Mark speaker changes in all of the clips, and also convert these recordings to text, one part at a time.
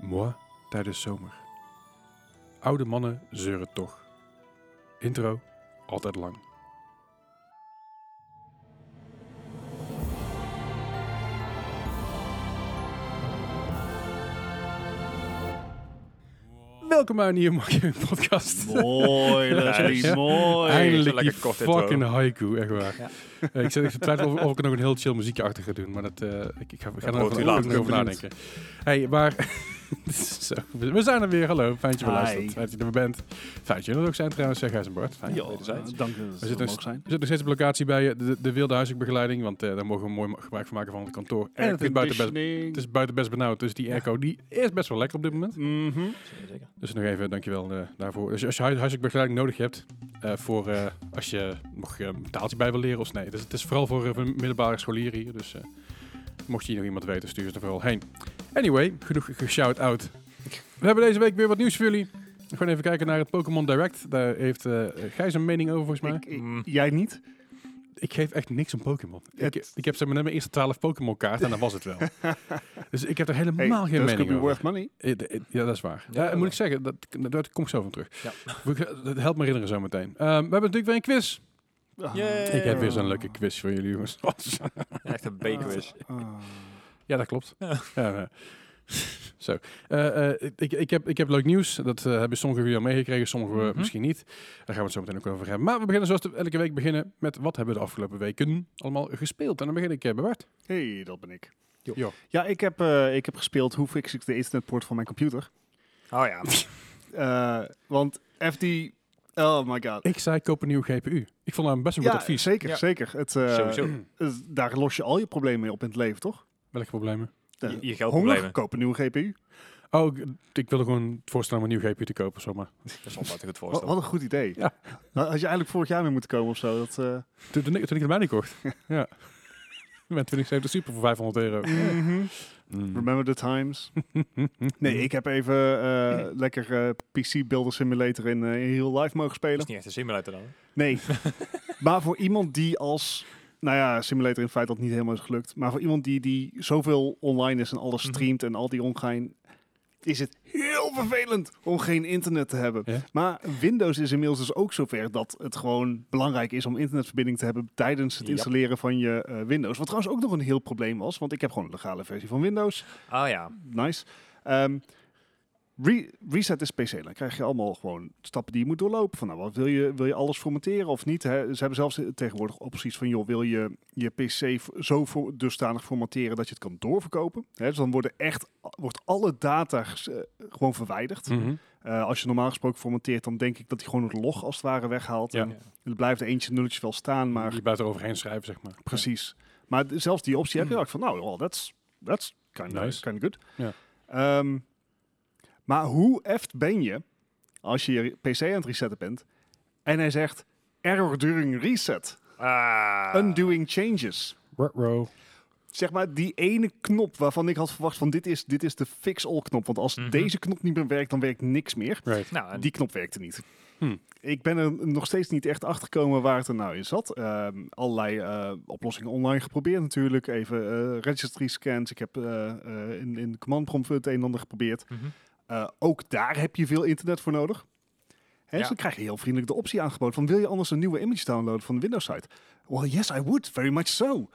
Speaker 1: Moi tijdens zomer. Oude mannen zeuren toch. Intro, altijd lang. Welkom bij een nieuwe Marketing Podcast.
Speaker 2: Mooi, Leslie,
Speaker 1: Ja.
Speaker 2: mooi.
Speaker 1: Eindelijk die
Speaker 3: lekker kort intro.
Speaker 1: fucking haiku, echt waar. Eh, ik zit echt te twijfelen of, of ik er nog een heel chill muziekje achter ga doen, maar dat, eh, ik, ik ga, ik ga er
Speaker 3: hoort
Speaker 1: nog
Speaker 3: u
Speaker 1: even
Speaker 3: later.
Speaker 1: nog even over nadenken. hey, maar... Zo, we we zijn er weer, hallo. Fijn dat je weer
Speaker 2: Hi.
Speaker 1: luistert. Fijn dat je er weer bent. Fijn dat jullie er ook zijn trouwens, zeg en Bart. Fijn,
Speaker 2: Ja,
Speaker 1: wederzijds.
Speaker 2: dank u
Speaker 1: We
Speaker 2: dat we
Speaker 1: zitten,
Speaker 2: er
Speaker 1: nog,
Speaker 2: ook zijn.
Speaker 1: we zitten nog steeds op locatie bij eh, de, de wilde huiselijkbegeleiding, want eh, daar mogen we mooi ma- gebruik van maken van het kantoor. En het is buiten best, het is buiten best benauwd, dus die airco die is best wel lekker op dit moment.
Speaker 3: Mhm.
Speaker 1: Dus nog even, dankjewel eh daarvoor. Dus als je hui- huiselijke begeleiding nodig hebt, eh, voor eh, als je nog eh, een taaltje bij wil leren of nee. Dus het is vooral voor eh, voor middelbare scholieren hier. Dus eh, mocht je hier nog iemand weten, stuur ze er vooral heen. Anyway, genoeg geshout-out. We hebben deze week weer wat nieuws voor jullie. Gewoon even kijken naar het Pokémon Direct. Daar heeft eh Gijs een mening over, volgens mij.
Speaker 2: Ik-
Speaker 1: Ik,
Speaker 2: ik-
Speaker 3: Mm.
Speaker 2: Jij niet?
Speaker 1: geef echt niks om Pokémon. Ik,
Speaker 2: Het-
Speaker 1: ik heb zeg maar net mijn eerste 12 Pokémon kaarten en dat was het wel. dus ik heb er
Speaker 2: Hey,
Speaker 1: helemaal geen
Speaker 2: those could
Speaker 1: mening
Speaker 2: be
Speaker 1: over.
Speaker 2: worth money.
Speaker 1: Eh, de- eh, Ja, dat is waar. Ja,
Speaker 3: Ja, dat
Speaker 1: moet
Speaker 3: wel.
Speaker 1: ik zeggen, dat, dat- daar kom ik zo van terug. We- Dat helpt me herinneren zo meteen. Ehm, we hebben natuurlijk weer een quiz.
Speaker 2: Ah.
Speaker 3: Yay.
Speaker 1: Ik heb weer zo'n leuke quiz voor jullie, jongens.
Speaker 3: Echt een bakeris.
Speaker 2: Ah.
Speaker 1: ja, dat klopt.
Speaker 3: Ja.
Speaker 1: Ja, nee. zo. Eh, eh, ik, ik, heb, ik heb leuk nieuws. Dat eh, hebben sommigen jullie al meegekregen, sommigen eh,
Speaker 3: Mhm.
Speaker 1: misschien niet. Daar gaan we het zo meteen ook over hebben. Maar we beginnen zoals we elke week beginnen met wat hebben we de afgelopen weken allemaal gespeeld. En dan begin ik eh, bij Bart.
Speaker 2: Hey, dat ben ik.
Speaker 3: Jo.
Speaker 1: Jo.
Speaker 2: Ja, ik heb, eh, ik heb gespeeld hoe fix ik de internetpoort van mijn computer.
Speaker 3: Oh ja.
Speaker 2: Eh, want FD... Oh my god.
Speaker 1: Ik zei koop een nieuwe GPU. Ik vond dat een best een goed advies.
Speaker 2: zeker,
Speaker 3: Ja.
Speaker 2: zeker. Het, eh,
Speaker 3: Sowieso.
Speaker 2: het- daar los je al je problemen mee op in het leven, toch?
Speaker 1: Welke problemen?
Speaker 2: Eh,
Speaker 3: Je, je
Speaker 2: Honger,
Speaker 3: geldproblemen.
Speaker 2: koop een nieuwe GPU.
Speaker 1: Oh, ik, ik wilde gewoon voorstellen om een nieuwe GPU te kopen, zomaar.
Speaker 3: Dat is altijd een goed
Speaker 2: Wat,
Speaker 3: voorstel.
Speaker 2: wat een goed idee.
Speaker 1: Ja.
Speaker 2: Nou, Had je eigenlijk vorig jaar mee moeten komen of zo. Dat, eh,
Speaker 1: Toen, toen, ik, toen ik het mij niet kocht. ja. Met 2070 Super voor 500 euro.
Speaker 2: Mm.
Speaker 3: Mhm.
Speaker 1: Mhm.
Speaker 2: Remember the times. nee, ik heb even eh, lekker eh, PC Builder Simulator in, eh, in heel live mogen
Speaker 3: Dat is
Speaker 2: spelen.
Speaker 3: niet echt een simulator dan.
Speaker 2: Nee. maar voor iemand die als... Nou ja, Simulator in feite dat niet helemaal is gelukt. Maar voor iemand die, die zoveel online is en alles
Speaker 3: Mhm.
Speaker 2: streamt en al die ongein... Is het heel vervelend om geen internet te hebben.
Speaker 1: Ja.
Speaker 2: Maar Windows is inmiddels dus ook zover dat het gewoon belangrijk is om internetverbinding te hebben tijdens het
Speaker 3: Yep.
Speaker 2: installeren van je eh, Windows. Wat trouwens ook nog een heel probleem was, want ik heb gewoon een legale versie van Windows.
Speaker 3: Oh ja.
Speaker 2: Nice. Ehm, re- reset is PC. Dan krijg je allemaal gewoon stappen die je moet doorlopen. Van nou, wat wil je, wil je alles formateren of niet? Hè? Ze hebben zelfs tegenwoordig opties van, joh, wil je je PC v- zo voor, dusdanig formateren dat je het kan doorverkopen? Hè? Dus dan worden echt, wordt alle data ges- eh, gewoon verwijderd.
Speaker 1: Hm. Mhm.
Speaker 2: Eh, als je normaal gesproken formateert, dan denk ik dat hij gewoon het log als het ware weghaalt.
Speaker 1: Ja.
Speaker 2: En er blijft eentje nulletjes wel staan, maar
Speaker 1: Je buiten overheen schrijven, zeg maar.
Speaker 2: Precies. Maar d- zelfs die optie heb je
Speaker 3: Mm.
Speaker 2: ook van, nou, well, that's, that's kind of
Speaker 1: Nice.
Speaker 2: good.
Speaker 1: Ja.
Speaker 2: Ehm, maar hoe eft ben je als je je PC aan het resetten bent en hij zegt error during reset,
Speaker 3: Ah.
Speaker 2: undoing changes.
Speaker 1: Ruh-roh.
Speaker 2: Zeg maar die ene knop waarvan ik had verwacht van dit is, dit is de fix-all knop. Want als
Speaker 3: Mhm.
Speaker 2: deze knop niet meer werkt, dan werkt niks meer.
Speaker 1: Right.
Speaker 3: Nou, en
Speaker 2: Die knop werkte niet.
Speaker 1: Hmm.
Speaker 2: Ik ben er nog steeds niet echt achter gekomen waar het er nou in zat. Ehm, allerlei eh, oplossingen online geprobeerd natuurlijk. Even eh, registry scans. Ik heb eh, eh, in, in de command prompt het een en ander geprobeerd.
Speaker 3: Mhm.
Speaker 2: Eh, ook daar heb je veel internet voor nodig. Hè,
Speaker 3: Ja.
Speaker 2: Dus dan krijg je heel vriendelijk de optie aangeboden van wil je anders een nieuwe image downloaden van de Windows site? Well, yes, I would. Very much so.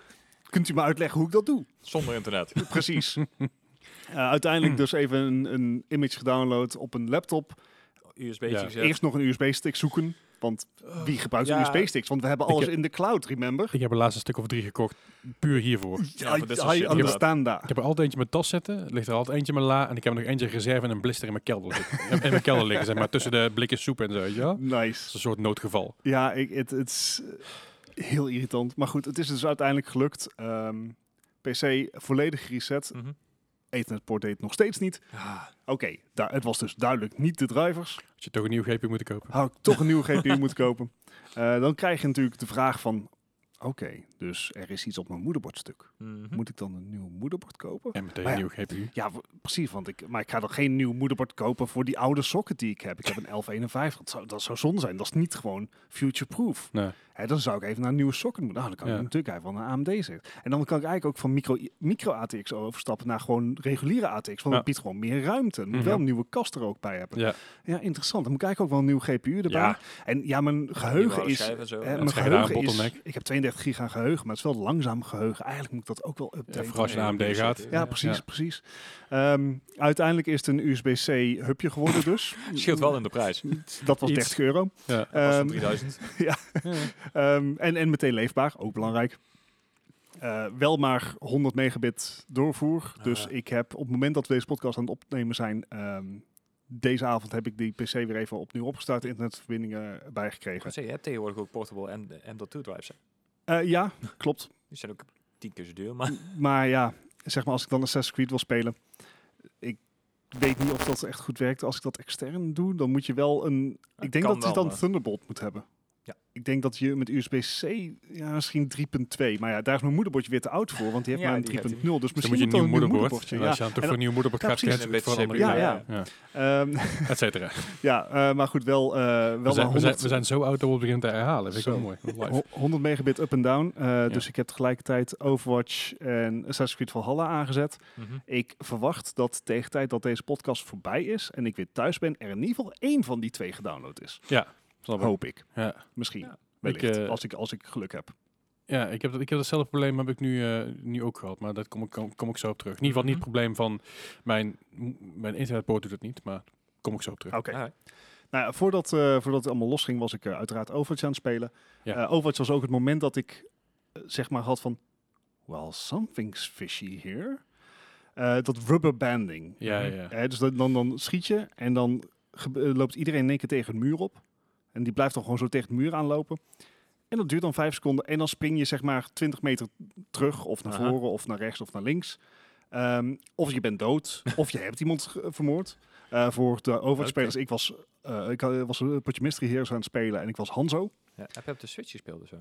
Speaker 2: Kunt u me uitleggen hoe ik dat doe?
Speaker 3: zonder internet.
Speaker 2: Precies. Eh, uiteindelijk dus even een, een image gedownload op een laptop.
Speaker 3: USB
Speaker 1: Ja.
Speaker 3: gezet.
Speaker 2: Eerst nog een USB-stick zoeken. Want wie gebruikt
Speaker 3: ja.
Speaker 2: USB-sticks? Want we hebben
Speaker 1: Ik
Speaker 2: alles
Speaker 1: heb-
Speaker 2: in de cloud, remember?
Speaker 1: Ik heb er laatst een stuk of drie gekocht, puur hiervoor.
Speaker 3: Ja,
Speaker 2: I,
Speaker 3: maar dit is wel
Speaker 2: I
Speaker 3: shit,
Speaker 2: understand
Speaker 1: Ik
Speaker 2: that.
Speaker 1: heb er altijd eentje in mijn tas zitten, er ligt er altijd eentje in mijn la en ik heb er nog eentje in reserve en een blister in mijn kelder liggen. en in mijn kelder liggen, zeg maar, tussen de blikken soep en zo. Ja? Dat is
Speaker 2: Nice.
Speaker 1: een soort noodgeval.
Speaker 2: Ja, ik- het het is eh, heel irritant. Maar goed, het is dus uiteindelijk gelukt. Ehm, PC volledig reset.
Speaker 3: Mhm.
Speaker 2: Ethernetpoort deed het nog steeds niet.
Speaker 3: Ah.
Speaker 2: Oké, da- het was dus duidelijk niet de drivers.
Speaker 1: Had je toch een nieuw GPU moeten kopen?
Speaker 2: Had ik toch een nieuwe GPU moeten kopen. Eh, dan krijg je natuurlijk de vraag van... Oké, dus er is iets op mijn moederbord stuk.
Speaker 3: Mhm.
Speaker 2: Moet ik dan een nieuw moederbord kopen?
Speaker 1: En meteen
Speaker 2: Maar
Speaker 1: een
Speaker 2: ja.
Speaker 1: nieuw GPU.
Speaker 2: Ja, w- precies. Want ik, maar ik ga dan geen nieuw moederbord kopen voor die oude socket die ik heb. Ik heb een 1151. Dat zou, dat zou zonde zijn. Dat is niet gewoon future-proof.
Speaker 1: Nee.
Speaker 2: Hè, dan zou ik even naar een nieuwe socket moeten. Nou, dan kan
Speaker 1: Ja.
Speaker 2: ik natuurlijk even naar AMD zitten. En dan kan ik eigenlijk ook van micro, micro ATX overstappen naar gewoon reguliere ATX. Want
Speaker 1: Ja.
Speaker 2: dat biedt gewoon meer ruimte. Dan moet ik
Speaker 1: Mhm.
Speaker 2: wel een nieuwe kast er ook bij hebben.
Speaker 1: Ja.
Speaker 2: Ja, interessant. Dan moet ik eigenlijk ook wel een nieuw GPU erbij.
Speaker 1: Ja.
Speaker 2: En ja, mijn geheugen
Speaker 3: oude
Speaker 2: is... eh,
Speaker 3: schijf en zo.
Speaker 2: hè,
Speaker 3: Ja,
Speaker 2: mijn
Speaker 1: dat is geen
Speaker 2: geheugen is...
Speaker 1: bottleneck.
Speaker 2: Ik heb 32 giga geheugen, maar het is wel langzaam geheugen. Eigenlijk moet ik dat ook wel
Speaker 1: Ja,
Speaker 2: updaten.
Speaker 1: vooral als je naar AMD gaat.
Speaker 2: Ja, precies,
Speaker 1: Ja.
Speaker 2: precies. Ehm, uiteindelijk is het een USB-C hubje geworden dus.
Speaker 3: Scheelt wel in de prijs. Dat
Speaker 2: Dat was
Speaker 1: Iets.
Speaker 2: 30 euro.
Speaker 1: Ja.
Speaker 3: was van
Speaker 2: Ehm,
Speaker 3: 3000.
Speaker 2: ehm, en, en meteen leefbaar, ook belangrijk. Eh, wel maar 100 megabit doorvoer.
Speaker 3: Ah.
Speaker 2: Dus ik heb op het moment dat we deze podcast aan het opnemen zijn... ehm, deze avond heb ik die PC weer even opnieuw opgestart. Internetverbindingen
Speaker 3: Ik wou
Speaker 2: bijgekregen.
Speaker 3: zeggen, je hebt tegenwoordig ook portable en, en dat 2 drives. hè?
Speaker 2: Eh, ja, klopt.
Speaker 3: Die zijn ook tien keer zo duur, maar
Speaker 2: Maar ja, zeg maar als ik dan Assassin's Creed wil spelen, ik weet niet of dat echt goed werkt. Als ik dat extern doe, dan moet je wel een. Ik denk
Speaker 3: kan
Speaker 2: dat je
Speaker 3: wel,
Speaker 2: dan
Speaker 3: maar-
Speaker 2: Thunderbolt moet hebben.
Speaker 3: Ja.
Speaker 2: Ik denk dat je met USB-C, ja, misschien 3.2. Maar ja, daar is mijn moederbordje weer te oud voor, want die heeft
Speaker 3: Ja,
Speaker 2: maar
Speaker 3: die heeft
Speaker 2: een
Speaker 3: hij
Speaker 2: 3.0. Dus
Speaker 1: Dan
Speaker 2: misschien
Speaker 1: moet je een nieuw moederbord.
Speaker 2: moederbordje.
Speaker 1: En als je dan toch
Speaker 2: En
Speaker 1: voor een nieuw moederbord
Speaker 2: Ja,
Speaker 1: gaat,
Speaker 2: precies.
Speaker 1: krijg
Speaker 3: Een
Speaker 1: je het voor een
Speaker 3: beetje
Speaker 1: andere
Speaker 2: CPU,
Speaker 1: ja. ja.
Speaker 2: ja, ehm,
Speaker 1: Et cetera. We
Speaker 2: ja eh, maar goed, wel, eh, wel
Speaker 1: zijn-
Speaker 2: maar
Speaker 1: We zijn,
Speaker 2: 100,
Speaker 1: we zijn zo oud dat we het beginnen te herhalen. Vind ik wel
Speaker 2: Zo.
Speaker 1: mooi. Live.
Speaker 2: ho- 100 megabit up en down. Eh, Dus ik heb tegelijkertijd Overwatch en Assassin's Creed Valhalla aangezet.
Speaker 3: Mhm.
Speaker 2: Ik verwacht dat tegen de tijd dat deze podcast voorbij is en ik weer thuis ben, er in ieder geval één van die twee gedownload is.
Speaker 1: Snap ik.
Speaker 2: Hoop ik.
Speaker 1: Ja.
Speaker 2: Misschien.
Speaker 3: Ja.
Speaker 2: Wellicht.
Speaker 1: Ik, eh,
Speaker 2: als, ik, als ik geluk heb.
Speaker 1: Ja, ik heb, dat, ik heb datzelfde probleem heb ik nu, eh, nu ook gehad, maar daar kom ik, kom, kom ik zo op terug. In ieder geval niet het
Speaker 3: Mhm.
Speaker 1: probleem van mijn, m- mijn internetpoort doet het niet, maar kom ik zo op terug.
Speaker 2: Oké.
Speaker 3: Ah.
Speaker 2: Nou, ja, voordat, eh, voordat het allemaal losging, was ik eh, uiteraard Overwatch aan het spelen.
Speaker 1: Ja.
Speaker 2: Eh, Overwatch was ook het moment dat ik eh, zeg maar had van, well, something's fishy here. Eh, dat rubber banding.
Speaker 1: Ja, ja, ja.
Speaker 2: Hè, dus dat- dan, dan schiet je en dan gebe- eh, loopt iedereen in één keer tegen een muur op. En die blijft dan gewoon zo tegen de muur aanlopen. En dat duurt dan vijf seconden. En dan spring je zeg maar 20 meter terug of naar
Speaker 3: Aha.
Speaker 2: voren of naar rechts of naar links. Ehm, of je bent dood of je hebt iemand ge- vermoord. Eh, voor de Overwatch-spelers, ik, was, eh ik eh, was een potje Mystery Heroes aan het spelen en ik was Hanzo.
Speaker 3: Ja, heb je op de Switch gespeeld of zo?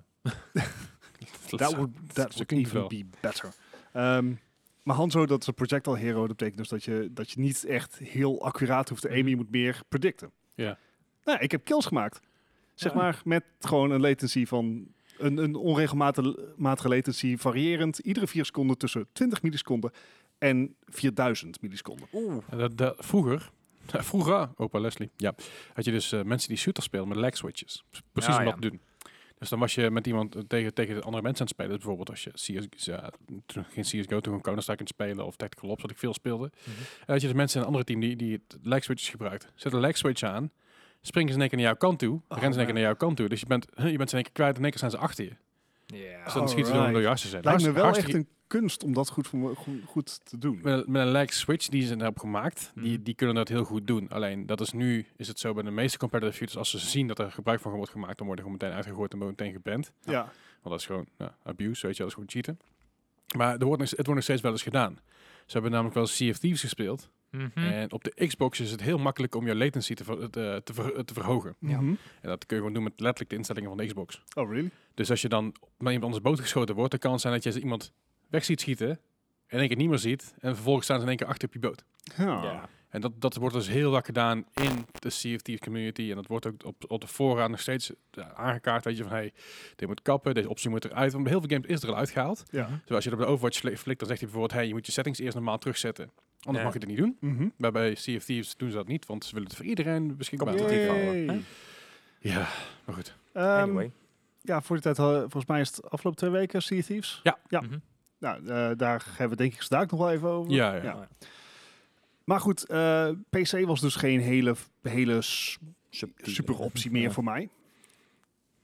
Speaker 2: That would, that
Speaker 1: dat
Speaker 2: would
Speaker 1: klinkt
Speaker 2: even be better. Ehm, maar Hanzo, dat is een projectile hero. Dat betekent dus dat je, dat je niet echt heel accuraat hoeft te aimen. Je moet meer predicten.
Speaker 1: Mhm. Ja.
Speaker 2: Nou, ik heb kills gemaakt. Zeg
Speaker 1: Ja.
Speaker 2: maar met gewoon een latency van... Een, een onregelmatige latency variërend. Iedere vier seconden tussen 20 milliseconden en 4000 milliseconden.
Speaker 3: Oeh.
Speaker 1: En dat- dat- vroeger, vroeger, opa Leslie, ja, had je dus eh, mensen die shooters speelden met lag switches. Precies
Speaker 3: Ah,
Speaker 1: om
Speaker 3: ja.
Speaker 1: dat te doen. Dus dan was je met iemand eh, tegen, tegen de andere mensen aan het spelen. Dus bijvoorbeeld als je CS, ja, toen geen CSGO, toen gewoon Counter-Strike aan het spelen of Tactical Ops, wat ik veel speelde.
Speaker 2: Mhm.
Speaker 1: En dat je dus mensen in een andere team die, die het lag switches gebruikt. Zet een lag switch aan, springen ze in één keer naar jouw kant toe,
Speaker 2: Oh,
Speaker 1: rennen ze in één keer naar jouw kant toe. Dus je bent, huh, je bent ze in één keer kwijt en in één keer zijn ze achter je.
Speaker 3: Ja.
Speaker 1: Dus dan
Speaker 2: Alright.
Speaker 1: schieten ze door- door je hartjes zijn.
Speaker 2: Oh, Lijkt me wel echt een kunst om dat goed, voor me- goed, goed te doen.
Speaker 1: met, met een lag switch die ze hebben gemaakt, die,
Speaker 3: Mhm.
Speaker 1: die kunnen dat heel goed doen. Alleen dat is nu is het zo bij de meeste competitive shooters. Als ze zien dat er gebruik van wordt gemaakt, dan worden ze gewoon meteen uitgegooid en worden meteen geband.
Speaker 2: Ja.
Speaker 1: Want dat is gewoon ja, abuse, weet je, dat is gewoon cheaten. Maar er wordt, nog- het wordt nog steeds wel eens gedaan. Ze hebben namelijk wel eens Sea of Thieves gespeeld.
Speaker 3: Mhm.
Speaker 1: En op de Xbox is het heel makkelijk om je latency te, ver- eh, te, te, ver- te verhogen.
Speaker 3: Ja.
Speaker 2: Mhm.
Speaker 1: En dat kun je gewoon doen met letterlijk de instellingen van de Xbox.
Speaker 2: Oh, really?
Speaker 1: Dus als je dan met iemand anders boot geschoten wordt, dan kan het zijn dat je eens iemand weg ziet schieten, en één keer niet meer ziet, en vervolgens staan ze in één keer achter op je boot.
Speaker 2: Ja.
Speaker 3: Ja.
Speaker 1: En dat, dat wordt dus heel vaak gedaan in de CFT community. En dat wordt ook op, op de fora nog steeds eh, aangekaart. Weet je van, hey, dit moet kappen, deze optie moet eruit. Want bij heel veel games is er al uitgehaald.
Speaker 2: Ja.
Speaker 1: Dus als je dat bij Overwatch fli- flikt, dan zegt hij bijvoorbeeld, hey, je moet je settings eerst normaal terugzetten. Anders
Speaker 3: Ja.
Speaker 1: mag je dit niet doen.
Speaker 2: Mhm.
Speaker 1: Maar bij CFT's doen ze dat niet, want ze willen het voor iedereen beschikbaar
Speaker 3: Competitief
Speaker 1: maken.
Speaker 3: houden.
Speaker 2: Yay.
Speaker 3: Hè?
Speaker 1: Ja, maar goed.
Speaker 2: Ehm,
Speaker 3: Anyway.
Speaker 2: Ja, voor die tijd, hadden- volgens mij is het afgelopen twee weken Sea Thieves.
Speaker 1: Ja.
Speaker 2: ja.
Speaker 3: Mhm.
Speaker 2: Nou, eh, daar hebben we denk ik straks nog wel even over.
Speaker 1: Ja, ja.
Speaker 2: Ja. Maar goed, eh, PC was dus geen hele, hele s-
Speaker 3: Subtiele.
Speaker 2: super optie meer
Speaker 3: Ja.
Speaker 2: voor mij.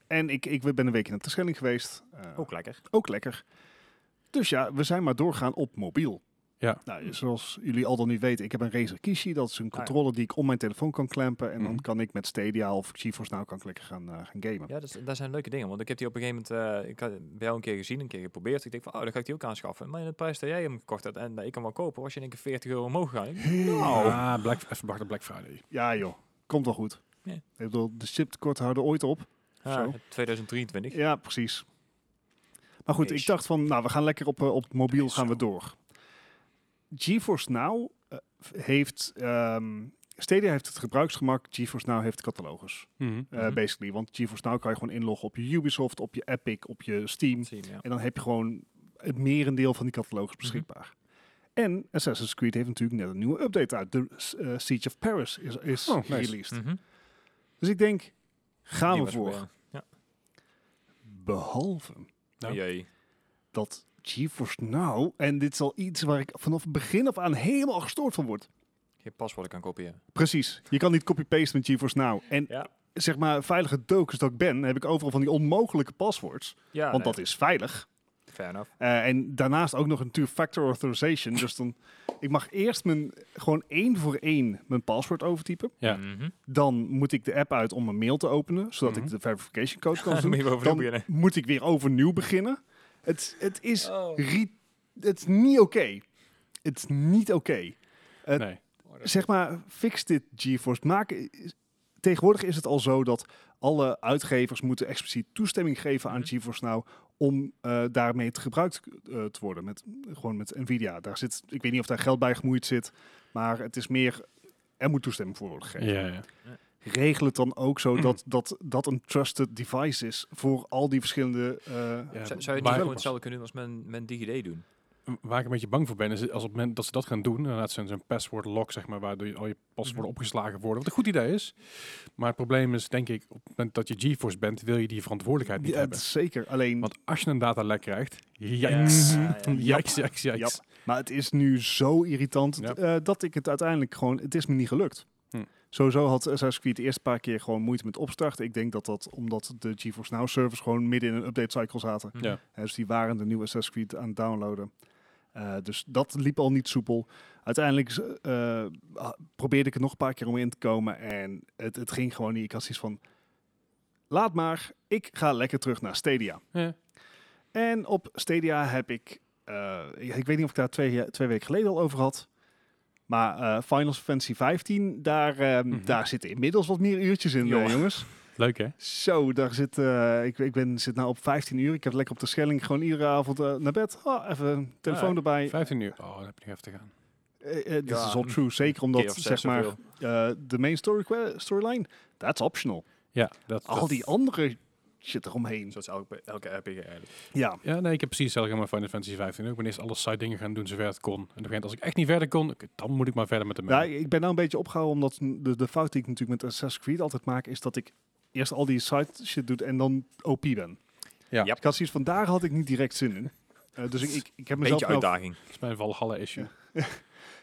Speaker 2: En ik, ik ben een week in de Terschelling geweest. Eh,
Speaker 3: Ook lekker.
Speaker 2: ook lekker. Dus ja, we zijn maar doorgaan op mobiel.
Speaker 1: Ja. Ah,
Speaker 2: Nou, zoals jullie al dan niet weten, ik heb een Razer Kishi. Dat is een controller die ik om mijn telefoon kan klempen. En dan
Speaker 1: Mhm.
Speaker 2: kan ik met Stadia of GeForce Now kan ik lekker gaan, eh, gaan gamen.
Speaker 3: Ja, dat, is- dat zijn leuke dingen. Want ik heb die op een gegeven moment, eh, ik had bij jou een keer gezien, een keer geprobeerd. Ik denk van, oh, dan ga ik die ook aanschaffen. Maar in de prijs dat jij hem gekocht had en dat ik hem wil kopen, was je in één keer 40 euro omhoog gegaan. Ik denk, Nou.
Speaker 1: Ah, Black, even wachten, Black Friday.
Speaker 2: Ja joh, komt wel goed.
Speaker 3: Ja.
Speaker 2: Ik bedoel, de chiptekorten houden ooit op.
Speaker 3: ah,
Speaker 2: Zo.
Speaker 3: 2023.
Speaker 2: Ja, precies. Maar goed,
Speaker 3: Ish.
Speaker 2: ik dacht van, nou, we gaan lekker op, eh, op het mobiel
Speaker 3: Is
Speaker 2: gaan we
Speaker 3: zo.
Speaker 2: door. GeForce Now eh, heeft, ehm Stadia heeft het gebruiksgemak, GeForce Now heeft de catalogus,
Speaker 1: Mhm.
Speaker 2: eh,
Speaker 3: Mhm.
Speaker 2: basically. Want GeForce Now kan je gewoon inloggen op je Ubisoft, op je Epic, op je Steam.
Speaker 3: Zien, ja.
Speaker 2: En dan heb je gewoon het merendeel van die catalogus
Speaker 3: Mhm.
Speaker 2: beschikbaar. En Assassin's Creed heeft natuurlijk net een nieuwe update uit. De eh, Siege of Paris is, is
Speaker 1: Oh, nice.
Speaker 2: released.
Speaker 3: Mhm.
Speaker 2: Dus ik denk, gaan
Speaker 3: Die
Speaker 2: we
Speaker 3: was
Speaker 2: voor.
Speaker 3: proberen. Ja.
Speaker 2: Behalve
Speaker 1: Nou.
Speaker 3: Oh, Jee.
Speaker 2: dat GeForce Now, en dit is al iets waar ik vanaf het begin af aan helemaal gestoord van word.
Speaker 3: Je paswoorden kan kopiëren.
Speaker 2: Precies, je kan niet copy-pasten met GeForce Now. En
Speaker 3: Ja.
Speaker 2: zeg maar, veilige docus dat ik ben, heb ik overal van die onmogelijke passwords.
Speaker 3: Ja,
Speaker 2: want dat is veilig.
Speaker 3: is... Fair enough.
Speaker 2: Eh, en daarnaast ook nog een two-factor authorization. Dus dan, ik mag eerst mijn, gewoon één voor één mijn paswoord overtypen.
Speaker 1: Ja.
Speaker 3: Mhm.
Speaker 2: Dan moet ik de app uit om mijn mail te openen, zodat
Speaker 1: Mhm.
Speaker 2: ik de verification code kan
Speaker 3: Dan
Speaker 2: doen.
Speaker 3: moet je weer overnieuw
Speaker 2: Dan
Speaker 3: beginnen.
Speaker 2: moet ik weer overnieuw beginnen. Het, het is
Speaker 3: Oh.
Speaker 2: ri- het is niet oké. Het is niet oké. Het-
Speaker 1: nee.
Speaker 2: Zeg maar, fix dit GeForce. Maak, tegenwoordig is het al zo dat alle uitgevers moeten expliciet toestemming geven aan
Speaker 3: Mhm.
Speaker 2: GeForce Now om eh, daarmee te gebruikt eh, te worden. Met, gewoon met Nvidia. Daar zit, ik weet niet of daar geld bij gemoeid zit, maar het is meer, er moet toestemming voor worden gegeven.
Speaker 1: Ja, ja.
Speaker 2: Regel het dan ook zo dat, dat dat een trusted device is voor al die verschillende... eh,
Speaker 1: Ja,
Speaker 3: Zou, zou je het niet
Speaker 1: maar-
Speaker 3: gewoon hetzelfde kunnen doen als men, men DigiD doen?
Speaker 1: Waar ik een beetje bang voor ben, is als op het moment dat ze dat gaan doen, inderdaad zijn zo'n password lock, zeg maar, waardoor je- al je
Speaker 2: Mhm.
Speaker 1: paswoorden opgeslagen worden, wat een goed idee is. Maar het probleem is, denk ik, op het moment dat je GeForce bent, wil je die verantwoordelijkheid niet
Speaker 2: ja,
Speaker 1: hebben.
Speaker 2: zeker. Alleen,
Speaker 1: Want als je een datalek krijgt, jijks,
Speaker 3: Ja, ja, ja.
Speaker 1: jijks, jijks, jijks.
Speaker 2: Jap. Maar het is nu zo irritant
Speaker 1: Ja.
Speaker 2: eh, dat ik het uiteindelijk gewoon... Het is me niet gelukt.
Speaker 1: Hm.
Speaker 2: Sowieso had Assassin's Creed de eerste paar keer gewoon moeite met opstarten. Ik denk dat dat omdat de GeForce Now servers gewoon midden in een update cycle zaten.
Speaker 1: Ja.
Speaker 2: Hè, dus die waren de nieuwe Assassin's Creed aan het downloaden. Eh, dus dat liep al niet soepel. Uiteindelijk is, eh, eh, probeerde ik het nog een paar keer om in te komen. En het, het ging gewoon niet. Ik had zoiets van... Laat maar, ik ga lekker terug naar Stadia.
Speaker 1: Ja.
Speaker 2: En op Stadia heb ik, eh, ik, ik weet niet of ik daar twee, eh, twee weken geleden al over had, maar eh Final Fantasy 15, daar, ehm,
Speaker 1: Mhm.
Speaker 2: daar zitten inmiddels wat meer uurtjes in, eh,
Speaker 3: Joh.
Speaker 2: jongens.
Speaker 1: Leuk, hè?
Speaker 2: Zo, daar zit, eh, ik, ik ben, zit nou op 15 uur. Ik heb lekker op de Schelling gewoon iedere avond eh, naar bed. Ah, even een telefoon
Speaker 1: Ah,
Speaker 2: erbij.
Speaker 1: 15 uur. Oh, dan heb je nog even te gaan.
Speaker 2: Eh, eh, Dit
Speaker 3: Ja,
Speaker 2: is all
Speaker 3: een
Speaker 2: true. Zeker
Speaker 3: keer
Speaker 2: omdat,
Speaker 3: of zes
Speaker 2: zeg maar,
Speaker 3: zoveel.
Speaker 2: eh, de main story que- storyline, that's optional.
Speaker 1: Ja, dat,
Speaker 2: Al
Speaker 1: dat-
Speaker 2: die andere shit eromheen.
Speaker 3: Zoals elke, elke RPG eigenlijk.
Speaker 2: Ja,
Speaker 1: Ja, nee, ik heb precies hetzelfde gedaan met Final Fantasy 15. ook. Ik ben eerst alle side dingen gaan doen zover het kon. En op een gegeven moment, als ik echt niet verder kon, oké, dan moet ik maar verder met de
Speaker 2: Ja,
Speaker 1: mail.
Speaker 2: ik ben nou een beetje opgehouden omdat de, de fout die ik natuurlijk met Assassin's Creed altijd maak is dat ik eerst al die side shit doe en dan OP ben.
Speaker 1: Ja.
Speaker 3: Yep.
Speaker 2: Ik had zoiets van daar had ik niet direct zin in. Eh, dus ik, ik, ik heb mezelf
Speaker 3: Beetje
Speaker 2: nou,
Speaker 3: uitdaging.
Speaker 1: Dat is mijn Valhalla-issue.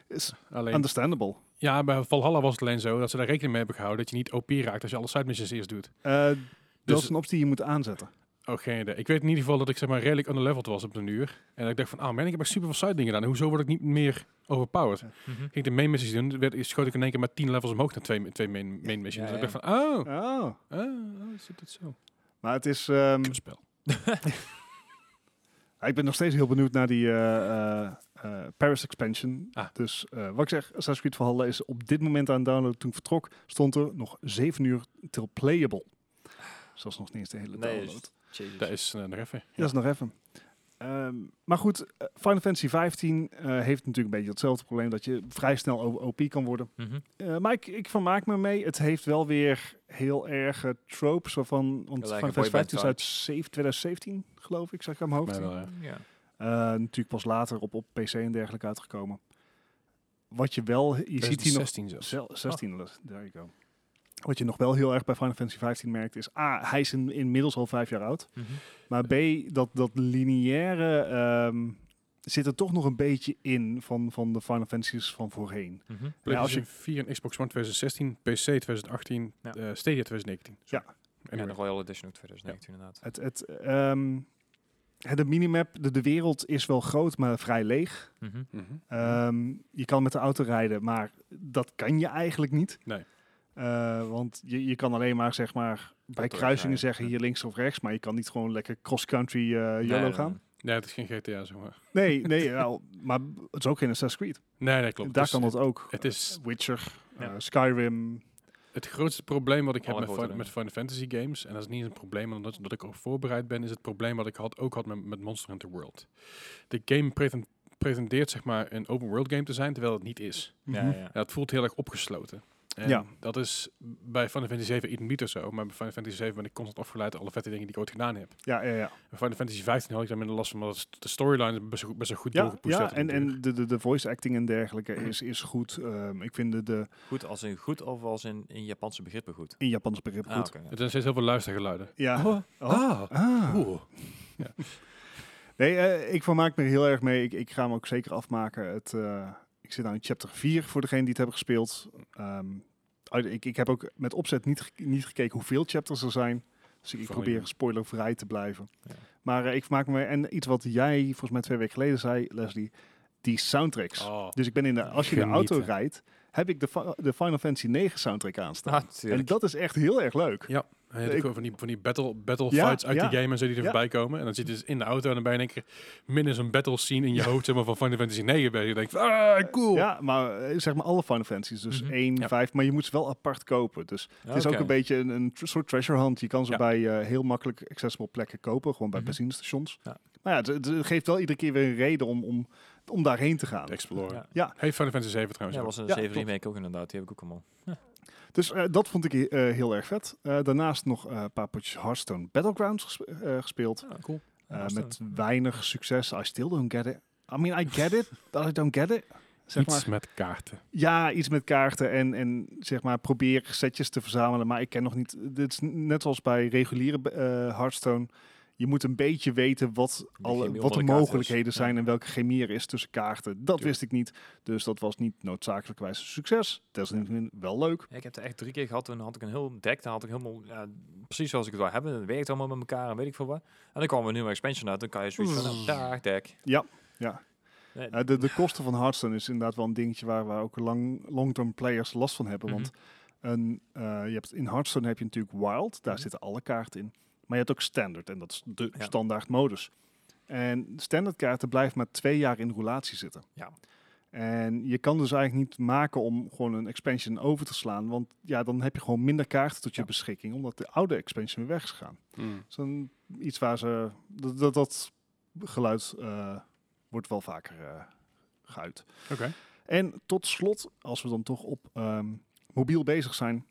Speaker 2: is
Speaker 1: Alleen,
Speaker 2: understandable.
Speaker 1: ja, bij Valhalla was het alleen zo dat ze daar rekening mee hebben gehouden dat je niet OP raakt als je alle side missions eerst doet.
Speaker 2: Eh, dat
Speaker 1: Dus-
Speaker 2: is een optie die je moet aanzetten.
Speaker 1: Oh, geen idee. Ik weet in ieder geval dat ik zeg maar redelijk underleveld was op de uur. En dat ik dacht van, ah man, ik heb echt super veel side dingen gedaan. Hoezo word ik niet meer overpowered?
Speaker 2: Ja.
Speaker 3: Mhm.
Speaker 1: Ging ik de main missies doen, werd, schoot ik in één keer met 10 levels omhoog naar twee, twee main, main missions.
Speaker 3: Ja,
Speaker 1: Dus ik dacht van, oh,
Speaker 2: Oh.
Speaker 1: ah, oh, zit het zo.
Speaker 2: Maar het is. ehm,
Speaker 1: Kutspel.
Speaker 2: ik ben nog steeds heel benieuwd naar die eh, eh, eh, Paris expansion.
Speaker 1: Ah.
Speaker 2: Dus eh, wat ik zeg, Assassin's Creed Valhalla is op dit moment aan het downloaden. Toen ik vertrok, stond er nog 7 uur till playable. Dus dat is nog niet eens de hele
Speaker 3: Nee,
Speaker 2: download.
Speaker 1: dus-
Speaker 3: is- Jezus.
Speaker 1: Dat is eh, nog even.
Speaker 2: Dat is nog even. Ehm, maar goed, eh, Final Fantasy 15 eh, heeft natuurlijk een beetje hetzelfde probleem dat je vrij snel o- OP kan worden.
Speaker 3: Mhm.
Speaker 2: Eh, maar ik, ik vermaak me mee. Het heeft wel weer heel erg eh, tropes waarvan. Want
Speaker 3: lijken
Speaker 2: Final Fantasy
Speaker 3: boyband
Speaker 2: 15 is uit zeven- 2017, geloof ik, zeg ik aan mijn hoofd.
Speaker 1: Maar, wel, eh,
Speaker 3: Mhm. Ja.
Speaker 2: Eh, natuurlijk pas later op, op PC en dergelijke uitgekomen. Wat je wel, je ziet hier nog
Speaker 1: 16 zelfs.
Speaker 2: Zel- 16, les- there you go. Wat je nog wel heel erg bij Final Fantasy 15 merkt is... A, hij is in- inmiddels al vijf jaar oud.
Speaker 3: Mhm.
Speaker 2: Maar B, dat, dat lineaire ehm, zit er toch nog een beetje in van, van de Final Fantasies van voorheen.
Speaker 3: Mhm.
Speaker 2: Ja, als
Speaker 1: PlayStation 4 en Xbox One 2016, PC 2018,
Speaker 3: Ja.
Speaker 1: eh, Stadia 2019. Zo.
Speaker 2: Ja.
Speaker 3: En de
Speaker 1: Anyway.
Speaker 3: Royal Edition ook 2019 inderdaad.
Speaker 2: Het, het, ehm, hè, de minimap, de, de wereld is wel groot, maar vrij leeg.
Speaker 3: Mhm.
Speaker 1: Mhm.
Speaker 2: Ehm, je kan met de auto rijden, maar dat kan je eigenlijk niet.
Speaker 1: Nee.
Speaker 2: Eh, want je, je kan alleen maar, zeg maar, bij
Speaker 3: Autorijden.
Speaker 2: kruisingen zeggen hier links of rechts, maar je kan niet gewoon lekker cross-country eh YOLO
Speaker 3: Nee, nee, nee.
Speaker 2: gaan.
Speaker 1: Nee, het is geen GTA, zeg maar.
Speaker 2: Nee, nee, nou, maar het is ook geen Assassin's Creed.
Speaker 1: Nee, nee, klopt.
Speaker 2: Daar
Speaker 1: Dus
Speaker 2: kan dat ook.
Speaker 1: Het is
Speaker 2: Witcher,
Speaker 3: Ja.
Speaker 2: eh, Skyrim,
Speaker 1: Het grootste probleem wat ik heb
Speaker 3: Alle
Speaker 1: met,
Speaker 3: grote
Speaker 1: Fin- met Final Fantasy games, en dat is niet eens een probleem omdat, omdat ik erop voorbereid ben, is het probleem wat ik had, ook had met, met Monster Hunter World. De game preten- pretendeert zeg maar een open world game te zijn, terwijl het niet is.
Speaker 3: Ja,
Speaker 2: Mhm.
Speaker 3: ja.
Speaker 1: Ja, het voelt heel erg opgesloten. En
Speaker 2: Ja.
Speaker 1: dat is bij Final Fantasy 7 iets minder zo, maar bij Final Fantasy 7 ben ik constant afgeleid door alle vette dingen die ik ooit gedaan heb.
Speaker 2: Ja, ja, ja.
Speaker 1: Bij Final Fantasy 15 had ik daar minder last van, omdat de storyline best, wel goed- best wel goed
Speaker 2: Ja,
Speaker 1: doorgepusht
Speaker 2: ja
Speaker 1: werd
Speaker 2: en,
Speaker 1: natuurlijk.
Speaker 2: en de, de, de voice acting en dergelijke is, is goed. Ehm, ik vind de, de
Speaker 3: Goed als in goed of als in, in Japanse begrippen goed.
Speaker 2: in Japans begrip
Speaker 3: Ah,
Speaker 2: goed.
Speaker 3: oké, ja.
Speaker 1: Er zijn steeds heel veel luistergeluiden.
Speaker 2: Ja.
Speaker 1: Oh. Ah.
Speaker 2: Ah.
Speaker 1: Oeh.
Speaker 2: Nee, eh, ik vermaak me er heel erg mee. Ik, ik ga hem ook zeker afmaken. Het, eh, ik zit aan chapter 4 voor degenen die het hebben gespeeld. Ehm, uit- ik, ik heb ook met opzet niet, ge- niet gekeken hoeveel chapters er zijn. Dus ik, ik
Speaker 1: Volume.
Speaker 2: probeer spoilervrij te blijven.
Speaker 3: Ja.
Speaker 2: Maar eh, ik vermaak me mee. En iets wat jij volgens mij twee weken geleden zei, Leslie, die soundtracks.
Speaker 1: Oh.
Speaker 2: Dus ik ben in de, als je in de
Speaker 1: Genieten.
Speaker 2: auto rijdt, heb ik de, fa- de Final Fantasy 9 soundtrack aanstaan.
Speaker 3: Ah,
Speaker 2: en
Speaker 3: tuurlijk.
Speaker 2: dat is echt heel erg leuk.
Speaker 1: En je hebt
Speaker 2: Ik-
Speaker 1: ook wel van die, van die battle, battle
Speaker 2: Ja,
Speaker 1: fights uit
Speaker 2: ja.
Speaker 1: die game en zo die er
Speaker 2: Ja.
Speaker 1: voorbij komen. En dan zit je dus in de auto en dan ben je in één keer minder zo'n battle scene in je hoofd zeg maar, van Final Fantasy 9 ben. Je denkt, van, ah, cool.
Speaker 2: Ja, maar eh, zeg maar alle Final Fantasy's. Dus
Speaker 3: Mhm.
Speaker 2: 1,
Speaker 1: Ja.
Speaker 2: 5. Maar je moet ze wel apart kopen. Dus het is ook
Speaker 3: Oké.
Speaker 2: een beetje een, een tr- soort treasure hunt. Je kan ze
Speaker 1: Ja.
Speaker 2: bij eh, heel makkelijk accessible plekken kopen. Gewoon bij
Speaker 3: Mhm.
Speaker 2: benzinestations.
Speaker 3: Ja.
Speaker 2: Maar ja, het, het geeft wel iedere keer weer een reden om, om, om daarheen te gaan.
Speaker 1: Het Explorer.
Speaker 3: Ja.
Speaker 1: Heeft Final Fantasy 7
Speaker 3: Ja,
Speaker 1: trouwens
Speaker 3: dat
Speaker 1: ook.
Speaker 3: was een
Speaker 2: Ja,
Speaker 3: 7
Speaker 2: klopt.
Speaker 3: remake ook inderdaad. Die heb ik ook allemaal.
Speaker 2: Dus eh, dat vond ik he- eh, heel erg vet. Eh, daarnaast nog eh, een paar potjes Hearthstone Battlegrounds gespe- eh, gespeeld.
Speaker 3: cool.
Speaker 2: Eh, met weinig succes. I still don't get it. I mean, I get it, but I don't get it. Zeg
Speaker 1: Iets
Speaker 2: maar.
Speaker 1: met kaarten.
Speaker 2: Ja, iets met kaarten en, en zeg maar probeer setjes te verzamelen. Maar ik ken nog niet, dit is n- net zoals bij reguliere eh, Hearthstone. Je moet een beetje weten wat, alle,
Speaker 3: chemie
Speaker 2: wat
Speaker 3: onder
Speaker 2: de
Speaker 3: de kaart is.
Speaker 2: mogelijkheden
Speaker 3: Ja.
Speaker 2: zijn en welke chemie er is tussen kaarten. Dat
Speaker 1: Tuurlijk.
Speaker 2: wist ik niet. Dus dat was niet noodzakelijkwijs een succes. Desalniettemin wel leuk.
Speaker 3: Ik heb het echt drie keer gehad. Toen had ik een heel deck. Dan had ik helemaal ja, precies zoals ik het wil hebben. Dat werkt allemaal met elkaar en weet ik veel wat. En dan kwam er een nieuwe expansion uit. Dan kan je zoiets van, nou, daar, deck.
Speaker 2: Ja, ja.
Speaker 3: Nee,
Speaker 2: Eh, de, de kosten van Hearthstone is inderdaad wel een dingetje waar, waar ook lang, long-term players last van
Speaker 3: Mhm.
Speaker 2: hebben. Want een, eh, je hebt, in Hearthstone heb je natuurlijk Wild, daar
Speaker 3: Mhm.
Speaker 2: zitten alle kaarten in. Maar je hebt ook Standard en dat is de
Speaker 3: Ja.
Speaker 2: standaard modus. En standaard kaarten blijven maar twee jaar in roulatie zitten.
Speaker 3: Ja.
Speaker 2: En je kan dus eigenlijk niet maken om gewoon een expansion over te slaan. Want ja, dan heb je gewoon minder kaarten tot je
Speaker 3: Ja.
Speaker 2: beschikking. Omdat de oude expansion weer weg is gegaan.
Speaker 1: Hmm.
Speaker 2: Dat is een, iets waar ze... Dat, dat, dat geluid eh, wordt wel vaker eh, geuit.
Speaker 1: Oké.
Speaker 2: En tot slot, als we dan toch op ehm, mobiel bezig zijn,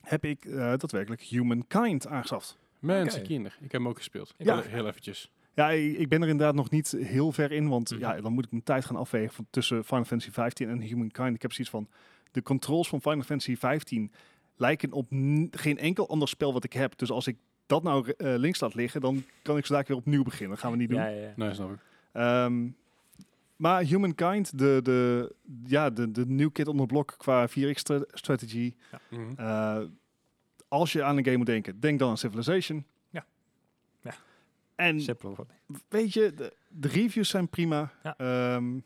Speaker 2: heb ik eh, daadwerkelijk Humankind aangeschaft.
Speaker 1: Mensen,
Speaker 3: Oké.
Speaker 1: kinder. Ik heb hem ook gespeeld.
Speaker 3: Ik
Speaker 1: Heel,
Speaker 3: ook.
Speaker 1: heel eventjes.
Speaker 2: Ja, i- ik ben er inderdaad nog niet heel ver in, want
Speaker 1: Mhm.
Speaker 2: ja, dan moet ik mijn tijd gaan afwegen van tussen Final Fantasy 15 en Humankind. Ik heb zoiets van, de controls van Final Fantasy 15 lijken op n- geen enkel ander spel wat ik heb. Dus als ik dat nou eh, links laat liggen, dan kan ik zo dadelijk weer opnieuw beginnen. Dat gaan we niet doen.
Speaker 3: ja, ja, ja.
Speaker 1: Nee, snap ik.
Speaker 2: Ehm, maar Humankind, de, de, ja, de, de new kid on the block qua 4X-strategy.
Speaker 1: Mhm.
Speaker 2: Eh, als je aan een game moet denken, denk dan aan Civilization.
Speaker 3: Ja. Ja.
Speaker 2: En
Speaker 3: Simpel. hoor.
Speaker 2: weet je, de, de reviews zijn prima.
Speaker 3: Ja.
Speaker 2: Ehm,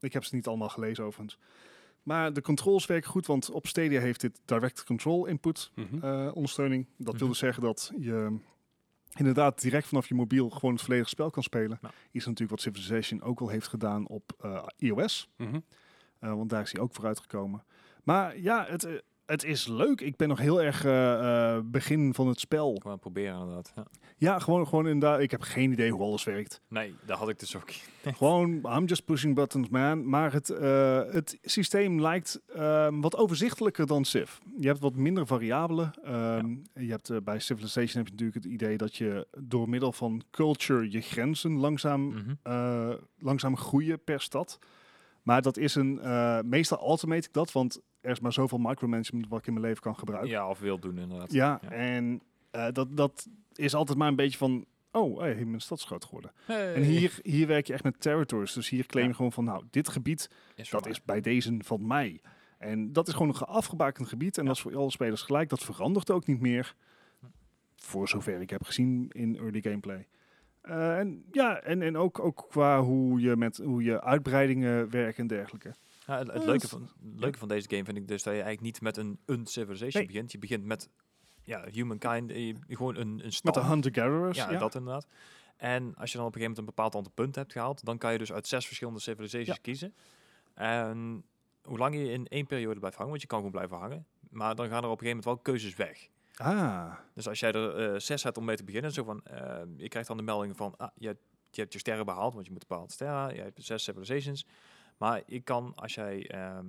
Speaker 2: ik heb ze niet allemaal gelezen overigens. Maar de controls werken goed, want op Stadia heeft dit direct control input
Speaker 1: Mhm.
Speaker 2: eh, ondersteuning. Dat wil
Speaker 3: Mhm.
Speaker 2: dus zeggen dat je inderdaad direct vanaf je mobiel gewoon het volledige spel kan spelen.
Speaker 3: Ja.
Speaker 2: Is natuurlijk wat Civilization ook al heeft gedaan op eh, iOS.
Speaker 1: Mhm.
Speaker 2: Eh, want daar is hij ook vooruitgekomen. Maar ja, het, eh, het is leuk. Ik ben nog heel erg eh, eh, begin van het spel.
Speaker 3: Ik wou het proberen inderdaad. Ja.
Speaker 2: Ja, gewoon, gewoon inderdaad. Ik heb geen idee hoe alles werkt.
Speaker 3: Nee, daar had ik dus ook.
Speaker 2: gewoon, I'm just pushing buttons, man. Maar het, eh, het systeem lijkt ehm, wat overzichtelijker dan Civ. Je hebt wat minder variabelen. Ehm, je hebt, eh, bij Civilization heb je natuurlijk het idee dat je door middel van culture je grenzen langzaam
Speaker 3: Mhm.
Speaker 2: eh, langzaam groeien per stad. Maar dat is een. eh, meestal automate ik dat, want er is maar zoveel micromanagement wat ik in mijn leven kan gebruiken.
Speaker 3: Ja, of wil doen inderdaad.
Speaker 2: Ja,
Speaker 3: Ja.
Speaker 2: en eh, dat, dat is altijd maar een beetje van. Oh, hey, mijn stad is groot geworden.
Speaker 3: Hey.
Speaker 2: En hier, hier werk je echt met territories. Dus hier claim
Speaker 3: Eh.
Speaker 2: je
Speaker 3: Ja.
Speaker 2: gewoon van, nou, dit gebied,
Speaker 3: Is voor
Speaker 2: dat
Speaker 3: mij.
Speaker 2: is bij deze van mij. En dat is gewoon een ge- afgebakend gebied. En dat is voor alle spelers gelijk. Dat verandert ook niet meer. Voor zover ik heb gezien in early gameplay. Eh, en ja, en, en ook, ook qua hoe je met hoe je uitbreidingen werkt en dergelijke.
Speaker 3: Ja, het, het
Speaker 2: Ja,
Speaker 3: leuke,
Speaker 2: dat-
Speaker 3: van, het leuke van deze game vind ik dus dat je eigenlijk niet met een, een civilization
Speaker 2: Nee.
Speaker 3: begint. Je begint met ja, humankind, eh, je- gewoon een, een
Speaker 2: Met
Speaker 3: stad.
Speaker 2: de hunter-gatherers.
Speaker 3: Oh. ja, dat inderdaad. En als je dan op een gegeven moment een bepaald aantal punten hebt gehaald, dan kan je dus uit zes verschillende civilizations
Speaker 2: Ja.
Speaker 3: kiezen. En hoe lang je in één periode blijft hangen, want je kan gewoon blijven hangen, Maar dan gaan er op een gegeven moment wel keuzes weg.
Speaker 2: Ah,
Speaker 3: Dus als jij er eh, zes hebt om mee te beginnen, zo van, eh, je krijgt dan de melding van, ah, je, hebt- je hebt je sterren behaald, want je moet een bepaalde sterren, je hebt zes civilizations. Maar je kan, als jij ehm,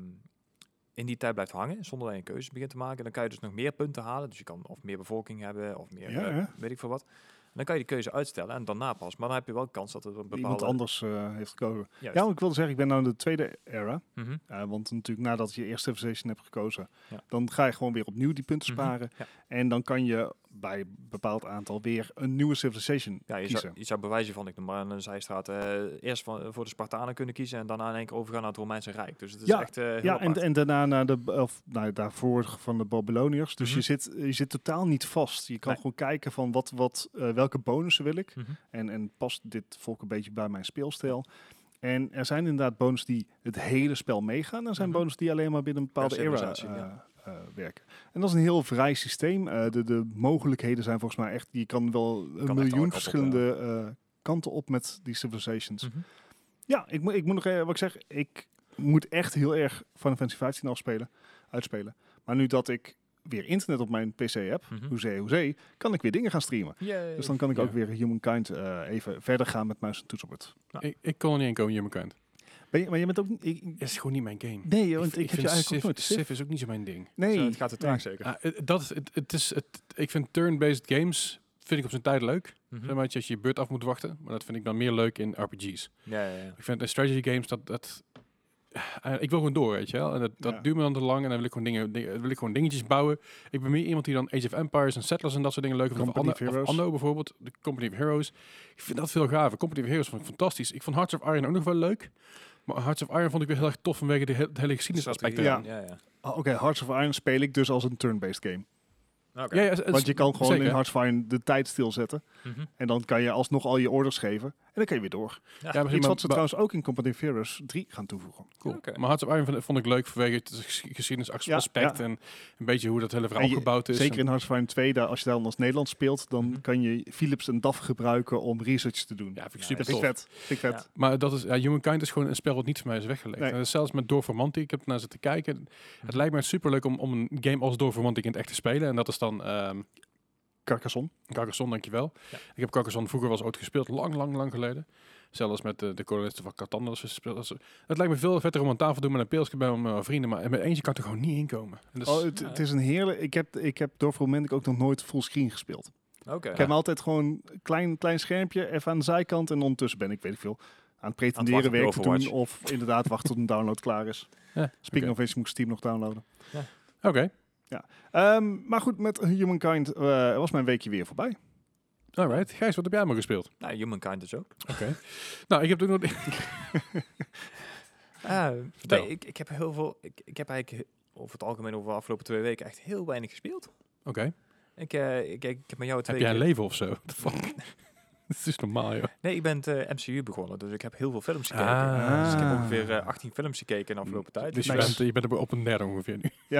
Speaker 3: in die tijd blijft hangen, zonder dat je een keuze begint te maken, dan kan je dus nog meer punten halen. Dus je kan of meer bevolking hebben, of meer,
Speaker 2: Ja,
Speaker 3: eh,
Speaker 2: ja.
Speaker 3: weet ik veel wat. En dan kan je die keuze uitstellen en daarna pas. Maar dan heb je wel kans dat er een bepaalde...
Speaker 2: iemand anders eh, heeft gekozen.
Speaker 3: Juist.
Speaker 2: Ja, want ik wilde zeggen, ik ben nou in de tweede era.
Speaker 3: Mhm.
Speaker 2: Eh, want natuurlijk nadat je eerst Civilization hebt gekozen,
Speaker 3: Ja.
Speaker 2: dan ga je gewoon weer opnieuw die punten
Speaker 3: Mhm,
Speaker 2: sparen.
Speaker 3: ja.
Speaker 2: En dan kan je bij een bepaald aantal weer een nieuwe Civilization
Speaker 3: Ja, je
Speaker 2: kiezen.
Speaker 3: zou, je zou bewijzen van, ik noem maar een zijstraat, eh, eerst van, voor de Spartanen kunnen kiezen en daarna in één keer overgaan naar het Romeinse Rijk. Dus het is
Speaker 2: Ja,
Speaker 3: echt eh, heel
Speaker 2: Ja, en,
Speaker 3: apart.
Speaker 2: en daarna naar de, of, nou, daarvoor van de Babyloniërs. Dus
Speaker 3: Mhm.
Speaker 2: je, zit, je zit totaal niet vast. Je kan
Speaker 3: Nee.
Speaker 2: gewoon kijken van wat, wat, eh, welke bonussen wil ik.
Speaker 3: Mhm.
Speaker 2: En, en past dit volk een beetje bij mijn speelstijl. En er zijn inderdaad bonussen die het hele spel meegaan. Er zijn
Speaker 3: Mhm.
Speaker 2: bonussen die alleen maar binnen een bepaalde
Speaker 3: Per
Speaker 2: era
Speaker 3: civilisatie,
Speaker 2: eh,
Speaker 3: ja.
Speaker 2: eh, werken. En dat is een heel vrij systeem. Eh, de, de mogelijkheden zijn volgens mij echt... Je kan wel een
Speaker 3: alle kanten
Speaker 2: miljoen
Speaker 3: op,
Speaker 2: verschillende eh, kanten op met die civilizations.
Speaker 3: Mhm.
Speaker 2: Ja, ik, moet- ik moet nog even wat ik zeg. Ik moet echt heel erg Final Fantasy 15 afspelen, uitspelen. Maar nu dat ik weer internet op mijn PC heb,
Speaker 3: Mhm.
Speaker 2: hoezee, hoezee, kan ik weer dingen gaan streamen.
Speaker 3: Yay.
Speaker 2: Dus dan kan ik
Speaker 1: Ja.
Speaker 2: ook weer Humankind eh even verder gaan met muis en toetsenbord.
Speaker 1: Ik, ik kon er niet in komen, Humankind.
Speaker 2: Ben je, maar je bent ook niet... ik- ik-
Speaker 1: Dat is gewoon niet mijn game.
Speaker 2: nee, want ik, heb
Speaker 1: vind
Speaker 2: je eigenlijk ook nooit...
Speaker 1: Civ, Civ is ook niet zo mijn ding.
Speaker 2: Nee.
Speaker 3: Zo, het gaat te traag zeker.
Speaker 1: Ah, het- dat, het, het is, het, ik vind turn-based games vind ik op zijn tijd leuk.
Speaker 3: Mhm.
Speaker 1: Zeg maar dat je als je je beurt af moet wachten. Maar dat vind ik dan meer leuk in RPG's.
Speaker 3: Ja, ja, ja.
Speaker 1: Ik vind in strategy games dat... dat eh, ik wil gewoon door, weet je wel. En dat, dat
Speaker 2: Ja.
Speaker 1: duurt me dan te lang. En dan wil ik, gewoon dingen, dingen- wil ik gewoon dingetjes bouwen. Ik ben meer iemand die dan Age of Empires en Settlers en dat soort dingen leuk vindt. Of
Speaker 2: Company
Speaker 1: Anno,
Speaker 2: of Heroes.
Speaker 1: of Anno bijvoorbeeld. De Company of Heroes. Ik vind dat veel gaver. Company of Heroes vond ik fantastisch. Ik vond Hearts of Iron ook nog wel leuk. Maar Hearts of Iron vond ik weer heel erg tof vanwege de, he- het hele geschiedenisaspect.
Speaker 3: Strategie,
Speaker 1: eraan.
Speaker 2: Ja.
Speaker 3: Ja, ja.
Speaker 2: Ah, Oké, Hearts of Iron speel ik dus als een turn-based game.
Speaker 3: Oké.
Speaker 1: Ja, ja, het is-
Speaker 2: Want je kan gewoon
Speaker 1: zeker.
Speaker 2: in Hearts of Iron de tijd stilzetten.
Speaker 3: Mhm.
Speaker 2: En dan kan je alsnog al je orders geven. En dan kan je weer door.
Speaker 1: Ja, maar-
Speaker 2: Iets wat ze
Speaker 1: maar-
Speaker 2: trouwens ook in Company of Heroes 3 gaan toevoegen.
Speaker 1: Cool.
Speaker 3: Oké.
Speaker 1: Maar Hearts of Iron vond, vond ik leuk vanwege het ges- geschiedenisaspect
Speaker 2: Ja,
Speaker 1: en een beetje hoe dat hele verhaal
Speaker 2: En je-
Speaker 1: gebouwd is.
Speaker 2: Zeker
Speaker 1: En-
Speaker 2: in Hearts of Iron 2, daar, als je daar dan als Nederland speelt, dan
Speaker 3: Mhm.
Speaker 2: kan je Philips en DAF gebruiken om research te doen.
Speaker 1: ja, vind ik
Speaker 3: Ja,
Speaker 1: super
Speaker 2: dat vind ik
Speaker 1: tof.
Speaker 2: vet. Vind ik vet.
Speaker 3: Ja.
Speaker 1: Maar dat is, ja, Humankind is gewoon een spel wat niet voor mij is weggelegd.
Speaker 2: Nee.
Speaker 1: En dat is zelfs met Dorformanti, ik heb ernaar zitten kijken.
Speaker 3: Mhm.
Speaker 1: Het lijkt mij superleuk om, om een game als Dorformanti in het echt te spelen. En dat is dan ehm
Speaker 2: Carcassonne.
Speaker 1: Carcassonne, dankjewel.
Speaker 3: Ja.
Speaker 1: Ik heb Carcassonne vroeger wel eens ooit gespeeld, lang, lang, lang geleden. Zelfs met eh, de, de kolonisten van Catan. Dat ze speel- dat ze- het lijkt me veel vetter om aan tafel te doen met een peelske bij mijn vrienden. Maar met eentje kan ik er gewoon niet in komen. En dus- dat is-
Speaker 2: Oh, het,
Speaker 3: ja.
Speaker 2: het is een heerlijk... Ik heb, ik heb door ik ook nog nooit fullscreen gespeeld.
Speaker 3: Oké.
Speaker 2: Ik heb me altijd gewoon een klein, klein schermpje, even aan de zijkant. En ondertussen ben ik, weet ik veel, aan het pretenderen
Speaker 3: Aan het
Speaker 2: werk
Speaker 3: wachten
Speaker 2: te
Speaker 3: op
Speaker 2: doen.
Speaker 3: Overwatch.
Speaker 2: Of inderdaad wachten tot een download klaar is.
Speaker 1: Ja, oké.
Speaker 2: Speaking of which, moet ik Steam nog downloaden.
Speaker 1: Oké,
Speaker 2: Ehm, maar goed, met Humankind eh, was mijn weekje weer voorbij.
Speaker 1: alright. Gijs, wat heb jij allemaal gespeeld?
Speaker 3: Nou, Humankind dus ook.
Speaker 1: Nou, ik heb ook nog... Vertel.
Speaker 3: Ah, nee, ik, ik heb heel veel... Ik, ik heb eigenlijk he- over het algemeen over de afgelopen twee weken echt heel weinig gespeeld.
Speaker 1: Oké.
Speaker 3: Ik, eh, ik, ik heb met jou
Speaker 1: Heb
Speaker 3: twee
Speaker 1: jij een
Speaker 3: keer-
Speaker 1: leven of zo? What the fuck? Dat is normaal, joh.
Speaker 3: Nee, ik ben het eh, MCU begonnen, dus ik heb heel veel films gekeken.
Speaker 1: Ah.
Speaker 3: Dus ik heb ongeveer eh, 18 films gekeken in de afgelopen tijd.
Speaker 1: Dus je
Speaker 2: Nice.
Speaker 1: bent, je bent op een derde ongeveer nu.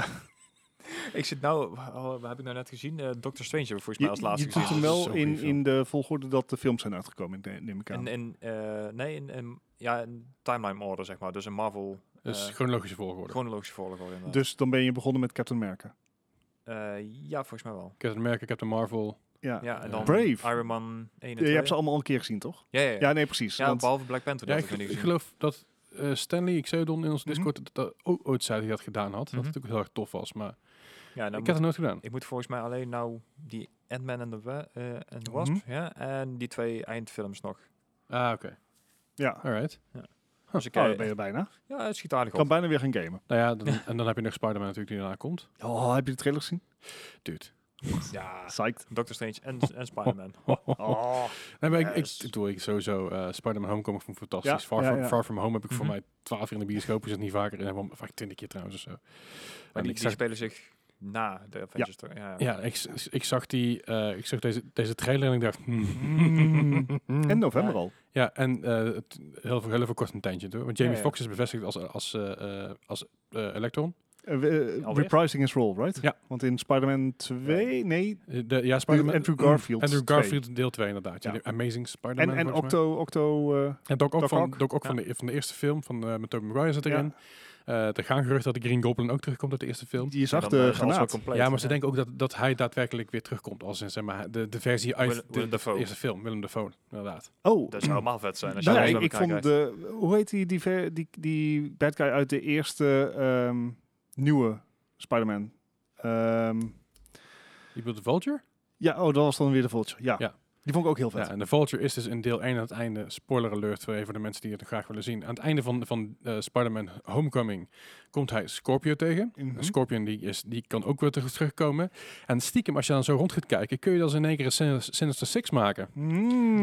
Speaker 3: Ik zit nou... oh, Wat heb ik nou net gezien? Eh, Doctor Strange heb ik volgens
Speaker 2: Je,
Speaker 3: mij als laatste
Speaker 2: je doet
Speaker 3: gezien.
Speaker 2: hem
Speaker 1: Dat is
Speaker 2: wel
Speaker 1: zo'n goeie
Speaker 2: in,
Speaker 1: film.
Speaker 2: in de volgorde dat de films zijn uitgekomen, ne- neem ik aan.
Speaker 3: En, en, eh, nee, in, in- ja, in timeline order, zeg maar. Dus een Marvel
Speaker 1: Dus
Speaker 3: Eh,
Speaker 1: chronologische volgorde.
Speaker 3: chronologische volgorde. inderdaad.
Speaker 2: Dus dan ben je begonnen met Captain America.
Speaker 3: Eh, ja, volgens mij wel.
Speaker 1: Captain America, Captain Marvel.
Speaker 2: Ja.
Speaker 3: Ja, en dan
Speaker 2: Brave.
Speaker 3: Iron Man 1 en
Speaker 2: Je,
Speaker 3: 2.
Speaker 2: hebt ze allemaal al een keer gezien, toch?
Speaker 3: Ja, ja, ja.
Speaker 2: Ja, nee, precies.
Speaker 3: Ja,
Speaker 2: want
Speaker 3: behalve Black Panther.
Speaker 1: Ja,
Speaker 3: dat
Speaker 1: ik,
Speaker 3: heb ik nog
Speaker 1: ik
Speaker 3: niet gezien.
Speaker 1: geloof dat eh, Stanley Xeodon in ons
Speaker 2: Mhm.
Speaker 1: Discord dat, dat ook ooit zei dat hij dat gedaan had. Dat
Speaker 3: Mhm.
Speaker 1: het ook heel erg tof was, maar
Speaker 3: Ja, nou
Speaker 1: ik
Speaker 3: moet-
Speaker 1: heb het nooit gedaan.
Speaker 3: ik moet volgens mij alleen nou die Ant-Man en de Wa- eh, en de Wasp
Speaker 2: Mhm.
Speaker 3: ja, en die twee eindfilms nog.
Speaker 1: Ah, oké.
Speaker 2: ja.
Speaker 1: Alright.
Speaker 3: Dus ik,
Speaker 2: Oh,
Speaker 3: eh,
Speaker 2: daar ben je er bijna. Ik
Speaker 3: ja, het schiet aardig
Speaker 2: kan
Speaker 3: op.
Speaker 2: bijna weer gaan gamen.
Speaker 1: Nou ja, dan, en dan heb je nog Spider-Man natuurlijk die daarna komt.
Speaker 2: Oh, heb je de trailer gezien?
Speaker 1: Dude.
Speaker 3: Ja,
Speaker 2: Psyched.
Speaker 3: Doctor Strange en, en Spider-Man.
Speaker 2: Oh.
Speaker 1: Nee, maar ik, ik,
Speaker 3: Yes.
Speaker 1: ik bedoel, ik sowieso eh Spider-Man Homecoming vond ik fantastisch.
Speaker 2: Ja,
Speaker 1: Far,
Speaker 2: ja,
Speaker 1: from,
Speaker 2: ja.
Speaker 1: Far From Home heb ik
Speaker 3: Mhm.
Speaker 1: voor mij twaalf jaar in de bioscoop. Is het niet vaker. En vaak twintig keer trouwens of zo.
Speaker 3: Maar
Speaker 1: En
Speaker 3: die,
Speaker 1: ik
Speaker 3: die
Speaker 1: zag
Speaker 3: spelen zich na de Avengers. toch? Ja, ja.
Speaker 1: Ja, ik, s- ik zag, die, eh, ik zag deze, deze trailer en ik dacht... hmm.
Speaker 2: Mm. en november al.
Speaker 1: Ja, en eh, het, heel, veel, heel veel kort een tangent hoor. Want Jamie
Speaker 3: Ja, ja.
Speaker 1: Foxx is bevestigd als, als, eh, eh, als eh, Electron.
Speaker 2: Eh, we- eh,
Speaker 3: Alweer?
Speaker 2: reprising his role, right?
Speaker 1: Ja.
Speaker 2: Want in Spider-Man 2, nee.
Speaker 1: Eh, De, ja, Spider-Man.
Speaker 2: Andrew Garfield
Speaker 1: Andrew
Speaker 2: 2.
Speaker 1: Garfield, deel 2 inderdaad. Ja.
Speaker 2: Ja.
Speaker 1: de Amazing
Speaker 2: En,
Speaker 1: Spider-Man.
Speaker 2: en
Speaker 1: volgens mij.
Speaker 2: Octo, Octo eh,
Speaker 1: En Doc ook,
Speaker 2: Doc
Speaker 1: van,
Speaker 2: Ock.
Speaker 1: Doc Ock van,
Speaker 3: Ja.
Speaker 1: de, van de eerste film van, eh met Tobey Maguire zit
Speaker 2: Ja.
Speaker 1: erin. Eh, er gaan geruchten dat de Green Goblin ook terugkomt uit de eerste film.
Speaker 2: Je zag
Speaker 3: dan,
Speaker 2: de
Speaker 3: eh, is alles wel
Speaker 2: granaat.
Speaker 3: compleet.
Speaker 1: ja, maar ze denken ook dat, dat hij daadwerkelijk weer terugkomt als in, zeg maar, de, de versie uit
Speaker 3: Willem- Willem
Speaker 1: de
Speaker 3: Dafoe.
Speaker 1: eerste film, Willem Dafoe, inderdaad.
Speaker 2: Oh,
Speaker 3: Dat zou helemaal vet zijn. Als je
Speaker 2: nou,
Speaker 3: alles
Speaker 2: ik,
Speaker 3: bij
Speaker 2: ik
Speaker 3: elkaar
Speaker 2: vond
Speaker 3: krijgt.
Speaker 2: de... Hoe heet die, die, ver- die, die bad guy uit de eerste ehm, nieuwe Spider-Man? Ehm,
Speaker 1: Je bedoelt de Vulture?
Speaker 2: ja, oh, dat was dan weer de Vulture. Ja.
Speaker 1: Ja.
Speaker 2: Die vond ik ook heel vet.
Speaker 1: Ja, en de Vulture is dus in deel 1 aan het einde, spoiler alert voor even de mensen die het graag willen zien. Aan het einde van, van eh, Spider-Man Homecoming komt hij Scorpio tegen.
Speaker 2: Mhm.
Speaker 1: En Scorpion die, is, die kan ook weer terug- terugkomen. En stiekem, als je dan zo rond gaat kijken, kun je dan in één keer een Sin- Sinister Six maken.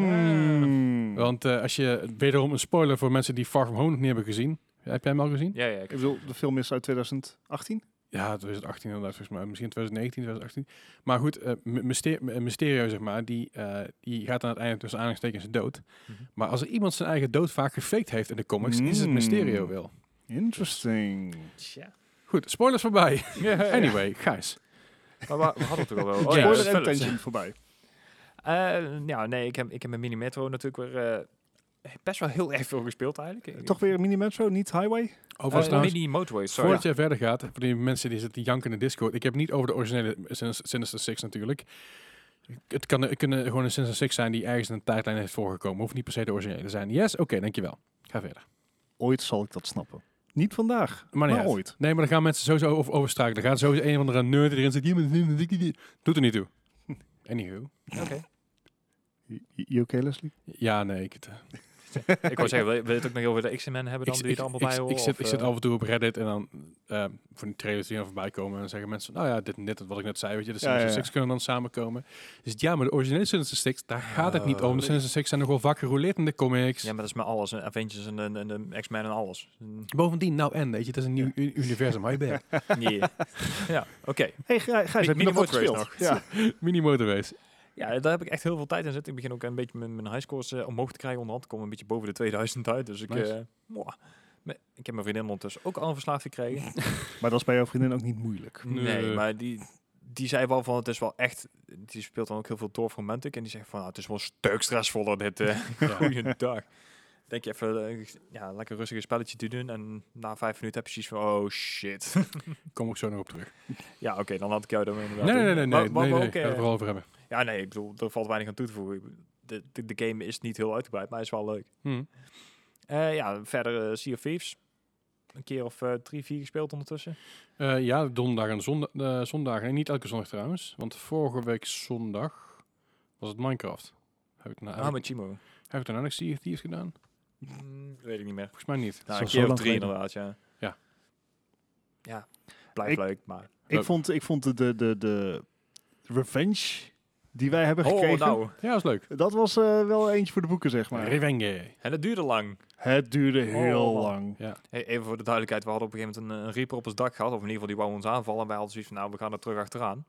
Speaker 2: Mm.
Speaker 1: Want eh, als je, wederom een spoiler voor mensen die Far From Home nog niet hebben gezien. Heb jij hem al gezien?
Speaker 3: Ja, ja.
Speaker 2: Ik
Speaker 3: Ik,
Speaker 2: bedoel, de film is uit 2018.
Speaker 1: Ja, 2018 inderdaad, volgens mij. Misschien 2019, 2018. Maar goed, eh, M- Myster- M- Mysterio, zeg maar, die, eh, die gaat aan het einde tussen aanhalingstekens dood.
Speaker 3: Mhm.
Speaker 1: Maar als er iemand zijn eigen dood vaak gefaked heeft in de comics, is het Mysterio
Speaker 2: Mm.
Speaker 1: wel.
Speaker 2: Interesting.
Speaker 3: tja.
Speaker 1: Goed, spoilers voorbij.
Speaker 3: Ja.
Speaker 1: Anyway, Gijs.
Speaker 3: Maar we, we hadden het toch al wel. Oh, ja,
Speaker 2: Spoiler en
Speaker 3: Philips.
Speaker 2: tension voorbij.
Speaker 3: Eh, ja, nee, ik heb, ik heb mijn Mini Metro natuurlijk weer eh, best wel heel erg veel gespeeld eigenlijk. Ik-
Speaker 2: Toch weer Mini Metro, niet Highway?
Speaker 1: Overigens
Speaker 3: Eh,
Speaker 1: trouwens,
Speaker 3: Mini Motorway, sorry.
Speaker 1: voordat jij verder gaat, voor die mensen die zitten janken in de Discord, ik heb het niet over de originele Sin- Sinister Six natuurlijk. Het kan, het kunnen gewoon een Sinister Six zijn die ergens in een tijdlijn heeft voorgekomen. Hoeft niet per se de originele te zijn. Yes, oké, dankjewel. Ga verder.
Speaker 2: Ooit zal ik dat snappen. Niet vandaag,
Speaker 1: Maar, niet
Speaker 2: maar
Speaker 1: uit.
Speaker 2: ooit.
Speaker 1: Nee, maar dan gaan mensen sowieso over, over struikelen. Dan gaat sowieso een of andere nerd die erin zit. "Ja, maar die- die- die- die." Doet er niet toe. Anywho.
Speaker 3: Oké.
Speaker 2: Je- Je oké, Leslie?
Speaker 1: Ja, nee. Ik, het, eh,
Speaker 3: ik wou zeggen, wil, wil je het ook nog over de X-Men hebben
Speaker 1: ik,
Speaker 3: dan,
Speaker 1: ik,
Speaker 3: die er allemaal
Speaker 1: ik,
Speaker 3: bij
Speaker 1: ik,
Speaker 3: horen?
Speaker 1: ik zit,
Speaker 3: of,
Speaker 1: ik zit
Speaker 3: eh,
Speaker 1: af en toe op Reddit en dan eh, van die trailers die dan voorbij komen. En dan zeggen mensen, nou ja, dit en dit, wat ik net zei. Weet je, de Sinister
Speaker 2: ja, ja.
Speaker 1: Six kunnen dan samenkomen. Dus ja, maar de originele Sinister Six, daar gaat het niet om. De
Speaker 3: Oh.
Speaker 1: Sinister Six zijn nogal vaak gerouleerd in de comics.
Speaker 3: Ja, maar dat is met alles. eh, Avengers en, en, en, en X-Men en alles. Mm,
Speaker 1: Bovendien, nou en, weet je, het is een nieuw u- universum. Hou je bek.
Speaker 3: Nee. ja, oké.
Speaker 2: Hey, Gij- Gijs,
Speaker 3: Mi-
Speaker 2: heb
Speaker 3: Mini
Speaker 2: je nog wat
Speaker 3: Motorways
Speaker 2: gespeeld? Ja.
Speaker 1: Mini Motorways.
Speaker 3: Ja, daar heb ik echt heel veel tijd in zitten. Ik begin ook een beetje mijn, mijn highscores eh, omhoog te krijgen onderhand. Ik kom een beetje boven de 2000 uit, dus ik...
Speaker 1: Nice.
Speaker 3: eh, mwah. Me- ik heb mijn vriendin ondertussen ook al een verslaafd gekregen.
Speaker 2: Maar dat is bij jouw vriendin ook niet moeilijk.
Speaker 1: Nee.
Speaker 3: Nee, maar die, die zei wel van het is wel echt. Die speelt dan ook heel veel door Romantic. En die zegt van nou, het is wel een stuk stressvoller dit. eh
Speaker 1: Ja.
Speaker 3: Goeiedag. Denk je even eh, ja, lekker rustig een spelletje te doen. En na vijf minuten heb je zoiets van oh shit.
Speaker 1: Kom ik zo nog op terug.
Speaker 3: ja, oké, dan had ik jou daarmee inderdaad.
Speaker 1: Nee, nee,
Speaker 3: doen.
Speaker 1: nee, nee.
Speaker 3: Maar-
Speaker 1: nee,
Speaker 3: maar-
Speaker 1: nee,
Speaker 3: maar
Speaker 1: nee.
Speaker 3: ook,
Speaker 1: Gaan we het
Speaker 3: eh,
Speaker 1: vooral over hebben.
Speaker 3: Ja, nee, ik bedoel, er valt weinig aan toe te voegen. Ik bedoel, De, de, de game is niet heel uitgebreid, maar hij is wel leuk.
Speaker 1: Hm.
Speaker 3: Eh, ja, verder eh Sea of Thieves. Een keer of eh, drie, vier gespeeld ondertussen.
Speaker 1: Eh, ja, donderdag en zondag, eh, zondag. Nee, niet elke zondag trouwens. Want vorige week zondag was het Minecraft. Heb ik, nou,
Speaker 3: Ah, met Chimo.
Speaker 1: heb ik daarna nog Sea of Thieves gedaan?
Speaker 3: Mm, weet ik niet meer.
Speaker 1: Volgens mij niet.
Speaker 3: Nou,
Speaker 2: al
Speaker 3: een
Speaker 2: zo
Speaker 3: keer of
Speaker 2: lang
Speaker 3: drie
Speaker 2: geleden.
Speaker 3: inderdaad, ja.
Speaker 1: Ja.
Speaker 3: Ja, blijft
Speaker 2: Ik-
Speaker 3: leuk, maar...
Speaker 2: Ik vond, ik vond de, de, de, de revenge die wij hebben
Speaker 3: Oh,
Speaker 2: gekregen,
Speaker 3: nou.
Speaker 1: Ja, was leuk.
Speaker 2: dat was eh, wel eentje voor de boeken, zeg maar.
Speaker 1: Revenge.
Speaker 3: En dat duurde lang.
Speaker 2: Het duurde heel
Speaker 3: Oh, man.
Speaker 2: lang.
Speaker 3: Hey, even voor de duidelijkheid, we hadden op een gegeven moment een, een reaper op ons dak gehad. Of in ieder geval, die wou ons aanvallen. En wij hadden zoiets van, nou, we gaan er terug achteraan.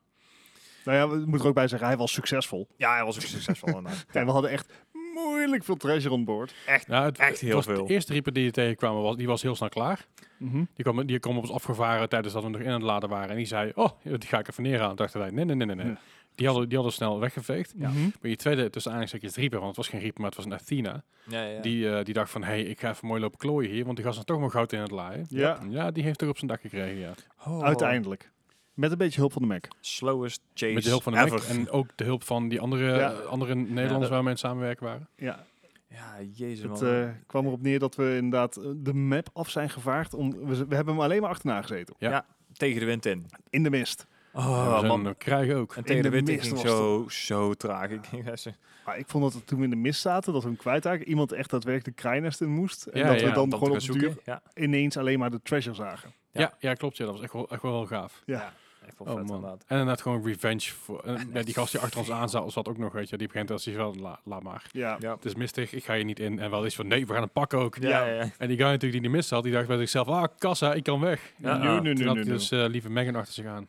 Speaker 2: Nou ja, we moeten er ook bij zeggen, hij was succesvol.
Speaker 3: Ja, hij was ook succesvol inderdaad.
Speaker 2: En we hadden echt moeilijk veel treasure on board.
Speaker 1: Nou, het,
Speaker 3: Echt
Speaker 1: het
Speaker 3: heel
Speaker 1: was
Speaker 3: veel.
Speaker 1: De eerste reaper die je tegenkwamen, was, die was heel snel klaar.
Speaker 2: Mhm.
Speaker 1: Die kwam, die kwam op ons afgevaren tijdens dat we nog in aan het laden waren. En die zei, oh, die ga ik even neerhalen. Dachten wij, nee, nee, nee, nee. nee.
Speaker 2: Ja.
Speaker 1: Die, hadden, die hadden snel weggeveegd.
Speaker 2: Ja.
Speaker 1: Maar je tweede, tussen aanhalingstekens reaper, want het was geen reaper, maar het was een Athena.
Speaker 3: ja, ja, ja.
Speaker 1: Die, eh, die dacht van, hé, hey, ik ga even mooi lopen klooien hier, want die gast is toch maar goud in het laaien.
Speaker 2: Ja.
Speaker 1: Ja, die heeft toch op zijn dak gekregen, ja.
Speaker 3: Oh.
Speaker 2: Uiteindelijk. Met een beetje hulp van de Mac.
Speaker 3: Slowest chase
Speaker 1: Met de hulp van de Mac
Speaker 3: ever.
Speaker 1: en ook de hulp van die andere,
Speaker 2: Ja.
Speaker 1: eh, andere Nederlanders waar
Speaker 3: dat-
Speaker 1: we mee aan het samenwerken waren.
Speaker 2: Ja,
Speaker 3: Ja, jezus
Speaker 2: het
Speaker 3: man.
Speaker 2: eh, kwam erop neer dat we inderdaad eh, de map af zijn gevaagd. Om, we, z- we hebben hem alleen maar achterna gezeten.
Speaker 1: Ja.
Speaker 3: Tegen de wind in.
Speaker 2: In de mist.
Speaker 1: Oh,
Speaker 3: Oh,
Speaker 1: man.
Speaker 3: man.
Speaker 1: Dat krijgen ook.
Speaker 3: En
Speaker 2: In
Speaker 3: tegen de
Speaker 2: de
Speaker 3: wind in
Speaker 2: mist
Speaker 3: ging
Speaker 2: was
Speaker 3: zo, zo traag. Ik denk, dat ze-
Speaker 2: Maar ik vond dat we toen we in de mist zaten, dat we hem kwijtraken. Iemand echt daadwerkelijk de kraaiennest in moest. En
Speaker 1: Ja,
Speaker 2: dat
Speaker 1: ja,
Speaker 2: we dan
Speaker 3: te
Speaker 2: gewoon
Speaker 3: gaan
Speaker 2: op de
Speaker 3: zoeken.
Speaker 2: duur
Speaker 3: Ja,
Speaker 2: ineens alleen maar de treasure zagen.
Speaker 1: Ja, ja. klopt. Ja, dat was echt wel, echt wel heel gaaf.
Speaker 2: Ja.
Speaker 3: echt wel
Speaker 1: Oh,
Speaker 3: vet
Speaker 1: man.
Speaker 3: inderdaad.
Speaker 1: En inderdaad gewoon revenge. Voor, en
Speaker 3: En
Speaker 1: bij die gast die achter ons
Speaker 3: veel.
Speaker 1: aan zat, zat ook nog, weet je. Die begint als hij wel, la, laat maar.
Speaker 2: Ja.
Speaker 3: Ja.
Speaker 1: Het is mistig, ik ga je niet in. En wel eens van, nee, we gaan hem pakken ook.
Speaker 3: Ja, ja, ja.
Speaker 1: En die guy natuurlijk die de mist had, die dacht bij zichzelf, ah, kassa, ik kan weg.
Speaker 3: Ja,
Speaker 2: Nu,
Speaker 3: ah,
Speaker 2: nu,
Speaker 1: Toen
Speaker 2: nu,
Speaker 1: had
Speaker 2: nu,
Speaker 1: hij
Speaker 2: nu.
Speaker 1: dus eh, lieve Megan achter zich aan.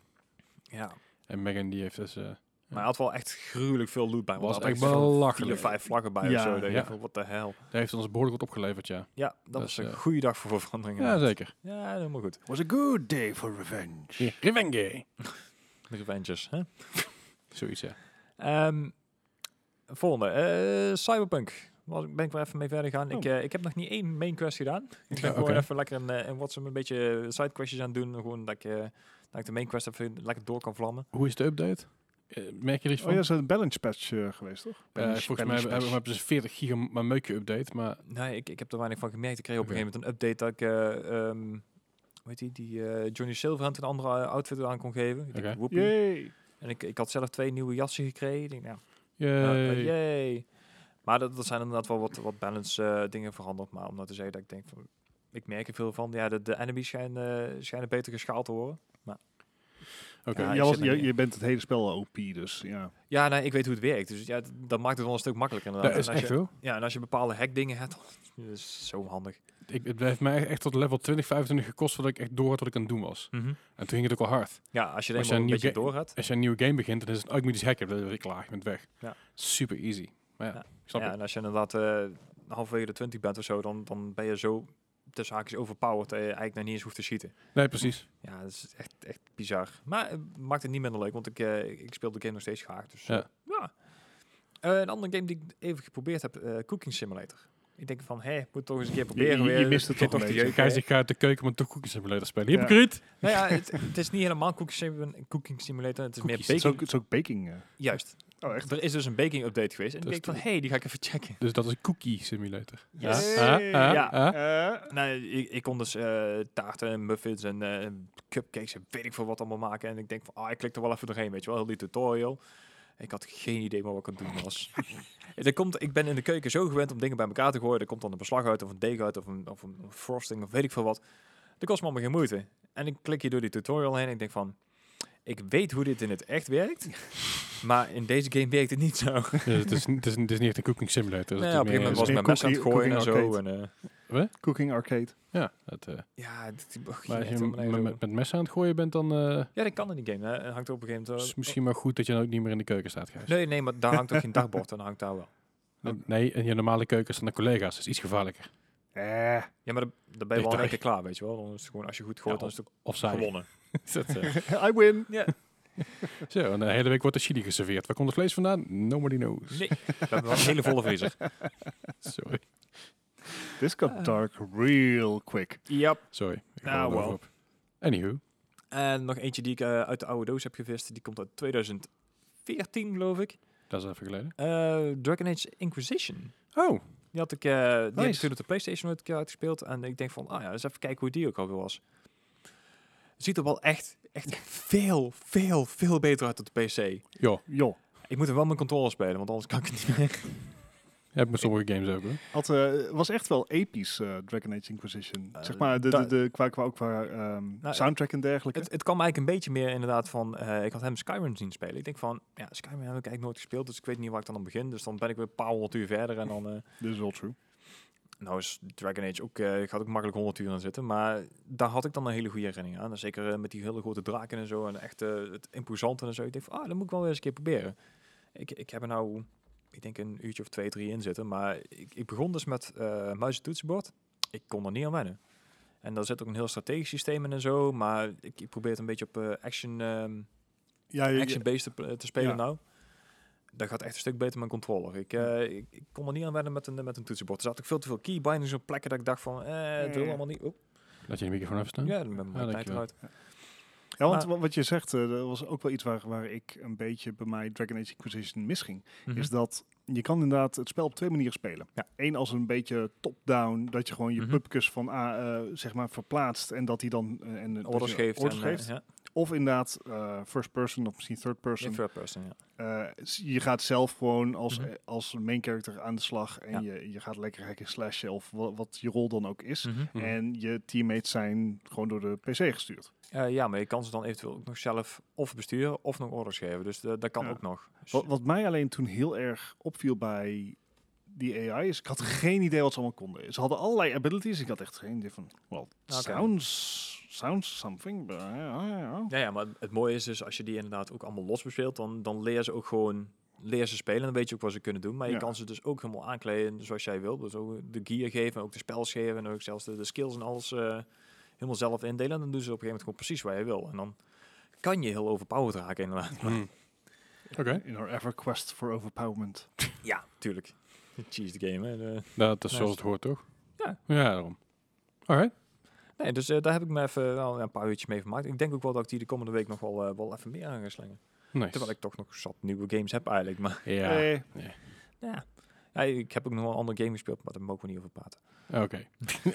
Speaker 3: ja.
Speaker 1: En Megan die heeft dus... eh,
Speaker 3: Maar hij had wel echt gruwelijk veel loot bij. want
Speaker 1: Was
Speaker 3: hij had
Speaker 1: echt
Speaker 3: zo'n
Speaker 1: belachelijk.
Speaker 3: Vier, vijf vlaggen bij
Speaker 2: Ja.
Speaker 3: of zo. Denk
Speaker 1: Ja.
Speaker 3: ik van, wat de hel.
Speaker 1: dat heeft ons behoorlijk wat opgeleverd, ja.
Speaker 3: Ja, dat,
Speaker 1: Dat
Speaker 3: was
Speaker 1: is,
Speaker 3: een
Speaker 1: eh,
Speaker 3: goede dag voor veranderingen.
Speaker 1: Ja, zeker.
Speaker 3: Ja, helemaal goed.
Speaker 2: Was a good day for revenge.
Speaker 1: Revenge.
Speaker 3: De Revengers, hè?
Speaker 1: Zoiets, ja.
Speaker 3: Ehm, volgende. eh, Cyberpunk. was, ben ik wel even mee verder gaan. Ik,
Speaker 2: Oh.
Speaker 3: eh, ik heb nog niet één main quest gedaan. Ik ben
Speaker 1: Ja,
Speaker 3: gewoon
Speaker 1: oké.
Speaker 3: even lekker een, eh, een WhatsApp een beetje side questjes aan het doen. Gewoon dat ik, eh, dat ik de main quest even lekker door kan vlammen.
Speaker 1: Hoe is de update? Eh, merk je er iets
Speaker 2: Oh
Speaker 1: van?
Speaker 2: ja, is een balance patch eh, geweest, toch?
Speaker 1: Eh, volgens mij hebben, hebben- hebben ze 40 giga maar meukje update, maar
Speaker 3: Nee, ik, ik heb er weinig van gemerkt. Ik kreeg op
Speaker 1: Oké.
Speaker 3: een gegeven moment een update dat ik, eh, ehm, hoe heet die, die eh, Johnny Silverhand een andere eh, outfit aan kon geven. Ik denk,
Speaker 1: Oké.
Speaker 3: woepie.
Speaker 2: Yay!
Speaker 3: En ik, ik had zelf twee nieuwe jassen gekregen. Ik denk, nou, nou, eh,
Speaker 1: yay.
Speaker 3: yay. Maar dat, dat zijn inderdaad wel wat, wat balance eh, dingen veranderd. Maar om nou te zeggen dat ik denk van, ik merk er veel van. Ja, de, de enemies schijnen, eh, schijnen beter geschaald te worden.
Speaker 1: Oké.
Speaker 3: Ja,
Speaker 2: Jij
Speaker 3: ik
Speaker 2: was-
Speaker 3: zit er
Speaker 2: jij-
Speaker 3: niet
Speaker 2: je bent het hele spel OP, dus ja.
Speaker 3: Ja, nee, ik weet hoe het werkt. Dus ja, d- dat maakt het wel een stuk makkelijker
Speaker 1: Dat
Speaker 3: inderdaad.
Speaker 1: is
Speaker 3: en als
Speaker 1: echt
Speaker 3: je,
Speaker 1: hoor.
Speaker 3: ja, en als je bepaalde hackdingen hebt, dat is zo handig.
Speaker 1: Ik, het heeft mij echt tot level 20, 25 gekost voordat ik echt door had wat ik aan het doen was. En toen ging het ook al hard.
Speaker 3: Ja, als je er
Speaker 1: Mhm. Als je
Speaker 3: eenmaal een
Speaker 1: een
Speaker 3: beetje
Speaker 1: nieuwe
Speaker 3: door hebt.
Speaker 1: Als je een nieuwe game begint, dan is het, oh, ik moet iets hacken. Dan ben ik klaar, je bent weg.
Speaker 3: Ja.
Speaker 1: Super easy. Maar ja,
Speaker 3: Ja.
Speaker 1: ik snap
Speaker 3: ja,
Speaker 1: het.
Speaker 3: en als je inderdaad eh halverwege de 20 bent of zo, dan, dan ben je zo tussen haakjes overpowered dat je eigenlijk nog niet eens hoeft te schieten.
Speaker 1: Nee, precies.
Speaker 3: Ja, dat is echt, echt bizar. Maar het maakt het niet minder leuk, want ik, eh, ik speel de game nog steeds graag. Dus eh,
Speaker 1: Ja.
Speaker 3: ja. Eh, een andere game die ik even geprobeerd heb, eh, Cooking Simulator. Ik denk van, hé, moet toch eens een keer proberen.
Speaker 2: je
Speaker 3: weer.
Speaker 2: mist het
Speaker 3: Begint te
Speaker 2: toch een beetje.
Speaker 3: jeuken,
Speaker 1: Gijs,
Speaker 3: hè?
Speaker 1: ik ga uit de keuken met de cookies simulator spelen.
Speaker 2: Ja.
Speaker 1: Hypocriet!
Speaker 3: Nou ja, het, het is niet helemaal Cooking Simulator, cooking simulator het is
Speaker 1: Cookies,
Speaker 2: Het
Speaker 3: meer
Speaker 2: is
Speaker 3: baking.
Speaker 2: ook, het is ook baking. eh.
Speaker 3: Juist.
Speaker 2: Oh, echt?
Speaker 3: Er is dus een baking update geweest. En
Speaker 1: Dat
Speaker 3: ik
Speaker 1: is
Speaker 3: denk van,
Speaker 1: de-
Speaker 3: hé, die ga ik even checken.
Speaker 1: Dus dat is een cookie simulator. Ja.
Speaker 3: Yes.
Speaker 1: Ah, ah,
Speaker 2: Ja.
Speaker 1: ah.
Speaker 2: Eh,
Speaker 3: Nou, ik, ik kon dus eh, taarten en muffins en eh, cupcakes en weet ik veel wat allemaal maken. En ik denk van, ah, ik klik er wel even doorheen, weet je wel, heel die tutorial. Ik had geen idee meer wat ik aan het doen was. En er komt, ik ben in de keuken zo gewend om dingen bij elkaar te gooien. Er komt dan een beslag uit of een deeg uit of een, of een frosting of weet ik veel wat. Dat kost me allemaal geen moeite. En ik klik hier door die tutorial heen en ik denk van, ik weet hoe dit in het echt werkt. Maar in deze game werkt het niet zo. Nou
Speaker 1: Dus het, is, niet- het, is, niet- het is niet echt een cooking simulator.
Speaker 3: ja,
Speaker 1: Dus het
Speaker 3: op een
Speaker 1: is
Speaker 3: gegeven
Speaker 1: meer-
Speaker 3: moment was ik
Speaker 2: meer
Speaker 3: mijn mes aan het
Speaker 2: cookie-
Speaker 3: gooien en
Speaker 2: cooking
Speaker 3: zo. En, eh,
Speaker 2: Cooking Arcade.
Speaker 1: Ja, dat, eh,
Speaker 3: ja, dit- dit- ging
Speaker 1: maar als
Speaker 3: echt
Speaker 1: je
Speaker 3: helemaal
Speaker 1: m-
Speaker 3: nergens
Speaker 1: met,
Speaker 3: over.
Speaker 1: met messen aan het gooien bent, dan eh,
Speaker 3: Ja, dat kan in die game. Hè. Het hangt op een gegeven
Speaker 1: is
Speaker 3: moment...
Speaker 1: het misschien maar goed dat je dan ook niet meer in de keuken staat, Gijs.
Speaker 3: oh. Nee, nee, maar daar hangt ook geen dagbord. Dan hangt daar wel.
Speaker 1: En- Nee, in je normale keuken staan de collega's. Dat is iets gevaarlijker.
Speaker 2: Eh,
Speaker 3: Ja, maar dan, dan ben je wel
Speaker 1: Detail.
Speaker 3: in één keer klaar, weet je wel. Dan is het gewoon, als je goed gooit,
Speaker 1: Ja,
Speaker 3: dan is het ook
Speaker 1: Of zij.
Speaker 3: gewonnen.
Speaker 1: Is dat, eh,
Speaker 2: I win!
Speaker 3: Ja.
Speaker 1: Zo, en de hele week wordt er chili geserveerd. Waar komt het vlees vandaan? Nobody knows.
Speaker 3: Nee, we hebben wel een hele volle vriezer.
Speaker 1: Sorry.
Speaker 2: This got
Speaker 3: Eh.
Speaker 2: dark real quick.
Speaker 3: Ja.
Speaker 1: Sorry. ik
Speaker 3: Nou,
Speaker 1: roll
Speaker 3: wel.
Speaker 1: over op. Anywho.
Speaker 3: En nog eentje die ik eh, uit de oude doos heb gevist. Die komt uit 2014, geloof ik.
Speaker 1: Dat is even geleden.
Speaker 3: Eh, Dragon Age Inquisition.
Speaker 1: Oh,
Speaker 3: Die had ik, eh, die heb ik
Speaker 1: Nice.
Speaker 3: toen op de Playstation ooit een keer uitgespeeld. En ik denk van, ah ja, eens even kijken hoe die ook alweer was. Ziet er wel echt, echt veel, veel, veel beter uit dan de PC.
Speaker 1: joh.
Speaker 2: Joh,
Speaker 3: Ik moet er wel mijn controller spelen, want anders kan ik het niet meer.
Speaker 1: Heb ik met sommige games ook hoor.
Speaker 2: het eh, was echt wel episch, eh, Dragon Age Inquisition.
Speaker 3: Eh,
Speaker 2: zeg maar, de, de,
Speaker 3: da-
Speaker 2: de, qua, qua, ook qua ehm,
Speaker 3: eh,
Speaker 2: soundtrack en dergelijke.
Speaker 3: Het, het kwam eigenlijk een beetje meer inderdaad van, eh, ik had hem Skyrim zien spelen. Ik denk van, ja, Skyrim heb ik eigenlijk nooit gespeeld, dus ik weet niet waar ik dan aan begin. Dus dan ben ik weer een paar honderd uur verder en dan... eh,
Speaker 2: Dit is wel true.
Speaker 3: nou is Dragon Age ook, eh, ik had ook makkelijk 100 uur aan zitten, maar daar had ik dan een hele goede herinnering aan. En zeker eh, met die hele grote draken en zo en echt eh, het imposante en zo. Ik denk van, ah, dat moet ik wel weer eens een keer proberen. Ik, ik heb er nou, ik denk een uurtje of twee, drie in zitten, maar ik, ik begon dus met eh muis en toetsenbord. Ik kon er niet aan wennen. En daar zit ook een heel strategisch systeem in en zo, maar ik, ik probeer het een beetje op eh, action, ehm,
Speaker 2: Ja, je- je-
Speaker 3: action-based te, te spelen
Speaker 2: Ja.
Speaker 3: nou. Dat gaat echt een stuk beter met mijn controller. Ik, eh, ik, ik kon er niet aan wennen met een, met een toetsenbord. Er zat ook veel te veel keybindings op plekken dat ik dacht van, eh, het wil
Speaker 2: Ja.
Speaker 3: allemaal niet. Oep.
Speaker 1: Laat je de microfoon even staan.
Speaker 3: ja, dan ben
Speaker 1: Ja,
Speaker 3: ik
Speaker 1: dankjewel.
Speaker 3: eruit.
Speaker 2: Ja, want
Speaker 3: Maar-
Speaker 2: wa- wat je zegt, eh, dat was ook wel iets waar, waar ik een beetje bij mij Dragon Age Inquisition misging.
Speaker 3: Mhm.
Speaker 2: Is dat je kan inderdaad het spel op twee manieren spelen.
Speaker 3: Ja.
Speaker 2: Eén als een beetje top-down, dat je gewoon je
Speaker 3: Mhm.
Speaker 2: pupkes van A eh, zeg maar verplaatst en dat hij dan eh, en, eh, dat
Speaker 3: Orders
Speaker 2: je
Speaker 3: geeft.
Speaker 2: orders
Speaker 3: en, eh,
Speaker 2: geeft.
Speaker 3: ja.
Speaker 2: Of inderdaad eh, first person of misschien third person.
Speaker 3: In third person, ja.
Speaker 2: Eh, s- je gaat zelf gewoon als,
Speaker 3: Mhm.
Speaker 2: eh, als main character aan de slag en
Speaker 3: Ja.
Speaker 2: je, je gaat lekker hacken slashen of wa- wat je rol dan ook is.
Speaker 1: Mhm.
Speaker 2: En je teammates zijn gewoon door de PC gestuurd.
Speaker 3: Eh, ja, maar je kan ze dan eventueel ook nog zelf of besturen of nog orders geven. Dus eh, dat kan
Speaker 2: Ja.
Speaker 3: ook nog. Dus-
Speaker 2: Wat, wat mij alleen toen heel erg opviel bij die AI is, ik had geen idee wat ze allemaal konden. Ze hadden allerlei abilities. Ik had echt geen idee van, well, sounds, sounds something. but I- I don't know.
Speaker 3: Ja, ja, maar het mooie is dus als je die inderdaad ook allemaal los bespeelt, dan, dan leer ze ook gewoon leer ze spelen. Dan weet je ook wat ze kunnen doen. Maar je
Speaker 2: Ja.
Speaker 3: kan ze dus ook helemaal aankleden zoals jij wil. Dus ook de gear geven, ook de spels geven en ook zelfs de, de skills en alles eh, helemaal zelf indelen. En dan doen ze op een gegeven moment gewoon precies waar je wil. En dan kan je heel overpowered raken inderdaad.
Speaker 1: Hmm. Hm. Oké.
Speaker 2: In our ever quest for overpowerment.
Speaker 3: ja, tuurlijk. Cheese the game, hè. De-
Speaker 1: Dat is zoals
Speaker 3: Nice.
Speaker 1: het hoort, toch?
Speaker 3: Ja.
Speaker 1: Ja, daarom. Alright.
Speaker 3: Nee, dus eh, daar heb ik me even wel, ja, een paar uurtjes mee vermaakt. Ik denk ook wel dat ik die de komende week nog wel, eh, wel even meer aan ga slingen.
Speaker 1: Nice.
Speaker 3: Terwijl ik toch nog zat nieuwe games heb eigenlijk, maar
Speaker 1: Ja,
Speaker 2: Eh,
Speaker 3: ja. Ja, ik heb ook nog wel een andere game gespeeld, maar daar mogen we niet over praten.
Speaker 1: oké.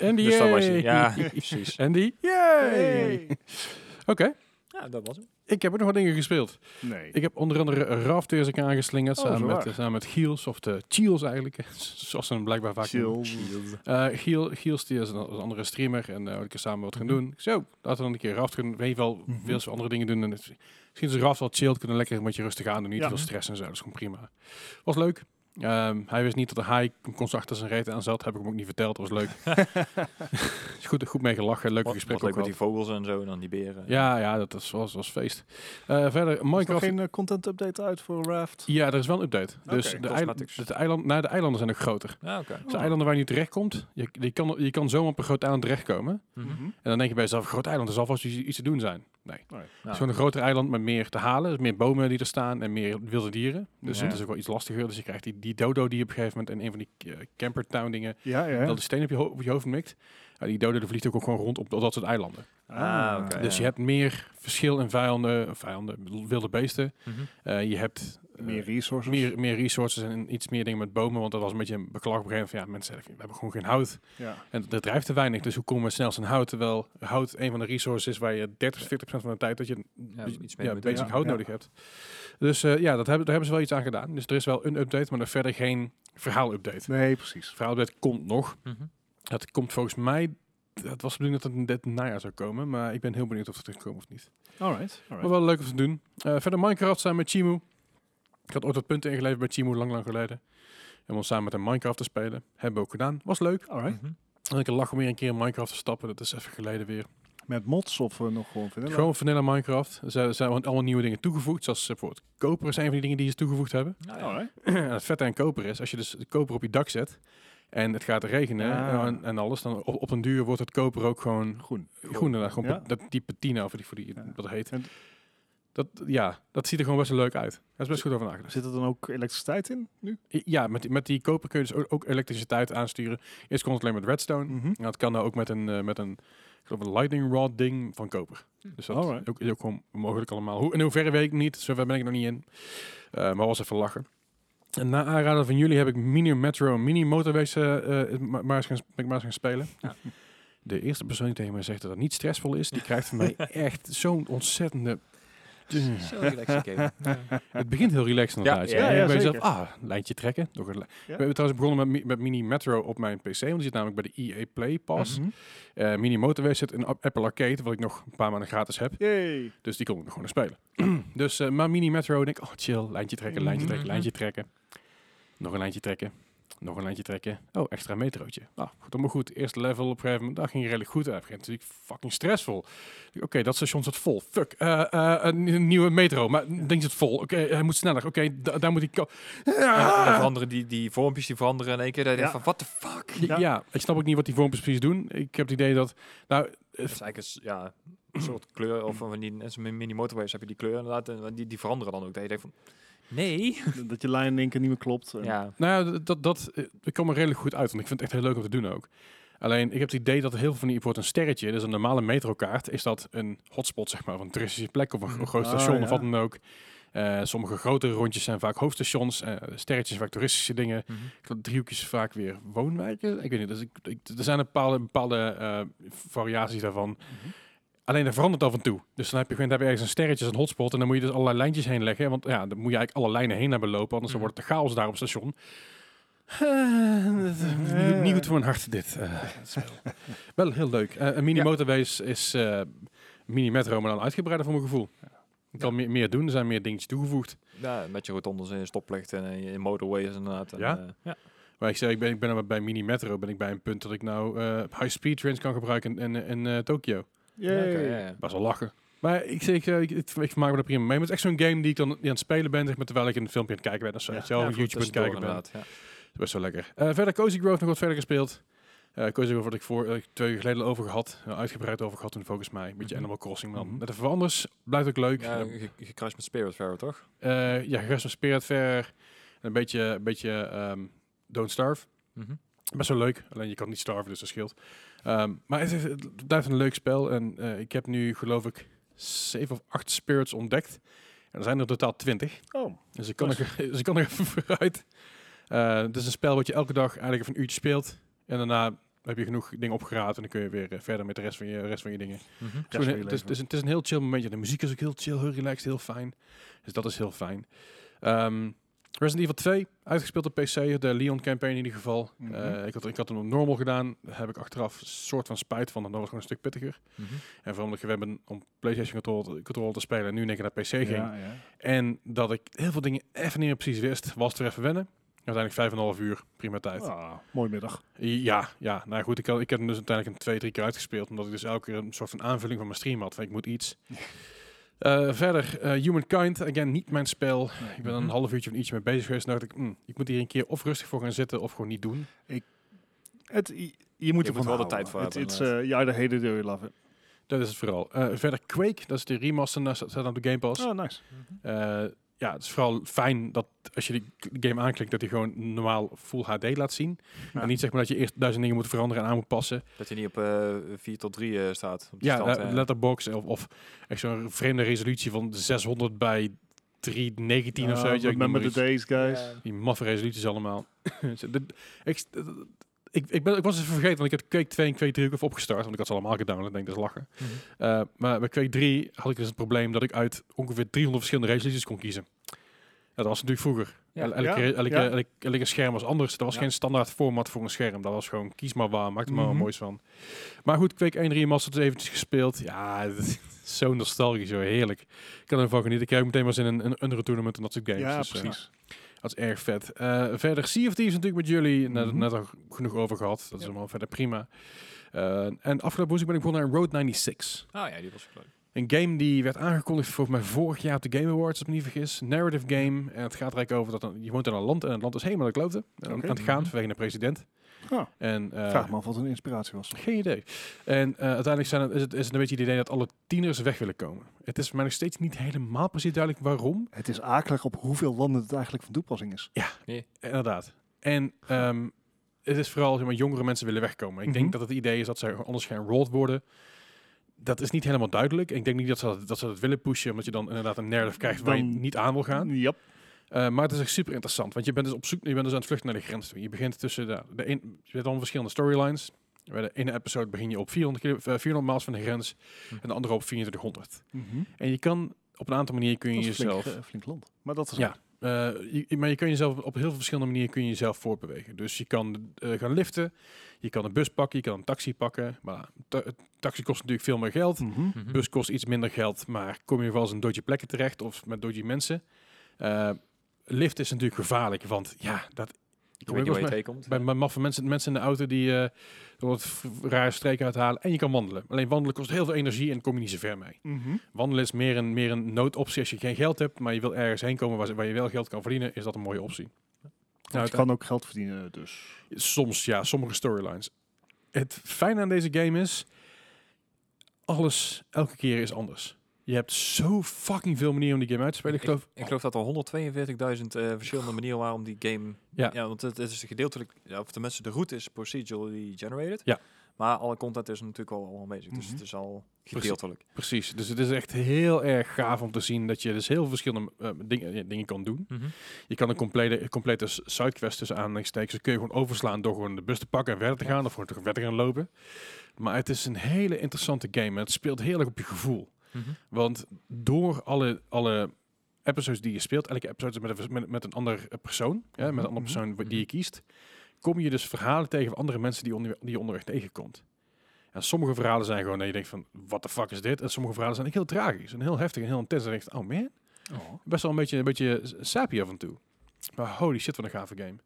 Speaker 1: Andy,
Speaker 3: Dus dat was je.
Speaker 1: yay!
Speaker 3: Ja, precies.
Speaker 1: Andy,
Speaker 2: hey.
Speaker 1: yay! Oké,
Speaker 3: Ja, dat was hem.
Speaker 1: ik heb ook nog wat dingen gespeeld.
Speaker 2: Nee.
Speaker 1: Ik heb onder andere Raft weer eens een keer aangeslingerd.
Speaker 2: Oh,
Speaker 1: samen,
Speaker 2: zo
Speaker 1: met,
Speaker 2: waar.
Speaker 1: samen met Giels, of de Chiels eigenlijk. Zoals ze hem blijkbaar vaak noemen.
Speaker 2: Chill.
Speaker 1: Eh, Giel, Giels die is een, een andere streamer en eh wil ik er samen wat gaan doen. Ik zei, "Oh, laten we dan een keer Raft gaan. Weet je wel,
Speaker 3: Mhm.
Speaker 1: veel andere dingen doen. En het, misschien is Raft wel chilled, kunnen lekker een beetje rustig aan doen. Niet
Speaker 2: Ja.
Speaker 1: te veel stress en zo, dat is gewoon prima. Was leuk. Ehm, hij wist niet dat de haai constant achter zijn reet aan zat. Heb ik hem ook niet verteld, dat was leuk. is goed, goed mee gelachen, leuke
Speaker 3: Wat, wat
Speaker 1: gesprekken
Speaker 3: leuk
Speaker 1: ook
Speaker 3: met
Speaker 1: wel.
Speaker 3: die vogels en zo en dan die beren.
Speaker 1: Ja, ja, dat was, was, was feest. Eh, verder,
Speaker 4: Is er nog
Speaker 1: Minecraft.
Speaker 4: geen eh, content update uit voor Raft?
Speaker 1: Ja, er is wel een update. Dus de,
Speaker 3: cosmetics. Oh.
Speaker 1: eiland, het eiland, nou, de eilanden zijn ook groter.
Speaker 3: Ja, oké.
Speaker 1: Dus de eilanden waar je nu terechtkomt, je, je, kan, je kan zomaar op een groot eiland terechtkomen.
Speaker 3: Mhm.
Speaker 1: En dan denk je bij jezelf, groot eiland, er zal vast iets iets te doen zijn. Nee. Het
Speaker 3: Ja.
Speaker 1: is gewoon een groter eiland met meer te halen. Dus meer bomen die er staan en meer wilde dieren. Dus
Speaker 3: Ja.
Speaker 1: dat is ook wel iets lastiger. Dus je krijgt die, die dodo die je op een gegeven moment in een van die eh, campertown dingen,
Speaker 2: Ja, ja.
Speaker 1: dat de steen op je, ho- op je hoofd mikt. Ja, die dodo die vliegt ook gewoon rond op, op dat soort eilanden.
Speaker 3: Ah, oké.
Speaker 1: Dus
Speaker 3: ja.
Speaker 1: je hebt meer verschil in vijanden, vijanden wilde beesten.
Speaker 3: Mhm.
Speaker 1: Eh, je hebt eh,
Speaker 2: Meer resources.
Speaker 1: meer, meer resources en iets meer dingen met bomen. Want dat was een beetje een beklag op een gegeven moment van ja, mensen zeggen, we hebben gewoon geen hout.
Speaker 2: Ja.
Speaker 1: En dat drijft te weinig. Dus hoe komen we snel zijn hout? Terwijl hout een van de resources is waar je 30, 40 van de tijd dat je
Speaker 3: Ja,
Speaker 1: dus-
Speaker 3: iets mee
Speaker 1: ja,
Speaker 3: moet
Speaker 1: basic
Speaker 3: doen.
Speaker 2: ja.
Speaker 1: hout nodig hebt. Dus eh, ja, dat hebben, daar hebben ze wel iets aan gedaan. Dus er is wel een update, maar er verder geen verhaal-update.
Speaker 2: Nee, precies.
Speaker 1: Verhaal-update komt nog.
Speaker 3: Mhm.
Speaker 1: Het komt volgens mij. Het was de bedoeling dat het dit najaar zou komen, maar ik ben heel benieuwd of het terugkomt of niet.
Speaker 2: Alright.
Speaker 1: Maar
Speaker 2: alright.
Speaker 1: wel leuk om te doen. Eh, verder Minecraft samen met Chimu. Ik had ooit wat punten ingeleverd bij Chimu lang, lang geleden. En om samen met hem Minecraft te spelen. Hebben we ook gedaan. Was leuk.
Speaker 2: Alright.
Speaker 3: Mhm.
Speaker 1: En ik lach om weer een keer in Minecraft te stappen. Dat is even geleden weer.
Speaker 2: Met mods of eh, nog gewoon vanilla?
Speaker 1: Gewoon vanilla Minecraft. Er zijn, er zijn allemaal nieuwe dingen toegevoegd. Zoals eh, bijvoorbeeld koper is een van die dingen die ze toegevoegd hebben.
Speaker 3: Nou ja.
Speaker 2: Alright.
Speaker 1: en het vette aan koper is, als je dus de koper op je dak zet en het gaat regenen
Speaker 2: Ah.
Speaker 1: en, en alles, dan op, op een duur wordt het koper ook gewoon
Speaker 2: Groen.
Speaker 1: groen. inderdaad. eh, Gewoon
Speaker 2: Ja.
Speaker 1: dat die patina, of die, voor die,
Speaker 2: Ja.
Speaker 1: dat heet.
Speaker 2: En-
Speaker 1: dat, ja, dat ziet er gewoon best wel leuk uit. Daar is best goed over nagedacht.
Speaker 2: Zit er dan ook elektriciteit in nu?
Speaker 1: Ja, met, die- met die koper kun je dus ook, ook elektriciteit aansturen. Eerst kon het alleen met redstone.
Speaker 2: Mhm.
Speaker 1: En dat kan nou ook met een, eh, met een, ik geloof een lightning rod ding van koper.
Speaker 3: Hm.
Speaker 1: Dus dat
Speaker 2: Alright.
Speaker 1: ook, is ook gewoon mogelijk allemaal. Hoe, in hoeverre weet ik niet, zover ben ik nog niet in. Eh, maar was even lachen. En na aanraden van jullie heb ik Mini Metro Mini Motorways eh, eh, ma- maar, eens gaan, ben ik maar eens gaan spelen.
Speaker 3: Ja.
Speaker 1: De eerste persoon die tegen mij zegt dat dat niet stressvol is, die krijgt van mij echt zo'n ontzettende...
Speaker 3: Zo relaxed game. Ja.
Speaker 1: Het begint heel relaxed inderdaad.
Speaker 3: ja,
Speaker 1: En je
Speaker 2: ja,
Speaker 1: bij jezelf,
Speaker 2: zeker.
Speaker 1: ah, lijntje trekken. Nog een li-
Speaker 2: Ja.
Speaker 1: We hebben trouwens begonnen met, Mi- met Mini Metro op mijn PC. Want die zit namelijk bij de EA Play Pass.
Speaker 3: Mhm.
Speaker 1: Eh, Mini Motorway zit in App- Apple Arcade, wat ik nog een paar maanden gratis heb.
Speaker 2: Yay.
Speaker 1: Dus die kon ik nog gewoon spelen. dus eh, maar Mini Metro, denk ik, oh chill, lijntje trekken, lijntje trekken,
Speaker 3: Mhm.
Speaker 1: lijntje trekken. Nog een lijntje trekken. Nog een lijntje trekken. Oh, extra metrootje. Nou, goed, allemaal goed. Eerste level op een gegeven moment. Dat ging redelijk goed. Op een gegeven moment natuurlijk fucking stressvol. Oké, dat station zit vol. Fuck. Eh, eh, een, een nieuwe metro. Maar ding zit vol. Oké, hij moet sneller. Oké, da- daar moet ik... ko- Ah!
Speaker 3: En dan veranderen die, die vormpjes die veranderen in één keer. Dat je
Speaker 2: Ja.
Speaker 3: denkt van, what the fuck? Dat
Speaker 1: Ja.
Speaker 2: Ja.
Speaker 1: ik snap ook niet wat die vormpjes precies doen. Ik heb het idee dat... Nou, eh,
Speaker 3: is eigenlijk een, s- ja, een soort kleur. Of van die net als met mini motorways heb je die kleur inderdaad. En die, die veranderen dan ook. Dat je denkt van, nee.
Speaker 2: dat je lijn in één keer niet meer klopt. eh. En-
Speaker 3: Ja.
Speaker 1: Nou ja, dat, dat, dat eh, ik kwam er redelijk goed uit, want ik vind het echt heel leuk om te doen ook. Alleen, ik heb het idee dat heel veel van die wordt een sterretje, dus een normale metrokaart, is dat een hotspot, zeg maar, van een toeristische plek of een gro- groot
Speaker 2: Ah,
Speaker 1: station of
Speaker 2: ja.
Speaker 1: wat dan ook. Eh, sommige grotere rondjes zijn vaak hoofdstations, eh, sterretjes vaak toeristische dingen,
Speaker 3: Mhm.
Speaker 1: driehoekjes vaak weer woonwijken. Ik weet niet, dus ik, ik- er zijn een bepaalde, bepaalde eh, variaties daarvan. Alleen dat verandert af en toe. Dus dan heb je, dan heb je ergens een sterretje, een hotspot. En dan moet je dus allerlei lijntjes heen leggen. Want ja, dan moet je eigenlijk alle lijnen heen hebben lopen. Anders dan wordt het chaos daar op het station. Mhm. Eh, niet- niet goed voor mijn hart dit. eh, het spel. wel heel leuk. Eh, een mini
Speaker 2: Ja.
Speaker 1: motorways is eh, mini metro, maar dan uitgebreider voor mijn gevoel. Ik kan meer, meer doen. Er zijn meer dingetjes toegevoegd.
Speaker 3: Ja, met je rotondes en je stoplichten en je motorways inderdaad. En,
Speaker 1: Ja?
Speaker 3: eh, ja.
Speaker 1: Maar ik zei, ik ben, ik ben er bij mini metro ben ik bij een punt dat ik nou eh, high-speed trains kan gebruiken in, in, in eh, Tokio.
Speaker 2: Yay.
Speaker 3: Ja, oké, ja, ja.
Speaker 1: Best wel lachen. Maar ik, ik, eh, ik, ik, ik vermaak me er prima mee. Maar het is echt zo'n game die ik dan die aan het spelen ben, zeg maar, terwijl ik een filmpje aan het kijken ben. Of zo,
Speaker 2: Ja.
Speaker 1: weet je wel,
Speaker 3: Ja,
Speaker 1: of
Speaker 3: voor
Speaker 1: YouTube aan het
Speaker 3: tussendoor
Speaker 1: kijken ben. Dat
Speaker 3: inderdaad, ja.
Speaker 1: is best wel lekker. Eh, verder Cozy Grove nog wat verder gespeeld. Eh Cozy Grove had ik voor, eh, twee uur geleden al over gehad. eh, uitgebreid over gehad toen volgens mij. Een beetje
Speaker 3: Mhm.
Speaker 1: Animal Crossing man.
Speaker 2: Mhm.
Speaker 1: Net even wat anders. Blijft ook leuk. Eh,
Speaker 3: Ja,
Speaker 1: Ja,
Speaker 3: ge- ge- gecrashed met Spirit Fair, toch?
Speaker 1: ja Rest of Spirit verder. En Een beetje, een beetje ehm, Don't Starve.
Speaker 3: Mhm.
Speaker 1: Best wel leuk, alleen je kan niet starven, dus dat scheelt. Ehm, maar het, is- het blijft een leuk spel en eh, ik heb nu geloof ik zeven of acht spirits ontdekt. En er zijn er in totaal twintig,
Speaker 2: Oh,
Speaker 1: dus ik kan, er, dus ik kan er even vooruit. Eh, het is een spel wat je elke dag eigenlijk even een uurtje speelt. En daarna heb je genoeg dingen opgeraapt en dan kun je weer eh, verder met de rest van je, rest van je dingen.
Speaker 3: Mhm.
Speaker 1: Het is
Speaker 2: Rest
Speaker 1: gewoon-
Speaker 2: van je
Speaker 1: het, is,
Speaker 2: leven.
Speaker 1: het, dus- is een, het is een heel chill momentje. De muziek is ook heel chill, heel relaxed, heel fijn. Dus dat is heel fijn. Ehm, Resident Evil 2, uitgespeeld op PC, de Leon campaign in ieder geval.
Speaker 2: Mhm.
Speaker 1: Eh, ik, had, ik had hem op normal gedaan, daar heb ik achteraf een soort van spijt van, dat was gewoon een stuk pittiger.
Speaker 3: Mhm.
Speaker 1: En vooral omdat ik gewend ben om PlayStation control, control te spelen en nu denk ik naar PC ging.
Speaker 2: ja, ja.
Speaker 1: En dat ik heel veel dingen even niet meer precies wist, was het er even wennen. Uiteindelijk 5,5 uur, prima tijd.
Speaker 2: Ah, mooi middag.
Speaker 1: Ja, ja. Nou goed, ik, had, ik heb hem dus uiteindelijk een twee, drie keer uitgespeeld. Omdat ik dus elke keer een soort van aanvulling van mijn stream had. Van ik moet iets. Eh, verder, eh, Humankind. Again, niet mijn spel. Ik ben een
Speaker 3: Mhm.
Speaker 1: half uurtje of een ietsje mee bezig geweest. En dacht ik, mm, ik moet hier een keer of rustig voor gaan zitten of gewoon niet doen.
Speaker 2: Het, je- je moet
Speaker 3: Je moet
Speaker 2: ervan
Speaker 3: wel de
Speaker 2: houden.
Speaker 3: tijd voor
Speaker 2: Het-
Speaker 3: hebben,
Speaker 2: it's, eh, You either hate it or you love it.
Speaker 1: Dat is het vooral. Eh, verder Quake, dat is de remaster. Dat staat staat op de Game Pass.
Speaker 2: Oh, nice.
Speaker 1: Eh, ja, het is vooral fijn dat als je die game aanklikt, dat hij gewoon normaal full HD laat zien.
Speaker 3: Ja.
Speaker 1: En niet zeg maar dat je eerst duizend dingen moet veranderen en aan moet passen.
Speaker 3: Dat je niet op eh 4 tot 3 eh, staat. Op de
Speaker 1: Ja,
Speaker 3: stand,
Speaker 1: le-
Speaker 3: eh.
Speaker 1: letterbox of, of echt zo'n vreemde resolutie van 600 bij 319 of zo. weet je, ik noem maar
Speaker 2: Ah, remember the
Speaker 1: iets.
Speaker 2: days, guys.
Speaker 1: Die maffe resoluties allemaal. Zo, dit- ik, ik, ik, ben, ik was het vergeten, want ik had Quake 2 en Quake 3 ook even opgestart, want ik had ze allemaal gedownload. Ik denk, dat is lachen.
Speaker 3: Mhm.
Speaker 1: Eh, maar bij Quake 3 had ik dus het probleem dat ik uit ongeveer 300 verschillende resoluties kon kiezen. Ja, dat was natuurlijk vroeger.
Speaker 3: Ja.
Speaker 1: El-
Speaker 2: Ja,
Speaker 1: elke, elke,
Speaker 2: ja.
Speaker 1: elke, elke scherm was anders. Er was
Speaker 3: Ja.
Speaker 1: geen standaard format voor een scherm. Dat was gewoon kies maar waar, maak er maar wat
Speaker 2: Mhm.
Speaker 1: moois van. Maar goed, Quake 1 Remastered is eventjes gespeeld. Ja, dat is zo nostalgisch, zo heerlijk. Ik kan ervan genieten. Ik heb ook meteen was in een, een Unreal Tournament en dat soort games.
Speaker 2: Ja,
Speaker 1: Dus, eh,
Speaker 2: precies.
Speaker 1: dat is erg vet. Eh, verder Sea of Thieves natuurlijk met jullie. Net,
Speaker 2: Mhm.
Speaker 1: net al genoeg over gehad. Dat is allemaal verder prima. Eh, en afgelopen woensdag ben ik begonnen aan Road 96.
Speaker 3: Oh ja, die was ook leuk.
Speaker 1: Een game die werd aangekondigd volgens mij vorig jaar op de Game Awards, als ik me niet vergis. Narrative game. En het gaat er eigenlijk over dat een- je woont in een land en het land is helemaal de klote. En Aan
Speaker 2: Oké. Mhm.
Speaker 1: het gaan vanwege de president.
Speaker 2: Ah,
Speaker 1: En, eh,
Speaker 2: Vraag me af wat een inspiratie was.
Speaker 1: geen idee. En eh, uiteindelijk zijn het, is, het, is het een beetje het idee dat alle tieners weg willen komen. Het is voor mij nog steeds niet helemaal precies duidelijk waarom.
Speaker 2: Het is akelig op hoeveel landen het eigenlijk van toepassing is.
Speaker 1: Inderdaad. En ehm, het is vooral, zeg maar, jongere mensen willen wegkomen. Ik denk
Speaker 2: Mhm.
Speaker 1: dat het idee is dat ze anders geënrolled worden. Dat is niet helemaal duidelijk. Ik denk niet dat ze dat, dat, ze dat willen pushen, omdat je dan inderdaad een narrative krijgt waar je
Speaker 2: Dan- Mm.
Speaker 1: niet aan wil gaan.
Speaker 2: Yep.
Speaker 1: Eh, maar het is echt super interessant, want je bent dus op zoek, je bent dus aan het vluchten naar de grens toe. Je begint tussen de, de een, je hebt allemaal verschillende storylines. Bij de ene episode begin je op 400, kilo, eh, 400 miles van de grens
Speaker 3: Hm.
Speaker 1: en de andere op 2400. En je kan op een aantal manieren kun je
Speaker 2: Dat Mhm. is
Speaker 1: jezelf
Speaker 2: flink, eh, flink land. Maar dat is
Speaker 1: Ja. Eh, je- maar je kan jezelf op heel veel verschillende manieren kun je jezelf voortbewegen. Dus je kan eh, gaan liften, je kan een bus pakken, je kan een taxi pakken. Maar ta- taxi kost natuurlijk veel meer geld.
Speaker 2: Mhm.
Speaker 1: Bus kost iets minder geld, maar kom je wel eens in dodgy plekken terecht of met dodgy mensen. Eh, lift is natuurlijk gevaarlijk, want ja, dat...
Speaker 3: Ik weet niet waar je tegenkomt.
Speaker 1: Bij, bij maffe mensen, mensen in de auto die eh wat v- rare streken uithalen. En je kan wandelen. Alleen wandelen kost heel veel energie en kom je niet zo ver mee.
Speaker 2: Mhm.
Speaker 1: Wandelen is meer een, meer een noodoptie als je geen geld hebt, maar je wil ergens heen komen waar, ze- waar je wel geld kan verdienen, is dat een mooie optie. Nou,
Speaker 2: Want je kan ook geld verdienen, dus.
Speaker 1: het- soms, ja, sommige storylines. Het fijne aan deze game is, alles elke keer is anders. Je hebt zo fucking veel manieren om die game uit te spelen. Ik geloof,
Speaker 3: Ik geloof dat er 142.000 eh, verschillende manieren waren om die game...
Speaker 1: Ja.
Speaker 3: want het, het is gedeeltelijk... Ja, of tenminste, de route is procedurally generated.
Speaker 1: Ja.
Speaker 3: Maar alle content is natuurlijk al al aanwezig. Dus
Speaker 2: Mhm.
Speaker 3: het is al
Speaker 1: Precies.
Speaker 3: gedeeltelijk.
Speaker 1: precies. Dus het is echt heel erg gaaf om te zien dat je dus heel veel verschillende eh, dingen, ja, dingen kan doen. Je kan een complete, complete s- sidequest tussen aanhalingstekens. Dat kun je gewoon overslaan door gewoon de bus te pakken en verder te gaan. Of gewoon terug verder te gaan lopen. Maar het is een hele interessante game. En het speelt heel erg op je gevoel. Want door alle, alle episodes die je speelt, elke episode is met een, vers- met, met een andere persoon, hè, met een andere
Speaker 2: Mhm.
Speaker 1: persoon wa- die je kiest, kom je dus verhalen tegen van andere mensen die, je onder, die je onderweg tegenkomt. En sommige verhalen zijn gewoon dat je denkt van, what the fuck is dit? En sommige verhalen zijn echt heel tragisch en heel heftig en heel intens. En je denkt, oh man, best wel een beetje, een beetje sappy af en toe. Maar holy shit, wat een gave game.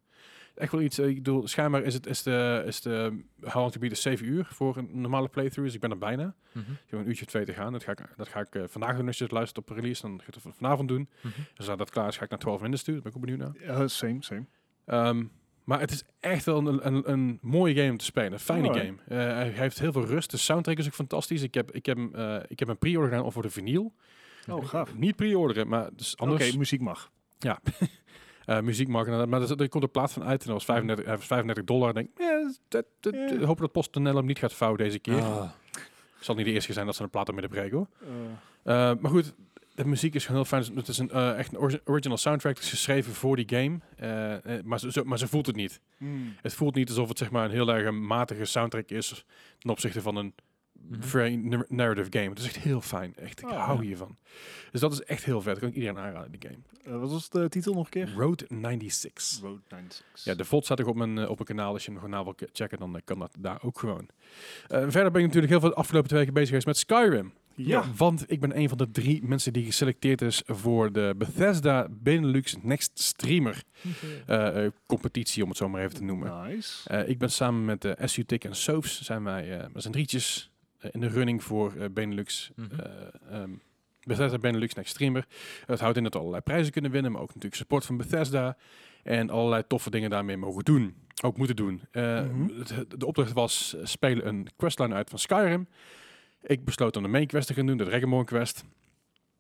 Speaker 1: Echt wel iets, eh, ik bedoel, schijnbaar is het, is de, is de How Long To Beat is 7 uur voor een normale playthrough, dus ik ben er bijna. Ik heb een uurtje of twee te gaan. Dat ga ik, dat ga ik eh, vandaag doen als je het luistert op release. Dan ga ik het van- vanavond doen. Dus nadat dat klaar is, ga ik naar 12 minuten toe. Daar ben ik ook benieuwd naar.
Speaker 2: Eh, same, same.
Speaker 1: Ehm, maar het is echt wel een, een, een mooie game om te spelen. Een fijne
Speaker 2: Alright.
Speaker 1: game. Eh, hij heeft heel veel rust. De soundtrack is ook fantastisch. Ik heb, ik heb, hem, eh, ik heb een pre-order gedaan voor de vinyl.
Speaker 2: Oh, gaaf.
Speaker 1: Niet pre-orderen, maar dus
Speaker 2: Oké,
Speaker 1: anders.
Speaker 2: muziek mag.
Speaker 1: eh, muziekmarkt. en dat- Maar er, zat- er komt een plaat van uit en dat was 35, eh, 35 dollar. En ik denk, eh, dat, dat,
Speaker 2: Ja.
Speaker 1: ik hoop dat PostNL hem niet gaat fouten deze keer.
Speaker 3: Ah.
Speaker 1: zal niet de eerste keer zijn dat ze een plaat midden breken hoor.
Speaker 2: Eh,
Speaker 1: Eh, maar goed, de muziek is gewoon heel fijn. Het is een, eh, echt een origi- original soundtrack. Het is geschreven voor die game. Eh, eh, maar, ze, ze- maar ze voelt het niet.
Speaker 2: hmm.
Speaker 1: Het voelt niet alsof het zeg maar, een heel erg een matige soundtrack is ten opzichte van een
Speaker 3: Mhm.
Speaker 1: vrij nar- narrative game. Het is echt heel fijn. Echt, ik
Speaker 2: Oh,
Speaker 1: hou
Speaker 2: ja.
Speaker 1: hiervan. Dus dat is echt heel vet. Kan ik iedereen aanraden, die game.
Speaker 2: eh, wat was de titel nog een keer?
Speaker 1: Road 96.
Speaker 2: Road 96.
Speaker 1: Ja, de VOD staat ook op mijn, eh, op mijn kanaal. Als je hem kanaal wil ke- checken, dan eh, kan dat daar ook gewoon. Eh, verder ben ik natuurlijk heel veel de afgelopen twee weken bezig geweest met Skyrim.
Speaker 2: Ja.
Speaker 1: Want ik ben een van de drie mensen die geselecteerd is voor de Bethesda Benelux Next Streamer eh, eh, competitie, om het zo maar even te noemen.
Speaker 2: Nice.
Speaker 1: Eh, ik ben samen met eh SU Tick en Soaps, zijn wij eh met z'n drietjes eh, in de running voor eh, Benelux.
Speaker 3: Mhm.
Speaker 1: eh, ehm, Bethesda Benelux Next Streamer. Het houdt in dat we allerlei prijzen kunnen winnen, maar ook natuurlijk support van Bethesda. En allerlei toffe dingen daarmee mogen doen. Ook moeten doen. Eh,
Speaker 2: Mhm.
Speaker 1: het- het- de opdracht was eh, spelen een questline uit van Skyrim. Ik besloot om de main quest te gaan doen, de Dragonborn quest.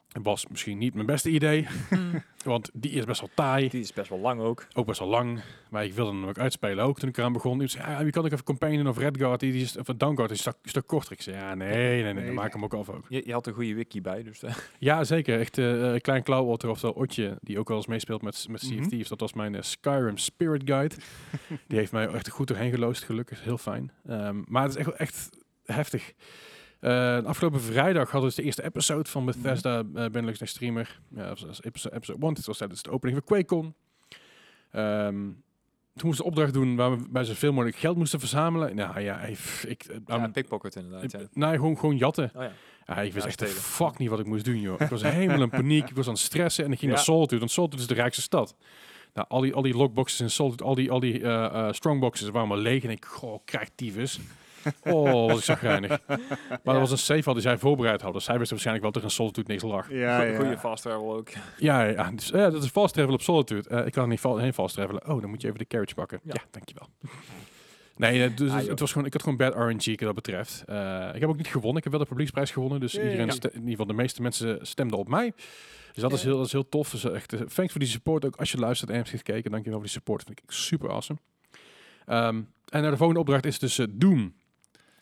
Speaker 1: Dat was misschien niet mijn beste idee, want die is best wel taai.
Speaker 3: Die is best wel lang ook.
Speaker 1: Ook best wel lang. Maar ik wilde hem ook uitspelen. Ook toen ik eraan begon. Iemand zei, ja, je kan ook even Companion of Redguard. Die, die is, of Downguard is een stuk, stuk korter. Ik zei, ja, nee, nee, nee.
Speaker 2: Nee.
Speaker 1: Dan maak ik hem ook af ook.
Speaker 3: Je, je had een goede wiki bij, dus eh,
Speaker 1: Ja, zeker. Echt eh eh, Klein Klauwotter, oftewel Otje. Die ook wel eens meespeelt met, met Sea of
Speaker 2: Mhm.
Speaker 1: Thieves. Dat was mijn eh, Skyrim Spirit Guide. die heeft mij echt goed doorheen geloosd. Gelukkig. Heel fijn. Ehm, maar het is echt, echt heftig. Eh, afgelopen vrijdag hadden we dus de eerste episode van Bethesda
Speaker 3: Mhm.
Speaker 1: eh Benelux Next Streamer. Ja, dat was- dat was episode, episode 1. Dit was tijdens de opening van QuakeCon. Ehm, toen moesten we een opdracht doen waar we bij zoveel mogelijk geld moesten verzamelen. Nou ja, ik... ik, eh,
Speaker 3: ja,
Speaker 1: I'm-
Speaker 3: pickpocket inderdaad. ja.
Speaker 1: eh, nee, gewoon, gewoon jatten.
Speaker 3: Oh ja.
Speaker 1: Ah, ik wist echt de
Speaker 3: stelen.
Speaker 1: fuck niet wat ik moest doen, joh. Ik was helemaal in paniek. Ik was aan het stressen en ik ging
Speaker 3: Ja.
Speaker 1: naar Solitude. Want Solitude is de rijkste stad. Nou, al die, al die lockboxes in Solitude, al die, al die eh, eh, strongboxes waren maar leeg. En ik, goh, krijg tyfus. Oh, was ik zagrijnig. Maar
Speaker 3: Ja.
Speaker 1: er was een safe al die zij voorbereid hadden. Dus zij wisten waarschijnlijk wel dat er in Solitude niks lag.
Speaker 2: Ja,
Speaker 3: Goe- Goede
Speaker 2: ja.
Speaker 3: fast travel ook.
Speaker 1: Ja, ja, dus, eh, dat is fast travel op Solitude. Eh, ik kan er niet fa- heen fast travelen. Oh, dan moet je even de carriage pakken.
Speaker 3: Ja.
Speaker 1: Ja, dankjewel. Nee, eh, dus
Speaker 3: Ah, joh.
Speaker 1: het was gewoon, ik had gewoon bad RNG wat dat betreft. Eh, ik heb ook niet gewonnen. Ik heb wel de publieksprijs gewonnen. Dus
Speaker 2: Yay.
Speaker 1: iedereen,
Speaker 2: Ja.
Speaker 1: ste- in ieder geval de meeste mensen stemden op mij. Dus dat, is,
Speaker 3: Yay.
Speaker 1: heel, dat is heel tof. Dus eh, echt, eh, thanks voor die support. Ook als je luistert en hebt gekeken, dankjewel voor die support. Vind ik super awesome. Ehm, en nou, de volgende opdracht is dus eh, Doom.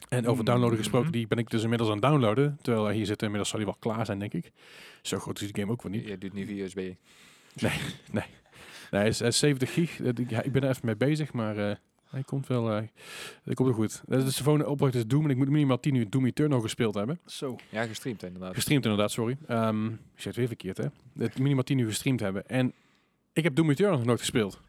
Speaker 1: En over
Speaker 2: Mm,
Speaker 1: downloaden gesproken,
Speaker 3: mhm.
Speaker 1: die ben ik dus inmiddels aan het downloaden. Terwijl hij hier zit, inmiddels zal hij wel klaar zijn, denk ik. Zo groot is die game ook wel niet.
Speaker 3: Je doet nu via USB.
Speaker 1: Nee, hij is, hij is 70 gig. Eh, ik- ja, ik ben er even mee bezig, maar eh, hij komt wel. eh hij komt wel goed. Dat is de volgende opdracht is Doom. En ik moet minimaal 10 uur Doom Eternal gespeeld hebben.
Speaker 2: Zo.
Speaker 3: Ja, gestreamd inderdaad.
Speaker 1: Gestreamd inderdaad, sorry. Ehm ik zeg het weer verkeerd, hè. Het minimaal 10 uur gestreamd hebben. En ik heb Doom Eternal nog nooit gespeeld.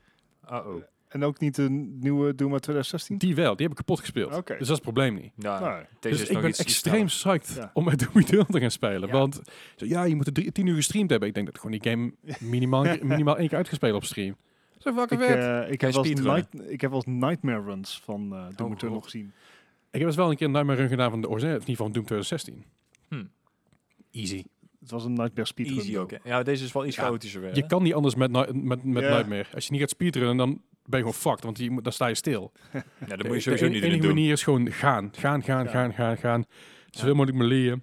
Speaker 3: Uh-oh.
Speaker 2: En ook niet een nieuwe Doom uit 2016?
Speaker 1: Die wel, die heb ik kapot gespeeld.
Speaker 2: Oké.
Speaker 1: Dus dat is het probleem niet.
Speaker 3: Nou,
Speaker 2: Nou,
Speaker 3: deze
Speaker 1: dus
Speaker 3: is
Speaker 1: ik
Speaker 3: nog
Speaker 1: ben
Speaker 3: iets- iets
Speaker 1: extreem
Speaker 3: sneller.
Speaker 1: psyched
Speaker 2: Ja.
Speaker 1: om met Doom Eternal te gaan spelen.
Speaker 3: Ja.
Speaker 1: Want zo, ja, je moet er drie- 10 uur gestreamd hebben. Ik denk dat gewoon die game minimaal, minimaal één keer uitgespeeld op stream. Zo
Speaker 2: ik,
Speaker 1: fucking vet.
Speaker 2: eh, ik,
Speaker 3: Kan
Speaker 2: heb
Speaker 3: je
Speaker 2: wel eens
Speaker 3: speedrunnen?
Speaker 2: night, ik heb wel eens Nightmare Runs van eh Doom
Speaker 3: Oh,
Speaker 2: Eternal
Speaker 3: God.
Speaker 2: gezien.
Speaker 1: Ik heb dus wel een keer een Nightmare Run gedaan van de originele, of in ieder geval van Doom 2016.
Speaker 3: Hmm.
Speaker 1: Easy.
Speaker 2: Het was een Nightmare Speedrun.
Speaker 3: Easy
Speaker 2: though.
Speaker 3: ook. hè. Ja, deze is wel iets
Speaker 1: Ja,
Speaker 3: chaotischer weer.
Speaker 1: Je
Speaker 3: hè.
Speaker 1: kan niet anders met, ni- met, met
Speaker 2: Ja.
Speaker 1: Nightmare. Als je niet gaat speedrunnen, dan ben je gewoon fucked, want je moet, dan sta je stil.
Speaker 3: Ja, dat moet je
Speaker 1: De- de
Speaker 3: sowieso
Speaker 1: en-
Speaker 3: niet
Speaker 1: enige
Speaker 3: doen.
Speaker 1: manier is gewoon gaan, gaan, gaan,
Speaker 2: Ja.
Speaker 1: gaan, gaan, gaan. Zoveel mogelijk melieën.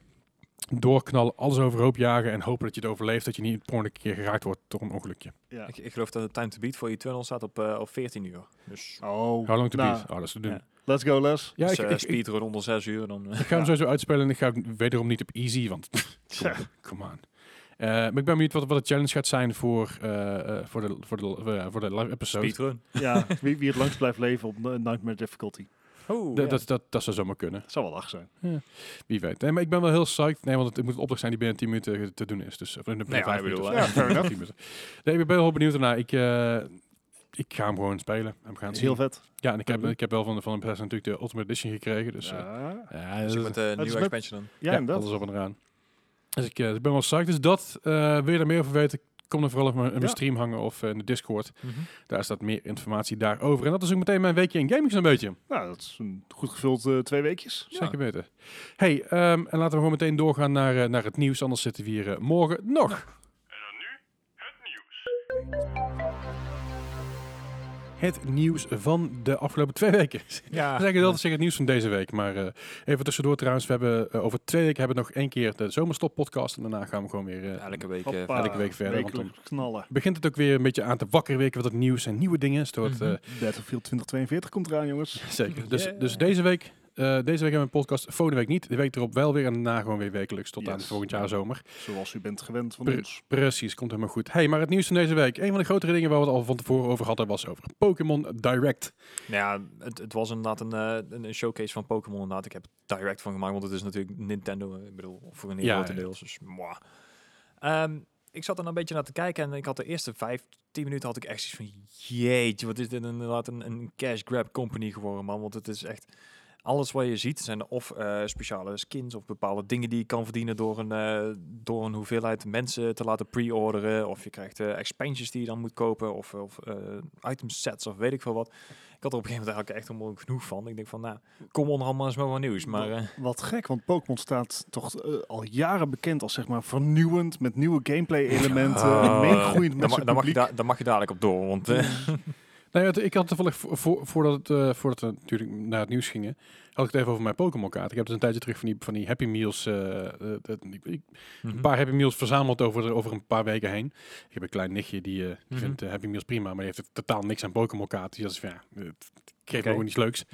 Speaker 1: Doorknallen, alles overhoop jagen en hopen dat je het overleeft. Dat je niet per ongeluk een keer geraakt wordt door een ongelukje.
Speaker 2: Ja.
Speaker 3: Ik, ik geloof dat de time to beat voor Eternal staat op, eh, op 14 uur. Dus,
Speaker 2: Oh,
Speaker 1: How long to
Speaker 2: nou,
Speaker 1: beat? Oh, dat is te doen.
Speaker 3: Ja.
Speaker 1: Ja,
Speaker 2: Let's go, Les.
Speaker 3: dus,
Speaker 1: ik,
Speaker 3: eh,
Speaker 1: ik- ik,
Speaker 3: speedrun onder 6 uur. Dan, eh,
Speaker 1: ik ga hem sowieso uitspelen en ik ga hem wederom niet op easy, want
Speaker 2: Ja.
Speaker 1: Come on. Eh, maar ik ben benieuwd wat, wat de challenge gaat zijn voor, eh, eh, voor, de, voor, de, eh, voor de live episode.
Speaker 3: speedrun.
Speaker 2: ja, wie, wie het langst blijft leven op eh, Nightmare Difficulty.
Speaker 3: Oh,
Speaker 1: Dat-
Speaker 3: ja.
Speaker 1: dat, dat, dat zou zomaar kunnen.
Speaker 2: Dat zou wel lach zijn.
Speaker 1: Wie weet. Nee, maar ik ben wel heel psyched. Nee, want het moet een opdracht zijn die binnen 10 minuten te doen is. Dus, of binnen
Speaker 3: Nee,
Speaker 1: 5
Speaker 3: maar ik
Speaker 1: minuten.
Speaker 3: bedoel, eh,
Speaker 1: of zo.
Speaker 2: ja, fair enough.
Speaker 1: 10 minuten. Nee, ik ben heel benieuwd ernaar. Ik, eh, ik ga hem gewoon spelen. En we gaan
Speaker 2: Dat
Speaker 1: het
Speaker 2: is
Speaker 1: zien.
Speaker 2: heel vet.
Speaker 1: Ja, en ik heb, ik heb wel van, van de pers natuurlijk de Ultimate Edition gekregen. Dus, eh,
Speaker 2: ja,
Speaker 1: ja,
Speaker 3: Dus
Speaker 1: dat-
Speaker 3: met de
Speaker 2: is
Speaker 3: nieuwe
Speaker 2: met-
Speaker 3: expansion dan.
Speaker 2: ja,
Speaker 1: dat
Speaker 2: inderdaad.
Speaker 1: is op en eraan. Dus ik, eh, ik ben wel psyched. Dus dat, eh wil je daar meer over weten, kom dan vooral even in mijn
Speaker 2: Ja.
Speaker 1: stream hangen of eh, in de Discord.
Speaker 3: Mhm.
Speaker 1: Daar staat meer informatie daarover. En dat is ook meteen mijn weekje in gaming zo'n beetje.
Speaker 2: Nou, dat is een goed gevuld eh, twee weekjes.
Speaker 3: Ja.
Speaker 1: Zeker weten. hey, ehm, en laten we gewoon meteen doorgaan naar, eh, naar het nieuws. Anders zitten we hier eh, morgen nog. En dan nu het nieuws. het nieuws van de afgelopen twee weken.
Speaker 5: Ja.
Speaker 1: We zeggen dat is het nieuws van deze week. Maar eh, even tussendoor trouwens, we hebben eh, over twee weken hebben we nog één keer de zomerstop podcast. En daarna gaan we gewoon weer. eh,
Speaker 3: Elke week. eh,
Speaker 2: Hoppa,
Speaker 1: elke week verder, want
Speaker 2: wekelijks knallen.
Speaker 1: begint het ook weer een beetje aan te wakker weken wat het nieuws en nieuwe dingen. is. Het wordt, eh,
Speaker 5: Mhm.
Speaker 2: Battlefield 2042 komt eraan, jongens.
Speaker 1: Zeker. Dus,
Speaker 5: Yeah.
Speaker 1: dus deze week. eh, deze week hebben we een podcast, volgende week niet. De week erop wel weer en daarna gewoon weer wekelijks tot aan
Speaker 2: Yes.
Speaker 1: volgend jaar zomer.
Speaker 2: Zoals u bent gewend van
Speaker 1: Pre-
Speaker 2: ons.
Speaker 1: Precies, komt helemaal goed. hey, maar het nieuws van deze week. Een van de grotere dingen waar we het al van tevoren over hadden was over Pokémon Direct.
Speaker 3: Nou ja, het, het was inderdaad een, eh, een, een showcase van Pokémon inderdaad. Ik heb er direct van gemaakt, want het is natuurlijk Nintendo. eh, Ik bedoel, voor een heel
Speaker 1: Ja,
Speaker 3: grote
Speaker 1: ja.
Speaker 3: deels. Dus, mwah. Ehm, ik zat er een beetje naar te kijken en ik had de eerste vijf, tien minuten had ik echt zoiets van... Jeetje, wat is dit inderdaad een, een cash grab company geworden, man. Want het is echt... Alles wat je ziet zijn of eh, speciale skins of bepaalde dingen die je kan verdienen door een, eh, door een hoeveelheid mensen te laten pre-orderen. Of je krijgt eh, expansions die je dan moet kopen of, of eh, item sets of weet ik veel wat. Ik had er op een gegeven moment eigenlijk echt helemaal genoeg van. Ik denk van, nou, kom on, allemaal eens met wat nieuws. Maar eh,
Speaker 2: Wat gek, want Pokémon staat toch eh, al jaren bekend als zeg maar vernieuwend met nieuwe gameplay-elementen,
Speaker 3: Ah,
Speaker 2: eh, meegroeiend
Speaker 3: dan, ma-
Speaker 2: met zijn
Speaker 3: dan mag je
Speaker 2: publiek.
Speaker 3: da- dan mag je dadelijk op door. Want eh,
Speaker 1: Nou ja, het- ik had toevallig vo- voor, voordat, het, eh, voordat we natuurlijk naar het nieuws gingen, had ik het even over mijn Pokémon kaart. Ik heb dus een tijdje terug van die, van die Happy Meals, eh, eh, dat- ik- ik-
Speaker 3: Mhm.
Speaker 1: een paar Happy Meals verzameld over, over een paar weken heen. Ik heb een klein nichtje die, eh, die
Speaker 3: Mhm.
Speaker 1: vindt eh, Happy Meals prima, maar die heeft totaal niks aan Pokémon kaart. Dus dat is van, ja, eh, het geeft
Speaker 3: Oké.
Speaker 1: me gewoon iets leuks.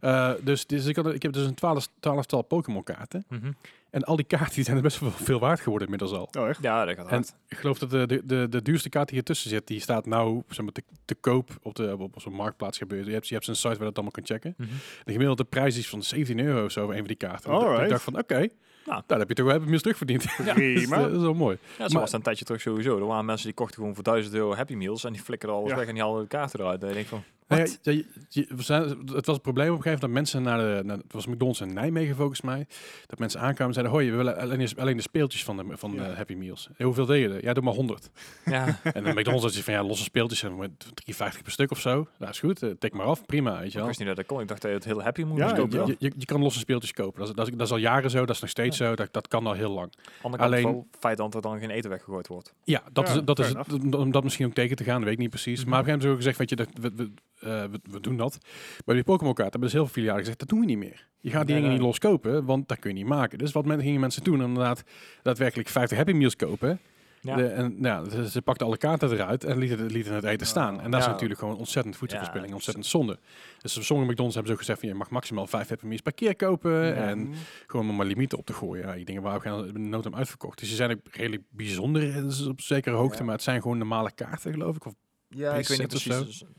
Speaker 1: Eh, dus dus ik, had, ik heb dus een twaalf, twaalftal Pokémon kaarten.
Speaker 3: Mhm.
Speaker 1: En al die kaarten die zijn best wel veel waard geworden inmiddels al.
Speaker 2: Oh, echt?
Speaker 3: Ja, dat gaat
Speaker 1: En
Speaker 3: hard.
Speaker 1: ik geloof dat de, de, de, de duurste kaart die ertussen zit, die staat nou zeg maar, te, te koop op, de, op, op zo'n marktplaats gebeurd. Je hebt, je hebt zo'n site waar dat allemaal kan checken.
Speaker 3: Mhm.
Speaker 1: De gemiddelde prijs is van 17 euro of zo voor een van die kaarten. Dus
Speaker 2: Alright.
Speaker 1: Ik dacht van, oké,
Speaker 3: Nou.
Speaker 1: daar heb je toch wel even meer terugverdiend. Ja, dus, eh,
Speaker 2: Prima.
Speaker 1: dat is wel mooi.
Speaker 3: Ja, zo was het een tijdje terug sowieso. Er waren mensen die kochten gewoon voor 1000 euro Happy Meals en die flikkerden alles
Speaker 2: Ja.
Speaker 3: weg en die haalden de kaarten eruit. En ik denk van,
Speaker 1: Nou ja, ja, je- je- we zijn- het was het probleem op een gegeven moment dat mensen naar de, naar, het was McDonald's in Nijmegen volgens mij, dat mensen aankwamen en zeiden, hoi, we willen alleen, alleen de speeltjes van de, van de
Speaker 2: Ja.
Speaker 1: Happy Meals. En hoeveel deed je er? Ja, doe maar 100.
Speaker 3: ja,
Speaker 1: En de McDonald's had je van ja, losse speeltjes en met 3,50 per stuk of zo. Nou is goed, eh, tik maar af, prima, weet je
Speaker 3: ik
Speaker 1: wel.
Speaker 3: wist niet dat dat kon. Ik dacht dat je het heel Happy Meals
Speaker 2: Ja,
Speaker 3: moest
Speaker 1: Je,
Speaker 3: kopen.
Speaker 2: inderdaad.
Speaker 3: dan.
Speaker 1: je, je- je kan losse speeltjes kopen. Dat is, dat, is, dat is al jaren zo, dat is nog steeds zo. Dat, dat kan al heel lang.
Speaker 3: Andere kant
Speaker 1: Alleen-
Speaker 3: wel het feit dat er dan geen eten weggegooid wordt.
Speaker 1: Ja, dat
Speaker 2: Ja,
Speaker 1: is, dat is
Speaker 2: fair
Speaker 1: het, om- om dat misschien ook tegen te gaan, dat weet ik niet precies. Maar
Speaker 3: Mhm.
Speaker 1: op een gegeven moment is ook gezegd, weet je, dat, we, we, eh, we, we doen dat. Bij die Pokémon kaart hebben dus heel veel filialen gezegd, dat doen we niet meer. Je gaat die dingen
Speaker 3: Nee, nee.
Speaker 1: niet los kopen, want dat kun je niet maken. Dus wat men, gingen mensen doen, inderdaad daadwerkelijk 50 Happy Meals kopen.
Speaker 3: Ja.
Speaker 1: De- en nou, ja, ze, ze pakten alle kaarten eruit en lieten, lieten het eten staan. En dat is
Speaker 3: Oh, Ja.
Speaker 1: natuurlijk gewoon ontzettend voedselverspilling,
Speaker 3: Ja,
Speaker 1: ontzettend zonde. Dus op sommige McDonald's hebben ze ook gezegd van je mag maximaal vijf Happy Meals per keer kopen.
Speaker 3: Eh,
Speaker 1: En gewoon om maar limieten op te gooien. Ja, die dingen waar we gaan nood hem uitverkocht. Dus ze zijn ook redelijk bijzonder eh, dus op zekere hoogte,
Speaker 3: Ja.
Speaker 1: maar het zijn gewoon normale kaarten geloof ik. Of
Speaker 3: Ja, ik weet niet
Speaker 1: Preset of
Speaker 3: precies.
Speaker 1: zo.
Speaker 3: dus-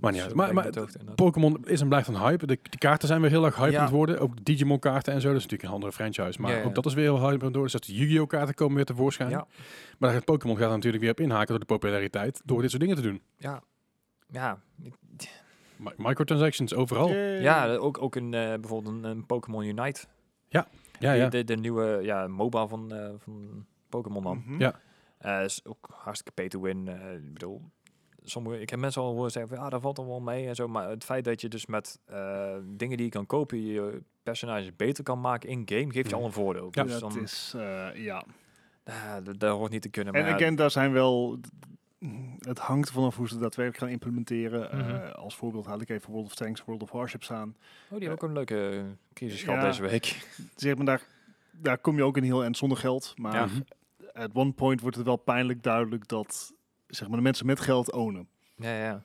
Speaker 1: Maar niet
Speaker 3: dus
Speaker 1: uit.
Speaker 3: dat
Speaker 1: Maar-
Speaker 3: weet ik
Speaker 1: maar
Speaker 3: niet ook, inderdaad.
Speaker 1: Pokémon is en blijft een hype. De, de kaarten zijn weer heel erg hype
Speaker 3: Ja.
Speaker 1: aan het worden. Ook Digimon kaarten en zo. Dat is natuurlijk een andere franchise. Maar
Speaker 3: Ja, ja.
Speaker 1: ook dat is weer heel hype aan het worden. Dus dat de Yu-Gi-Oh kaarten komen weer tevoorschijn.
Speaker 3: Ja.
Speaker 1: Maar daar gaat Pokémon gaat er natuurlijk weer op inhaken door de populariteit. Door dit soort dingen te doen.
Speaker 3: ja, ja, ik-
Speaker 1: Mi- Microtransactions overal. Ja,
Speaker 3: Ja, ook, ook een, eh, bijvoorbeeld een, een Pokémon Unite.
Speaker 1: ja.
Speaker 3: Die- De, de nieuwe ja, MOBA van, eh, van Pokémon dan.
Speaker 2: Mhm.
Speaker 1: Ja.
Speaker 3: Eh, is ook hartstikke pay to win. eh, ik bedoel, sommige, ik heb mensen al horen zeggen van, ah, daar valt allemaal mee en zo. Maar het feit dat je dus met eh, dingen die je kan kopen, je personages beter kan maken in game, geeft je al een voordeel.
Speaker 1: Ja.
Speaker 3: dus
Speaker 2: dat
Speaker 3: dan,
Speaker 2: is, eh, ja.
Speaker 3: ah, dat, dat hoort niet te kunnen.
Speaker 2: En
Speaker 3: Maar ja,
Speaker 2: again, daar zijn wel... Het hangt vanaf hoe ze dat werk gaan implementeren.
Speaker 3: Mhm.
Speaker 2: Eh, als voorbeeld haal ik even World of Tanks, World of Warships aan.
Speaker 3: oh, die hebben ook een leuke crisis gehad
Speaker 2: Ja.
Speaker 3: deze week.
Speaker 2: Zeg maar, daar, daar kom je ook een heel eind zonder geld. Maar
Speaker 3: Ja.
Speaker 1: Mhm.
Speaker 2: at one point wordt het wel pijnlijk duidelijk dat zeg maar, de mensen met geld ownen.
Speaker 3: ja, ja.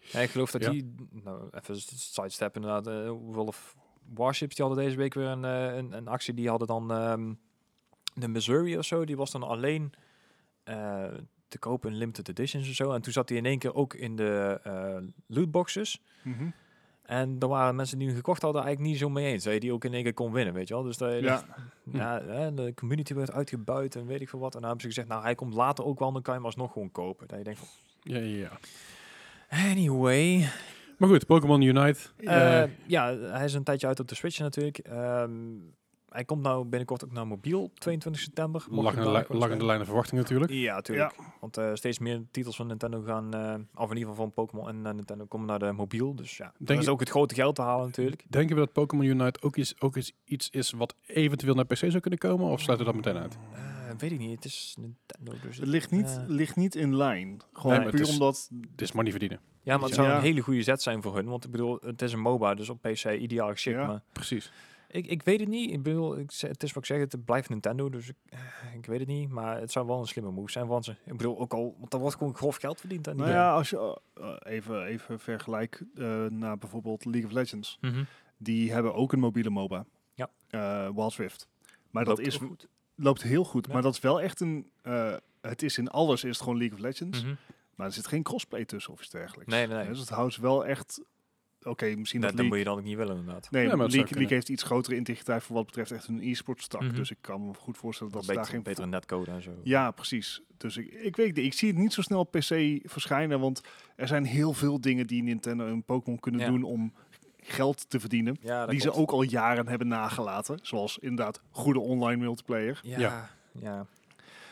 Speaker 3: Ja, ik geloof dat
Speaker 1: Ja.
Speaker 3: die, nou, even s- sidestep inderdaad, eh Wolf Warships, die hadden deze week weer een, eh, een, een actie. Die hadden dan ehm, de Missouri of zo, die was dan alleen eh, te kopen in limited editions of zo. En toen zat die in één keer ook in de eh, lootboxes.
Speaker 1: Mhm.
Speaker 3: En daar waren mensen die hem gekocht hadden eigenlijk niet zo mee eens. Dat je die ook in één keer kon winnen, weet je wel. Dus dat je
Speaker 2: Ja.
Speaker 3: ja, hè, de community werd uitgebuit en weet ik veel wat. En dan hebben ze gezegd, nou hij komt later ook wel, dan kan je hem alsnog gewoon kopen. Dat je denkt van,
Speaker 1: ja, ja, ja.
Speaker 3: anyway.
Speaker 1: Maar goed, Pokémon Unite.
Speaker 3: Eh, ja, hij is een tijdje uit op de Switch natuurlijk. Ehm, hij komt nou binnenkort ook naar mobiel, 22 september. Mocht je
Speaker 1: Lachende,
Speaker 3: hem dadelijk
Speaker 1: li-
Speaker 3: wel
Speaker 1: lachende
Speaker 3: spelen.
Speaker 1: lijn van verwachting natuurlijk.
Speaker 3: Ja, natuurlijk. Want eh, steeds meer titels van Nintendo gaan, eh of in ieder geval van Pokémon en eh, Nintendo, komen naar de mobiel. Dus ja,
Speaker 1: Denk
Speaker 3: dat is
Speaker 1: je-
Speaker 3: ook het grote geld te halen natuurlijk.
Speaker 1: Denken we dat Pokémon Unite ook, is, ook is, iets is wat eventueel naar PC zou kunnen komen? Of sluiten we dat meteen uit?
Speaker 3: Eh, weet ik niet. Het is Nintendo. Dus
Speaker 2: Het ligt niet,
Speaker 3: eh,
Speaker 2: ligt niet in lijn. Gewoon
Speaker 1: Nee, maar
Speaker 2: puur
Speaker 1: het is-
Speaker 2: omdat...
Speaker 1: Het is money verdienen.
Speaker 3: ja, maar het
Speaker 2: Ja.
Speaker 3: zou een hele goede zet zijn voor hun. Want ik bedoel, het is een MOBA, dus op PC ideaal shit.
Speaker 2: Ja.
Speaker 3: Maar
Speaker 1: Precies.
Speaker 3: ik, ik weet het niet. Ik bedoel, ik, ze- het is wat ik zeg, het blijft Nintendo. Dus ik, eh, ik weet het niet. Maar het zou wel een slimme move zijn van ze. Ik bedoel, ook al, want dan wordt gewoon grof geld verdiend. aan die
Speaker 2: Nou
Speaker 3: game.
Speaker 2: ja, als je eh, eh, even, even vergelijk eh, naar bijvoorbeeld League of Legends.
Speaker 3: Mhm.
Speaker 2: Die hebben ook een mobiele MOBA.
Speaker 3: Ja.
Speaker 2: Eh, Wild Rift. Maar
Speaker 3: Loopt
Speaker 2: dat is,
Speaker 3: ook goed.
Speaker 2: loopt heel goed.
Speaker 3: Ja.
Speaker 2: Maar dat is wel echt een... eh, het is in alles is het gewoon League of Legends.
Speaker 3: Mhm.
Speaker 2: Maar er zit geen crossplay tussen of iets dergelijks.
Speaker 3: Nee, nee, nee.
Speaker 2: Ja, Dus het houdt ze wel echt... Oké, misschien
Speaker 3: Dat,
Speaker 2: dat
Speaker 3: dat
Speaker 2: League...
Speaker 3: moet je dan ook niet willen, inderdaad.
Speaker 2: Nee,
Speaker 1: Ja, maar
Speaker 2: maar
Speaker 1: het zou
Speaker 2: League, League
Speaker 1: kunnen.
Speaker 2: heeft iets grotere integriteit voor wat betreft echt hun e-sports tak.
Speaker 3: Mhm.
Speaker 2: Dus ik kan me goed voorstellen dat ze daar
Speaker 3: beter,
Speaker 2: geen
Speaker 3: betere netcode en zo.
Speaker 2: Ja, precies. Dus ik, ik weet het niet. Ik zie het niet zo snel op PC verschijnen, want er zijn heel veel dingen die Nintendo en Pokémon kunnen
Speaker 3: Ja.
Speaker 2: doen om geld te verdienen.
Speaker 3: Ja, dat
Speaker 2: die ze
Speaker 3: klopt.
Speaker 2: ook al jaren hebben nagelaten. Zoals inderdaad goede online multiplayer.
Speaker 3: Ja,
Speaker 1: Ja.
Speaker 3: ja.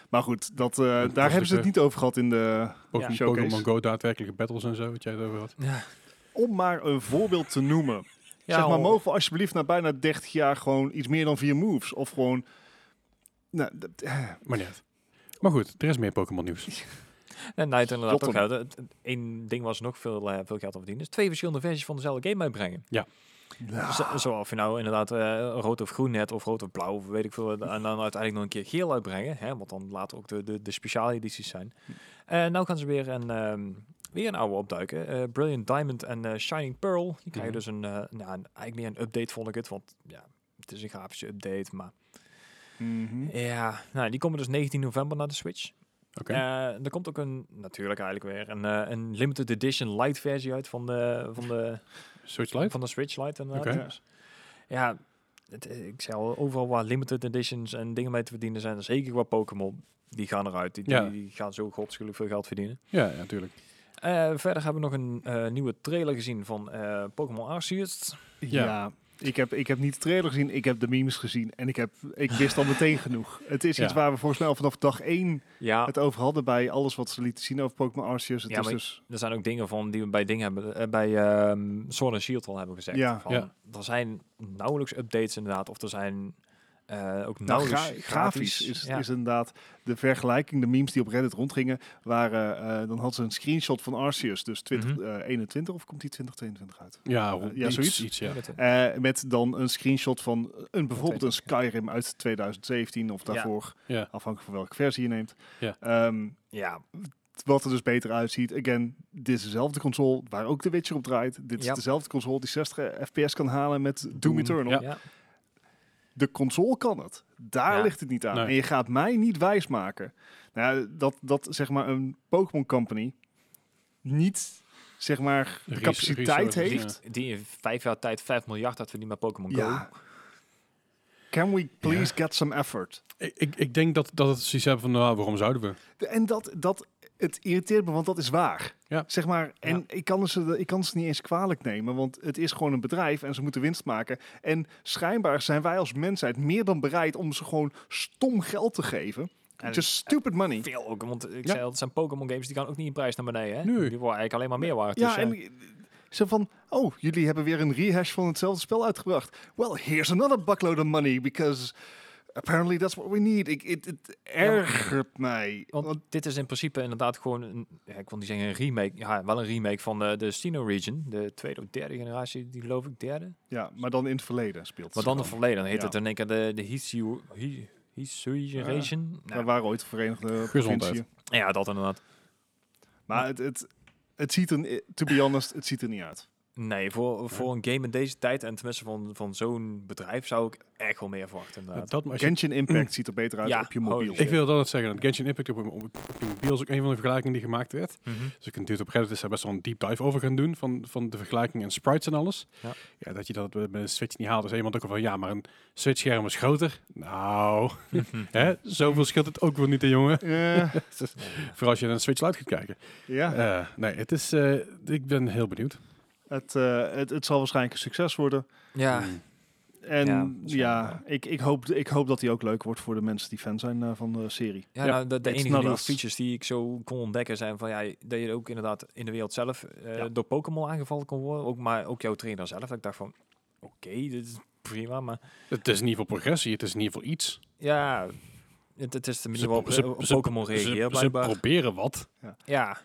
Speaker 2: Maar goed, dat, eh,
Speaker 1: dat
Speaker 2: daar
Speaker 1: is
Speaker 3: dus,
Speaker 2: hebben ze het
Speaker 1: de-
Speaker 2: niet over gehad in de...
Speaker 1: Pokémon-
Speaker 2: Ja. Showcase.
Speaker 1: Pokémon Go, daadwerkelijke battles en zo, wat jij het over had.
Speaker 2: Om maar een voorbeeld te noemen. zeg maar,
Speaker 3: hoor.
Speaker 2: mogen we alsjeblieft na bijna 30 jaar gewoon iets meer dan vier moves? Of gewoon... Nou, dat- eh,
Speaker 1: Maar niet. uit. Maar goed, er is meer Pokémon nieuws.
Speaker 3: En Night inderdaad
Speaker 2: Rotterdam.
Speaker 3: ook uit. Het- het- Eén ding was nog veel, eh, veel geld te verdienen. Is twee verschillende versies van dezelfde game uitbrengen.
Speaker 2: nou,
Speaker 3: Zo, zo of je nou inderdaad eh, rood of groen hebt, of rood of blauw, of weet ik veel. En dan uiteindelijk nog een keer geel uitbrengen. Hè, want dan later ook de, de, de speciale edities zijn. En nou gaan ze weer een, ehm, weer een oude opduiken. Eh, Brilliant Diamond en eh, Shining Pearl. Die krijgen
Speaker 1: Mhm.
Speaker 3: dus een, eh, nou, een- eigenlijk meer een update vond ik het. Want ja, het is een grafische update. Maar
Speaker 2: mhm.
Speaker 3: ja, nou, die komen dus 19 november naar de Switch.
Speaker 1: Oké.
Speaker 3: Eh, er komt ook een, natuurlijk eigenlijk weer, een, eh, een limited edition light versie uit van de, van de,
Speaker 1: Switch Lite?
Speaker 3: van de Switch Lite inderdaad.
Speaker 1: Oké.
Speaker 3: Dus, ja, het, eh, ik zei al, overal waar limited editions en dingen mee te verdienen zijn, zeker qua Pokémon, die gaan eruit. Die, die-
Speaker 1: Ja.
Speaker 3: die gaan zo godschuwelijk veel geld verdienen.
Speaker 1: Ja, ja, natuurlijk.
Speaker 3: Eh, verder hebben we nog een eh, nieuwe trailer gezien van eh, Pokémon Arceus.
Speaker 1: Ja.
Speaker 2: Ja. Ik heb, ik heb niet de trailer gezien, ik heb de memes gezien en ik, heb, ik wist al meteen genoeg. Het is
Speaker 1: Ja.
Speaker 2: iets waar we volgens mij al vanaf dag één
Speaker 3: Ja,
Speaker 2: het over hadden bij alles wat ze lieten zien over Pokémon Arceus. Het
Speaker 3: Ja,
Speaker 2: is
Speaker 3: maar-
Speaker 2: dus,
Speaker 3: er zijn ook dingen van die we bij dingen hebben eh, bij ehm Sword and Shield al hebben gezegd.
Speaker 2: Ja.
Speaker 3: van,
Speaker 1: Ja.
Speaker 3: Er zijn nauwelijks updates inderdaad, of er zijn eh, ook
Speaker 2: nou,
Speaker 3: nauwelijks
Speaker 2: gra- grafisch
Speaker 3: gratis-
Speaker 2: is,
Speaker 3: ja.
Speaker 2: is inderdaad de vergelijking. De memes die op Reddit rondgingen, waren, eh, dan hadden ze een screenshot van Arceus, dus
Speaker 1: Mhm.
Speaker 2: 2021 of komt die 2022 uit?
Speaker 1: Ja,
Speaker 2: ja,
Speaker 1: iets-
Speaker 2: zoiets.
Speaker 1: Iets, ja.
Speaker 3: Dat, eh,
Speaker 2: Eh, met dan een screenshot van een, bijvoorbeeld een
Speaker 3: 2020,
Speaker 2: Skyrim uit 2017 of
Speaker 3: Ja.
Speaker 2: daarvoor,
Speaker 1: Ja.
Speaker 2: afhankelijk van welke versie je neemt.
Speaker 1: Ja.
Speaker 2: Ehm,
Speaker 3: ja,
Speaker 2: wat er dus beter uitziet. Again, dit is dezelfde console waar ook The Witcher op draait. Dit is
Speaker 3: Ja.
Speaker 2: dezelfde console die 60 fps kan halen met Doom,
Speaker 1: Doom,
Speaker 2: Eternal.
Speaker 1: ja.
Speaker 3: ja.
Speaker 2: De console kan het. Daar
Speaker 3: Ja.
Speaker 2: ligt het niet aan.
Speaker 1: Nee.
Speaker 2: En je gaat mij niet wijsmaken nou, ja, dat, dat zeg maar een Pokémon Company niet zeg maar de
Speaker 1: Res-
Speaker 2: capaciteit
Speaker 1: resources,
Speaker 2: heeft.
Speaker 3: Die, die in vijf jaar tijd 5 miljard had verdiend met Pokémon
Speaker 2: Ja.
Speaker 3: Go.
Speaker 2: Can we please get some effort?
Speaker 1: Ik, ik, ik denk dat, dat het zoiets hebben van, nou, waarom zouden we?
Speaker 2: De- En dat, dat, het irriteert me, want dat is waar.
Speaker 1: Ja.
Speaker 2: Zeg maar, en ik, kan ze, ik kan ze niet eens kwalijk nemen, want het is gewoon een bedrijf en ze moeten winst maken. En schijnbaar zijn wij als mensheid meer dan bereid om ze gewoon stom geld te geven.
Speaker 3: En-
Speaker 2: Just stupid money.
Speaker 3: Veel ook, want ik
Speaker 1: Ja.
Speaker 3: zei al, het zijn Pokémon games, die gaan ook niet in prijs naar beneden. Hè?
Speaker 1: Nee.
Speaker 3: Die worden eigenlijk alleen maar meer waard. dus,
Speaker 2: ja,
Speaker 3: eh,
Speaker 2: en ze van, oh, jullie hebben weer een rehash van hetzelfde spel uitgebracht. Well, here's another buckload of money, because apparently that's what we need. Ik, het, het ergert mij.
Speaker 3: want,
Speaker 2: Want-
Speaker 3: dit is in principe inderdaad gewoon, een, ja, ik wil niet zeggen een remake, ja, wel een remake van eh, de Sinnoh Region. De tweede of derde generatie, die geloof ik derde.
Speaker 2: ja, maar dan in het verleden speelt het
Speaker 3: Maar dan
Speaker 2: zich
Speaker 3: het verleden, dan heet
Speaker 2: Ja.
Speaker 3: het in één keer de, de Hisui Hi- Hisui
Speaker 2: Ja.
Speaker 3: Region.
Speaker 2: af.
Speaker 3: Nou,
Speaker 2: We waren ooit de Verenigde
Speaker 1: Gezondheid.
Speaker 2: Provincie.
Speaker 3: ja, dat inderdaad.
Speaker 2: Maar het, het, het ziet er, to be honest, het ziet er niet uit.
Speaker 3: Nee, voor, voor een game in deze tijd en tenminste van, van zo'n bedrijf zou ik echt wel meer verwachten. Inderdaad.
Speaker 1: Dat, maar als je-
Speaker 2: Genshin Impact ziet er beter uit
Speaker 3: Ja,
Speaker 2: op je mobiel.
Speaker 3: holy
Speaker 1: ik wil dat net zeggen. Dat Genshin Impact op, op, op je mobiel is ook een van de vergelijkingen die gemaakt werd.
Speaker 3: Mhm.
Speaker 1: Dus ik natuurlijk op Reddit is daar best wel een deep dive over gaan doen van, van de vergelijking en sprites en alles. Ja.
Speaker 3: Ja.
Speaker 1: dat je dat met met een Switch niet haalt. Dus iemand ook al van, ja, maar een Switch-scherm is groter. Nou, hè, zoveel scheelt het ook wel niet, hè, jongen.
Speaker 2: Eh,
Speaker 1: Vooral als je naar een Switch Lite gaat kijken.
Speaker 2: ja,
Speaker 1: Eh, nee, het is, eh, ik ben heel benieuwd.
Speaker 2: het, eh, het, het zal waarschijnlijk een succes worden.
Speaker 3: Ja,
Speaker 1: Mm.
Speaker 2: En
Speaker 3: Ja,
Speaker 2: ja,
Speaker 3: dat is wel-
Speaker 2: ik, ik, hoop, ik hoop dat hij ook leuk wordt voor de mensen die fan zijn eh, van de serie.
Speaker 3: Ja,
Speaker 1: Ja.
Speaker 3: nou, de, de
Speaker 2: It's
Speaker 3: enige
Speaker 2: not
Speaker 3: nieuwe
Speaker 2: us.
Speaker 3: features die ik zo kon ontdekken zijn van ja, dat je ook inderdaad in de wereld zelf eh,
Speaker 2: Ja.
Speaker 3: door Pokémon aangevallen kon worden. Ook, maar ook jouw trainer zelf. Dat ik dacht van oké, dit is prima, maar
Speaker 1: Het is in ieder geval progressie, het is in ieder geval iets.
Speaker 3: ja, Het, het is de
Speaker 1: Ze
Speaker 3: manier waarop
Speaker 1: pro- ze-
Speaker 3: eh, op
Speaker 1: ze-
Speaker 3: Pokémon reageert,
Speaker 1: Ze, ze
Speaker 3: blijkbaar.
Speaker 1: proberen wat.
Speaker 3: Ja,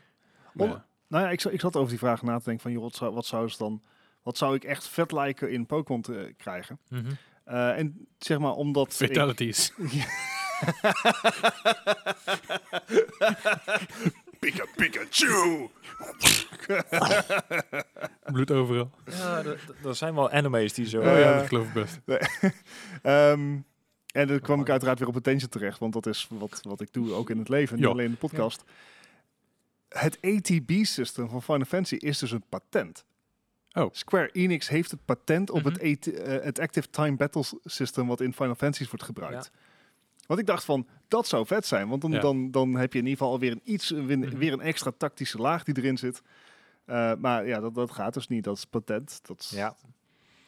Speaker 1: maar
Speaker 2: Om- Nou ja, ik, za- ik zat over die vraag na te denken van, joh, wat zou, wat zou, ze dan, wat zou ik echt vet lijken in Pokémon te eh, krijgen?
Speaker 3: Mhm.
Speaker 2: Eh, en zeg maar omdat ik-
Speaker 1: Fatalities.
Speaker 2: Pika Pikachu!
Speaker 1: Bloed overal.
Speaker 3: Ja, d- d- er zijn wel anime's die zo...
Speaker 1: Oh ja,
Speaker 2: Eh,
Speaker 1: dat geloof ik best.
Speaker 2: Ehm, en dan kwam ik uiteraard weer op attention terecht, want dat is wat, wat ik doe ook in het leven, niet
Speaker 1: Ja.
Speaker 2: alleen in de podcast. Het ATB-system van Final Fantasy is dus een patent.
Speaker 1: Oh.
Speaker 2: Square Enix heeft het patent op
Speaker 3: Mhm.
Speaker 2: het, AT eh, het Active Time Battle System wat in Final Fantasy wordt gebruikt. Want ik dacht van, dat zou vet zijn, want dan,
Speaker 1: Ja.
Speaker 2: dan, dan heb je in ieder geval alweer een iets, weer,
Speaker 3: Mhm.
Speaker 2: weer een extra tactische laag die erin zit. Eh, maar ja, dat, dat gaat dus niet, dat is patent. Dat is,
Speaker 3: Ja.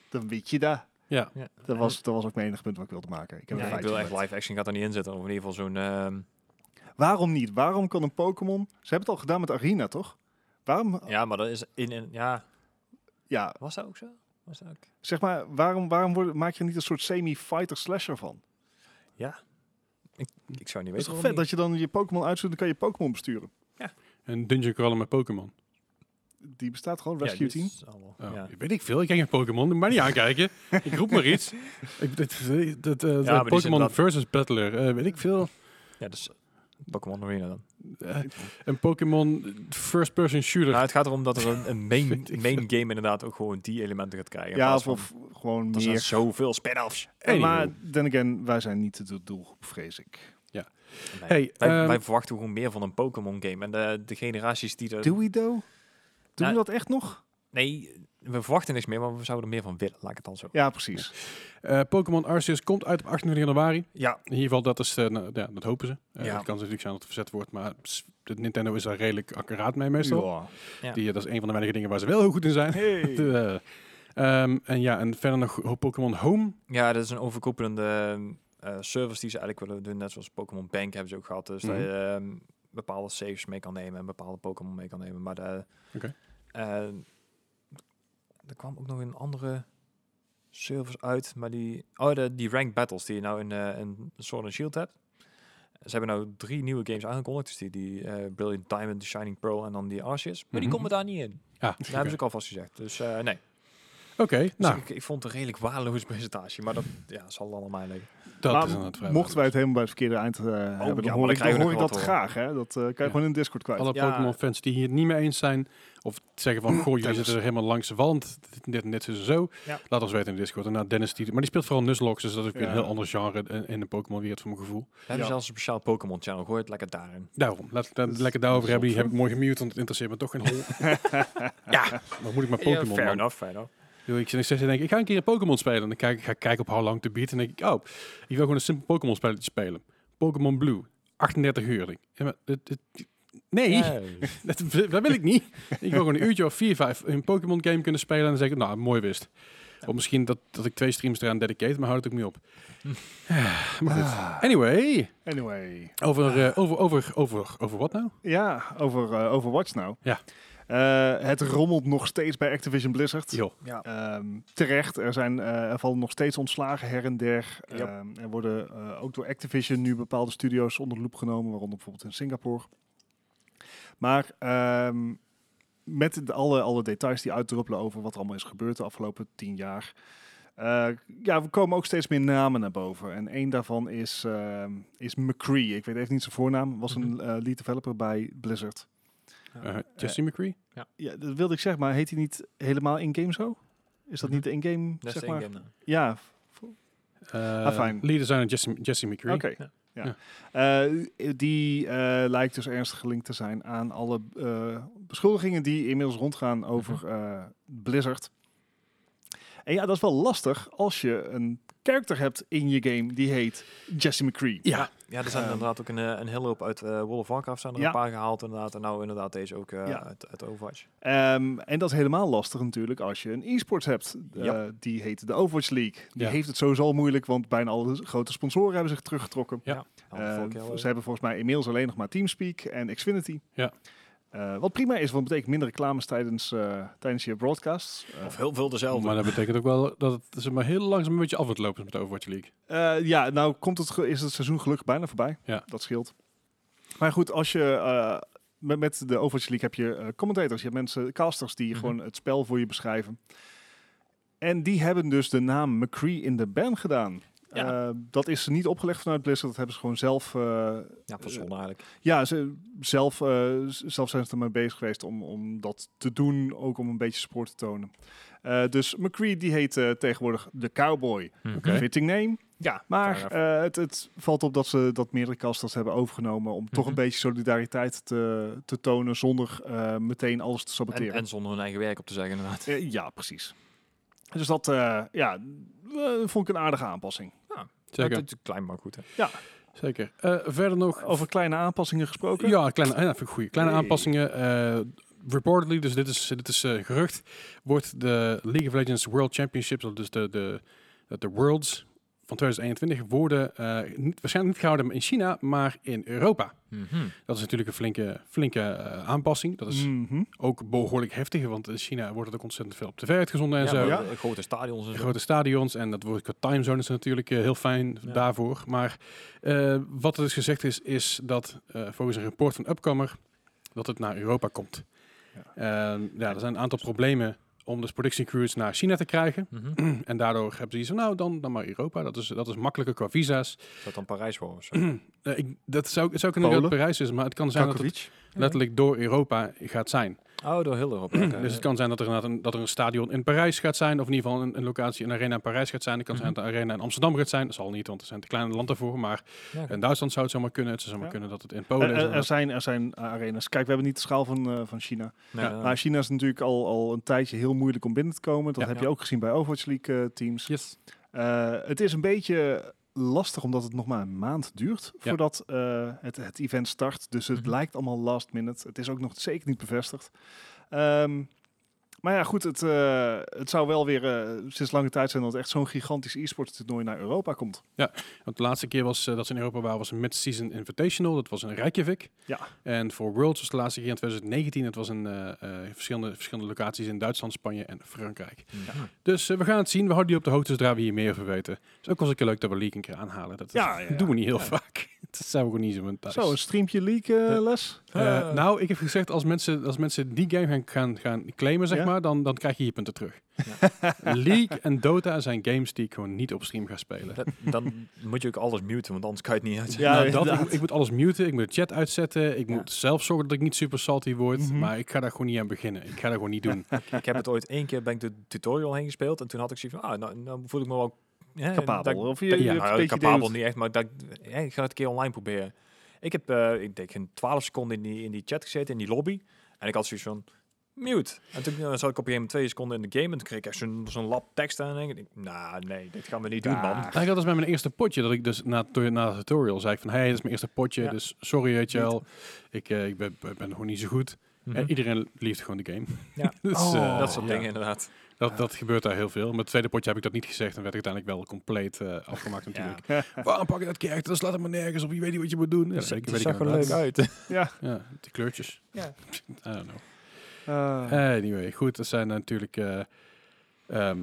Speaker 2: Dan weet je dat.
Speaker 1: Ja.
Speaker 3: ja.
Speaker 2: Dat was, dat was ook mijn enige punt wat ik wilde maken. Ik heb
Speaker 3: Ja, ik
Speaker 2: een feitje
Speaker 3: wil echt
Speaker 2: gemaakt.
Speaker 3: live action gaat er niet in zitten. Of in ieder geval zo'n... ehm,
Speaker 2: Waarom niet? Waarom kan een Pokémon... Ze hebben het al gedaan met Arena, toch? Waarom... Ja,
Speaker 3: ja, maar dat is in... in ja, was dat ook zo? Was dat ook?
Speaker 2: zeg maar, waarom, waarom worden, maak je er niet een soort semi-fighter-slasher van?
Speaker 3: Ik zou niet
Speaker 2: Het is
Speaker 3: weten waarom
Speaker 2: toch vet
Speaker 3: niet.
Speaker 2: dat je dan je Pokémon uitzoekt en dan kan je Pokémon besturen.
Speaker 1: En Dungeon Crawler met Pokémon.
Speaker 2: Die bestaat gewoon,
Speaker 3: Ja,
Speaker 2: Rescue
Speaker 3: dit
Speaker 2: Team.
Speaker 3: is allemaal-
Speaker 1: Oh,
Speaker 3: Ja.
Speaker 1: Weet ik veel. Ik kijk geen Pokémon. Moet je Maar niet aankijken. ik roep maar iets. Ik, dat, dat, dat, eh,
Speaker 3: maar die
Speaker 1: Pokémon
Speaker 3: zijn
Speaker 1: versus Battler. eh, weet ik veel.
Speaker 3: ja, dus Pokémon Arena dan.
Speaker 1: Eh, een Pokémon first-person shooter.
Speaker 3: Nou, het gaat erom dat er een, een main,
Speaker 1: Weet ik
Speaker 3: main game inderdaad ook gewoon die elementen gaat krijgen.
Speaker 2: Ja,
Speaker 3: in plaats
Speaker 2: of,
Speaker 3: van-
Speaker 2: of gewoon
Speaker 3: Er zijn
Speaker 2: meer.
Speaker 3: zoveel spin-offs.
Speaker 2: Eh, maar
Speaker 1: Anywho.
Speaker 2: then again, wij zijn niet de doelgroep, vrees ik.
Speaker 3: Nee.
Speaker 1: Hey,
Speaker 3: wij,
Speaker 1: ehm,
Speaker 3: wij verwachten gewoon meer van een Pokémon game. En de, de generaties die er...
Speaker 2: Do we, though? Doen
Speaker 3: Eh, Nou-
Speaker 2: we dat echt nog?
Speaker 3: Nee, we verwachten niks meer, maar we zouden er meer van willen. Laat ik het dan zo.
Speaker 2: Ja, precies.
Speaker 1: Eh, Pokémon Arceus komt uit op 28 januari.
Speaker 3: Ja,
Speaker 1: In ieder geval, dat, is, eh, nou, ja, dat hopen ze. Eh,
Speaker 3: Ja.
Speaker 1: Het kan natuurlijk zijn dat het verzet wordt, maar s- de Nintendo is daar redelijk accuraat mee meestal.
Speaker 2: Ja.
Speaker 3: Ja.
Speaker 1: Die, eh, dat is een van de weinige dingen waar ze wel heel goed in zijn. Eh, ehm, en ja, en verder nog Ho- Pokémon Home.
Speaker 3: Ja, dat is een overkoepelende eh, service die ze eigenlijk willen doen. Net zoals Pokémon Bank hebben ze ook gehad. Dus dat
Speaker 1: Mhm.
Speaker 3: je ehm, bepaalde saves mee kan nemen en bepaalde Pokémon mee kan nemen. Maar de,
Speaker 1: Oké.
Speaker 3: eh, er kwam ook nog een andere service uit. Maar die, oh, de, die ranked battles die je nou in, eh in Sword and Shield hebt. Ze hebben nou drie nieuwe games aangekondigd. Dus die, die eh, Brilliant Diamond, The Shining Pearl en dan die Arceus. Maar die
Speaker 1: Mhm.
Speaker 3: komen daar niet in.
Speaker 1: Ja,
Speaker 3: Daar
Speaker 1: oké.
Speaker 3: hebben ze ook alvast gezegd. Dus eh, nee.
Speaker 1: Oké,
Speaker 3: Dus
Speaker 1: nou,
Speaker 3: ik, ik vond het een redelijk waardeloze presentatie. Maar dat ja, zal allemaal mij liggen.
Speaker 1: dat
Speaker 2: Maar
Speaker 1: is inderdaad vrij.
Speaker 2: Mochten wij het helemaal bij het verkeerde eind eh, hebben,
Speaker 3: Oh,
Speaker 2: dan
Speaker 3: maar
Speaker 2: hoor
Speaker 3: dan
Speaker 2: ik, dan
Speaker 3: krijgen we
Speaker 2: hoor ik
Speaker 3: nog
Speaker 2: dat
Speaker 3: wat hoor.
Speaker 2: graag. Hè? Dat eh, kan je
Speaker 1: Ja.
Speaker 2: gewoon in Discord kwijt.
Speaker 1: Alle
Speaker 3: Ja.
Speaker 1: Pokémon-fans die hier het niet mee eens zijn, of zeggen van, goh, jullie
Speaker 2: Dennis.
Speaker 1: zitten er helemaal langs de wand, dit- dit en dit is zo,
Speaker 3: Ja.
Speaker 1: laat ons weten in de Discord. En nou, Dennis, die, maar die speelt vooral Nuzlocke, dus dat is ook weer een
Speaker 2: Ja.
Speaker 1: heel ander genre in, in de Pokémon-wereld, voor mijn gevoel.
Speaker 3: We hebben
Speaker 2: Ja.
Speaker 3: zelfs een speciaal Pokémon-channel gehoord. Lekker daarin.
Speaker 1: Daarom, laat ik het
Speaker 2: Dus-
Speaker 1: lekker daarover
Speaker 2: dus
Speaker 1: hebben. Die
Speaker 2: op-
Speaker 1: heb ik mooi gemute, want het interesseert me toch geen hol.
Speaker 3: Ja,
Speaker 1: Maar moet ik maar
Speaker 3: Pokémon.
Speaker 1: Pokémon?
Speaker 3: fair
Speaker 1: man?
Speaker 3: enough, fair enough.
Speaker 1: Ik bedoel, Ik zit steeds te denken, ik ga een keer een Pokémon spelen. En dan kijk, ik ga ik kijken op How Long To Beat. En dan denk ik, oh, ik wil gewoon een simpel Pokémon spelletje spelen. Pokémon Blue, 38 uur. Denk ik, ja, maar dit- dit- nee,
Speaker 3: Ja,
Speaker 1: dat, dat wil ik niet. ik wil gewoon een uurtje of vier, vijf een Pokémon game kunnen spelen. En dan zeg ik, nou, mooi wist. Of misschien dat, dat ik twee streams eraan dedicate, maar houd het ook niet op. maar
Speaker 3: Ah.
Speaker 1: goed. Anyway,
Speaker 2: Anyway.
Speaker 1: over, eh, over, over, over, over wat nou?
Speaker 2: Ja, over eh, Overwatch nou.
Speaker 1: Ja.
Speaker 2: Eh, het rommelt nog steeds bij Activision Blizzard.
Speaker 1: Joh,
Speaker 3: ja.
Speaker 2: Ehm, terecht, er, zijn, eh, er vallen nog steeds ontslagen her en der.
Speaker 3: Yep.
Speaker 2: Ehm, er worden eh, ook door Activision nu bepaalde studio's onder de loep genomen, waaronder bijvoorbeeld in Singapore. Maar ehm, met de, alle, alle details die uitdruppelen over wat er allemaal is gebeurd de afgelopen tien jaar. eh, ja, we komen ook steeds meer namen naar boven. En één daarvan is, ehm, is McCree. Ik weet even niet zijn voornaam. Was een eh, lead developer bij Blizzard.
Speaker 3: Uh-huh.
Speaker 1: Eh, Jesse McCree?
Speaker 2: Ja, dat wilde ik zeggen, maar heet hij niet helemaal in-game zo? Is dat
Speaker 3: Mhm.
Speaker 2: niet de in-game?
Speaker 3: Dat is
Speaker 2: zeg
Speaker 3: de
Speaker 2: maar?
Speaker 3: in-game nou.
Speaker 2: Ja,
Speaker 1: Eh
Speaker 2: Ah, fijn.
Speaker 1: Lead designer Jesse, Jesse McCree.
Speaker 2: oké.
Speaker 3: Ja.
Speaker 2: Ja. Eh, die eh, lijkt dus ernstig gelinkt te zijn aan alle eh, beschuldigingen die inmiddels rondgaan over eh, Blizzard. En ja, dat is wel lastig als je een character hebt in je game die heet Jesse McCree.
Speaker 1: Ja,
Speaker 3: Ja, er zijn
Speaker 2: Ehm.
Speaker 3: inderdaad ook een, eh, een hele hoop uit eh World of Warcraft zijn er
Speaker 2: Ja.
Speaker 3: een paar gehaald inderdaad. En nou inderdaad deze ook eh,
Speaker 2: Ja.
Speaker 3: uit, uit Overwatch.
Speaker 2: Ehm, en dat is helemaal lastig natuurlijk als je een e-sports hebt. Eh,
Speaker 3: Ja.
Speaker 2: Die heet de Overwatch League. Die
Speaker 1: Ja.
Speaker 2: heeft het sowieso al moeilijk, want bijna alle grote sponsoren hebben zich teruggetrokken.
Speaker 1: Ja.
Speaker 3: Had ik vorige
Speaker 2: Eh,
Speaker 3: keer al
Speaker 2: ze
Speaker 3: over.
Speaker 2: hebben volgens mij inmiddels alleen nog maar Teamspeak en Xfinity.
Speaker 1: Ja.
Speaker 2: Eh, wat prima is, want het betekent minder reclames tijdens, eh, tijdens je broadcasts. Eh,
Speaker 3: Of heel veel dezelfde.
Speaker 1: Maar dat betekent ook wel dat het zeg maar, heel langzaam een beetje af wordt lopen met Overwatch League.
Speaker 2: Eh, ja, nou komt het, ge- is het seizoen gelukkig bijna voorbij.
Speaker 1: Ja.
Speaker 2: Dat scheelt. Maar goed, als je eh, met, met de Overwatch League heb je eh, commentators, je hebt mensen, casters die
Speaker 1: Mhm.
Speaker 2: gewoon het spel voor je beschrijven. En die hebben dus de naam McCree in de ban gedaan.
Speaker 3: Ja.
Speaker 2: Eh, dat is niet opgelegd vanuit Blizzard, dat hebben ze gewoon zelf eh,
Speaker 3: ja, verzonnen eigenlijk.
Speaker 2: ja, ze, zelf, eh, z- zelf zijn ze ermee bezig geweest om, om dat te doen, ook om een beetje support te tonen. Eh, dus McCree die heet eh, tegenwoordig de Cowboy.
Speaker 3: Hm.
Speaker 1: Oké.
Speaker 2: Fitting name.
Speaker 3: Ja, fair
Speaker 2: Maar
Speaker 3: enough.
Speaker 2: eh, het, het valt op dat ze dat meerdere casters hebben overgenomen om toch een
Speaker 3: Mhm.
Speaker 2: beetje solidariteit te, te tonen zonder eh, meteen alles te
Speaker 3: en,
Speaker 2: saboteren.
Speaker 3: en zonder hun eigen werk op te zeggen inderdaad.
Speaker 2: Eh, ja, precies. Dus dat eh, ja, eh, vond ik een aardige aanpassing.
Speaker 3: Ja,
Speaker 1: Zeker.
Speaker 3: Het is klein maar goed. Hè.
Speaker 1: Zeker. Eh, verder nog...
Speaker 2: Over kleine aanpassingen gesproken.
Speaker 1: Ja, kleine, ja, vind ik goeie. Kleine
Speaker 2: Hey.
Speaker 1: aanpassingen. eh, reportedly, dus dit is, dit is eh, gerucht, wordt de League of Legends World Championships, of dus de, de, de Worlds van 2021, worden eh, niet, waarschijnlijk niet gehouden in China, maar in Europa.
Speaker 3: Hm.
Speaker 1: Dat is natuurlijk een flinke, flinke eh, aanpassing. Dat
Speaker 3: Mm.
Speaker 1: is
Speaker 2: Mhm.
Speaker 1: ook behoorlijk heftig, want in China wordt het ook ontzettend veel op tv uitgezonden en
Speaker 3: Ja,
Speaker 1: zo.
Speaker 3: maar,
Speaker 2: Ja.
Speaker 3: eh, Grote stadions en zo.
Speaker 1: Grote stadions en dat wordt qua timezones natuurlijk eh, heel fijn
Speaker 3: Ja.
Speaker 1: daarvoor. Maar eh, wat er dus gezegd is, is dat eh, volgens een rapport van Upcomer dat het naar Europa komt. Ja, ja er zijn een aantal problemen om dus productiecrews naar China te krijgen.
Speaker 3: Mhm.
Speaker 1: en daardoor hebben ze iets van, nou dan, dan maar Europa. Dat is, dat is makkelijker qua visa's.
Speaker 3: Zou het dan Parijs worden of zo?
Speaker 1: Eh, ik, dat zou, het zou kunnen dat het
Speaker 2: Polen?
Speaker 1: Parijs is, maar het kan zijn dat het
Speaker 2: Kakovic.
Speaker 1: letterlijk door Europa gaat zijn.
Speaker 3: Oh, door heel Europa. Oké.
Speaker 1: Dus het kan zijn dat er, inderdaad een, dat er een stadion in Parijs gaat zijn, of in ieder geval een, een locatie, een arena in Parijs gaat zijn. Het kan
Speaker 2: Mhm.
Speaker 1: zijn dat een arena in Amsterdam gaat zijn. Dat zal niet, want er zijn te kleine land daarvoor. Maar
Speaker 3: Ja, oké.
Speaker 1: in Duitsland zou het zomaar kunnen. Het zou zomaar
Speaker 2: Ja.
Speaker 1: kunnen dat het in
Speaker 2: Er,
Speaker 1: Polen is.
Speaker 2: er- er zijn, er zijn eh, arenas. Kijk, we hebben niet de schaal van, eh, van China.
Speaker 3: Nee,
Speaker 1: Ja.
Speaker 3: nee,
Speaker 2: Maar China is natuurlijk al, al een tijdje heel moeilijk om binnen te komen. Dat
Speaker 1: Ja.
Speaker 2: heb je
Speaker 3: Ja.
Speaker 2: ook gezien bij Overwatch League eh, teams.
Speaker 1: Yes.
Speaker 2: Eh, het is een beetje lastig omdat het nog maar een maand duurt
Speaker 1: Ja.
Speaker 2: voordat eh, het, het event start. Dus het
Speaker 3: Mhm.
Speaker 2: lijkt allemaal last minute. Het is ook nog zeker niet bevestigd. Ehm, maar ja, goed, het, eh, het zou wel weer eh, sinds lange tijd zijn dat echt zo'n gigantisch e-sports toernooi naar Europa komt.
Speaker 1: Want de laatste keer was, eh, dat ze in Europa waren, was een mid-season invitational. Dat was in Reykjavik.
Speaker 2: Ja.
Speaker 1: En voor Worlds was de laatste keer in 2019. Het was in eh, eh, verschillende, verschillende locaties in Duitsland, Spanje en Frankrijk.
Speaker 3: Ja.
Speaker 1: Dus eh, we gaan het zien. We houden je op de hoogte zodra we hier meer over weten. Het is ook wel eens een keer leuk dat we League een keer aanhalen. Dat,
Speaker 2: Ja, ja, ja.
Speaker 1: doen we niet heel vaak. Dat zijn we gewoon niet zo van thuis.
Speaker 2: Zo, een streampje league eh,
Speaker 1: Ja.
Speaker 2: les.
Speaker 1: Eh,
Speaker 3: Eh.
Speaker 1: nou, ik heb gezegd, als mensen, als mensen die game gaan, gaan, gaan claimen, zeg
Speaker 2: Ja?
Speaker 1: maar, dan, dan krijg je je punten terug. League en Dota zijn games die ik gewoon niet op stream ga spelen.
Speaker 3: Dat- dan moet je ook alles muten, want anders kan je het niet uitzetten.
Speaker 2: Ja,
Speaker 1: Nou, dat, ik,
Speaker 2: inderdaad.
Speaker 1: moet- ik moet alles muten, ik moet de chat uitzetten, ik
Speaker 3: Ja.
Speaker 1: moet zelf zorgen dat ik niet super salty word,
Speaker 2: Mhm.
Speaker 1: maar ik ga daar gewoon niet aan beginnen. Ik ga daar gewoon niet doen.
Speaker 3: Ik heb het ooit één keer ben ik de tutorial heen gespeeld en toen had ik zoiets van, ah, nou, nou voel ik me wel hè, dat
Speaker 2: Capabel.
Speaker 3: ik-
Speaker 2: of je,
Speaker 3: dat ik-
Speaker 2: je
Speaker 3: ja,
Speaker 2: hebt
Speaker 3: nou,
Speaker 2: een beetje idee
Speaker 3: capabel
Speaker 2: hoe-
Speaker 3: niet echt, maar dat, ik- hè, ik ga het een keer online proberen. Ik heb, eh, ik denk, een 12 seconden in die, in die chat gezeten, in die lobby. En ik had zoiets van, mute. En toen eh, zat ik op een gegeven moment twee seconden in de game en toen kreeg ik echt zo'n zo'n lap tekst aan. En ik denk, nou nee, dit gaan we niet
Speaker 2: Ah.
Speaker 3: doen, man.
Speaker 2: eh,
Speaker 1: Eigenlijk Nou, dat was bij mijn eerste potje, dat ik dus na, to- na de tutorial zei ik van, hé, hey, dit is mijn eerste potje,
Speaker 3: Ja.
Speaker 1: dus sorry, weet je wel, ik, eh, ik ben, ben gewoon niet zo goed.
Speaker 3: Mhm.
Speaker 1: En iedereen liefde gewoon de game.
Speaker 3: Ja.
Speaker 1: Dus,
Speaker 2: Oh.
Speaker 1: eh,
Speaker 3: dat soort
Speaker 1: ja.
Speaker 3: dingen, inderdaad.
Speaker 1: Dat, dat gebeurt daar heel veel. Met het tweede potje heb ik dat niet gezegd en werd ik uiteindelijk wel compleet eh, afgemaakt natuurlijk. Waarom pak je dat kerk? Dat slaat het maar nergens op. Je weet niet wat je moet doen. Ja,
Speaker 3: Dus
Speaker 1: zeker,
Speaker 3: het
Speaker 1: weet ik
Speaker 3: zag er
Speaker 1: inderdaad.
Speaker 3: leuk uit.
Speaker 1: Ja, die kleurtjes.
Speaker 3: Ja.
Speaker 1: I don't know.
Speaker 2: Eh,
Speaker 1: Anyway, goed. Dat zijn natuurlijk... eh, ehm,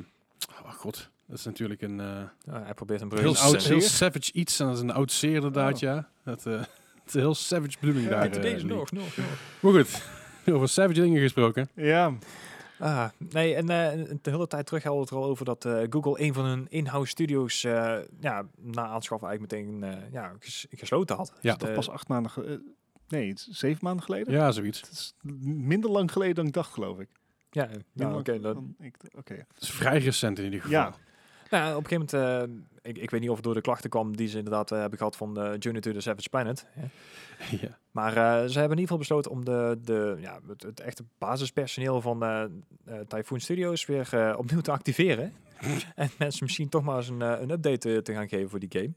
Speaker 1: oh god, dat is natuurlijk een eh,
Speaker 3: Ja, hij probeert een brug
Speaker 1: heel,
Speaker 3: te zetten.
Speaker 1: oud, heel savage iets. En dat is een oud zeer inderdaad,
Speaker 2: Oh.
Speaker 1: ja. Dat, eh, het is een heel savage bedoeling
Speaker 2: Ja,
Speaker 1: daar.
Speaker 3: Dit-
Speaker 1: eh,
Speaker 3: deze
Speaker 1: Lee.
Speaker 3: nog, nog, nog.
Speaker 1: Maar goed, over savage dingen gesproken.
Speaker 2: ja.
Speaker 3: Ah, nee, en eh, de hele tijd terug hadden we het er al over dat eh, Google een van hun in-house studio's eh, ja, na aanschaf eigenlijk meteen eh, ja, ges- gesloten had.
Speaker 1: Ja.
Speaker 2: Dat
Speaker 3: eh,
Speaker 2: pas acht maanden ge- eh, nee, het is zeven maanden geleden.
Speaker 1: Ja, zoiets.
Speaker 2: Het is m- minder lang geleden dan ik dacht, geloof ik.
Speaker 3: Ja, nou,
Speaker 2: Minder
Speaker 3: oké,
Speaker 2: lang
Speaker 3: dat-
Speaker 2: dan ik d- oké.
Speaker 1: Het is vrij recent in ieder geval.
Speaker 2: Ja.
Speaker 3: nou, op een gegeven moment, eh, ik, ik weet niet of het door de klachten kwam die ze inderdaad eh, hebben gehad van eh, Journey to the Savage Planet. hè.
Speaker 1: ja.
Speaker 3: Maar eh, ze hebben in ieder geval besloten om de, de, ja, het, het echte basispersoneel van eh eh, Typhoon Studios weer eh, opnieuw te activeren. en mensen misschien toch maar eens een, eh, een update eh, te gaan geven voor die game.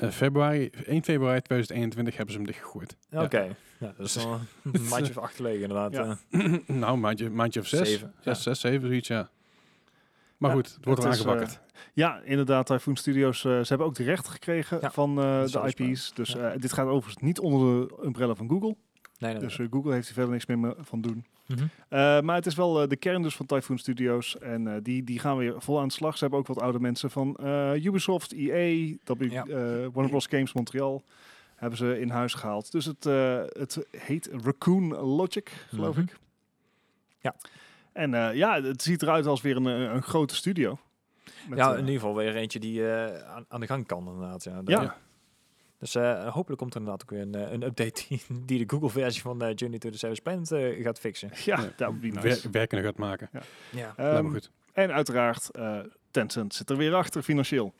Speaker 1: Eh, februari, 1 februari 2021 hebben ze hem dichtgegooid.
Speaker 3: Oké, ja, dat is wel een maandje of acht gelegen inderdaad.
Speaker 2: Dus- Ja.
Speaker 3: eh.
Speaker 1: nou, maandje, maandje of zes.
Speaker 3: Zeven,
Speaker 1: zes,
Speaker 3: ja.
Speaker 1: zes, zeven, zoiets, ja. Maar
Speaker 2: Ja,
Speaker 1: goed, het wordt er
Speaker 2: het is, eh,
Speaker 1: aangebakkerd.
Speaker 2: ja, inderdaad. Typhoon Studios, eh, ze hebben ook de rechten gekregen
Speaker 3: Ja,
Speaker 2: van eh,
Speaker 3: dat is
Speaker 2: de
Speaker 3: alles
Speaker 2: IP's. Dus
Speaker 3: Ja.
Speaker 2: eh, dit gaat overigens niet onder de umbrella van Google.
Speaker 3: Nee, nee,
Speaker 2: Dus
Speaker 3: nee.
Speaker 2: eh, Google heeft er verder niks meer van doen.
Speaker 3: Mhm.
Speaker 2: Eh, maar het is wel eh, de kern dus van Typhoon Studios. En eh, die, die gaan weer vol aan de slag. Ze hebben ook wat oude mensen van eh, Ubisoft, EA, w,
Speaker 3: Ja.
Speaker 2: eh, Warner Bros. Games Montreal. Hebben ze in huis gehaald. Dus het, eh, het heet Raccoon Logic, geloof
Speaker 3: Mhm.
Speaker 2: ik.
Speaker 3: Ja.
Speaker 2: En eh, ja, het ziet eruit als weer een, eh, een grote studio. Met,
Speaker 3: ja,
Speaker 2: eh,
Speaker 3: in ieder geval weer eentje die eh, aan, aan de gang kan inderdaad. Ja.
Speaker 2: ja,
Speaker 1: Ja.
Speaker 3: Dus eh, hopelijk komt er inderdaad ook weer een, eh, een update die, die de Google-versie van eh, Journey to the Savage Planet eh, gaat fixen.
Speaker 2: ja, dat would be nice.
Speaker 1: Wer- werkende gaat maken.
Speaker 3: Ja.
Speaker 2: Ehm,
Speaker 1: Lijkt me goed.
Speaker 2: en uiteraard, eh, Tencent zit er weer achter financieel.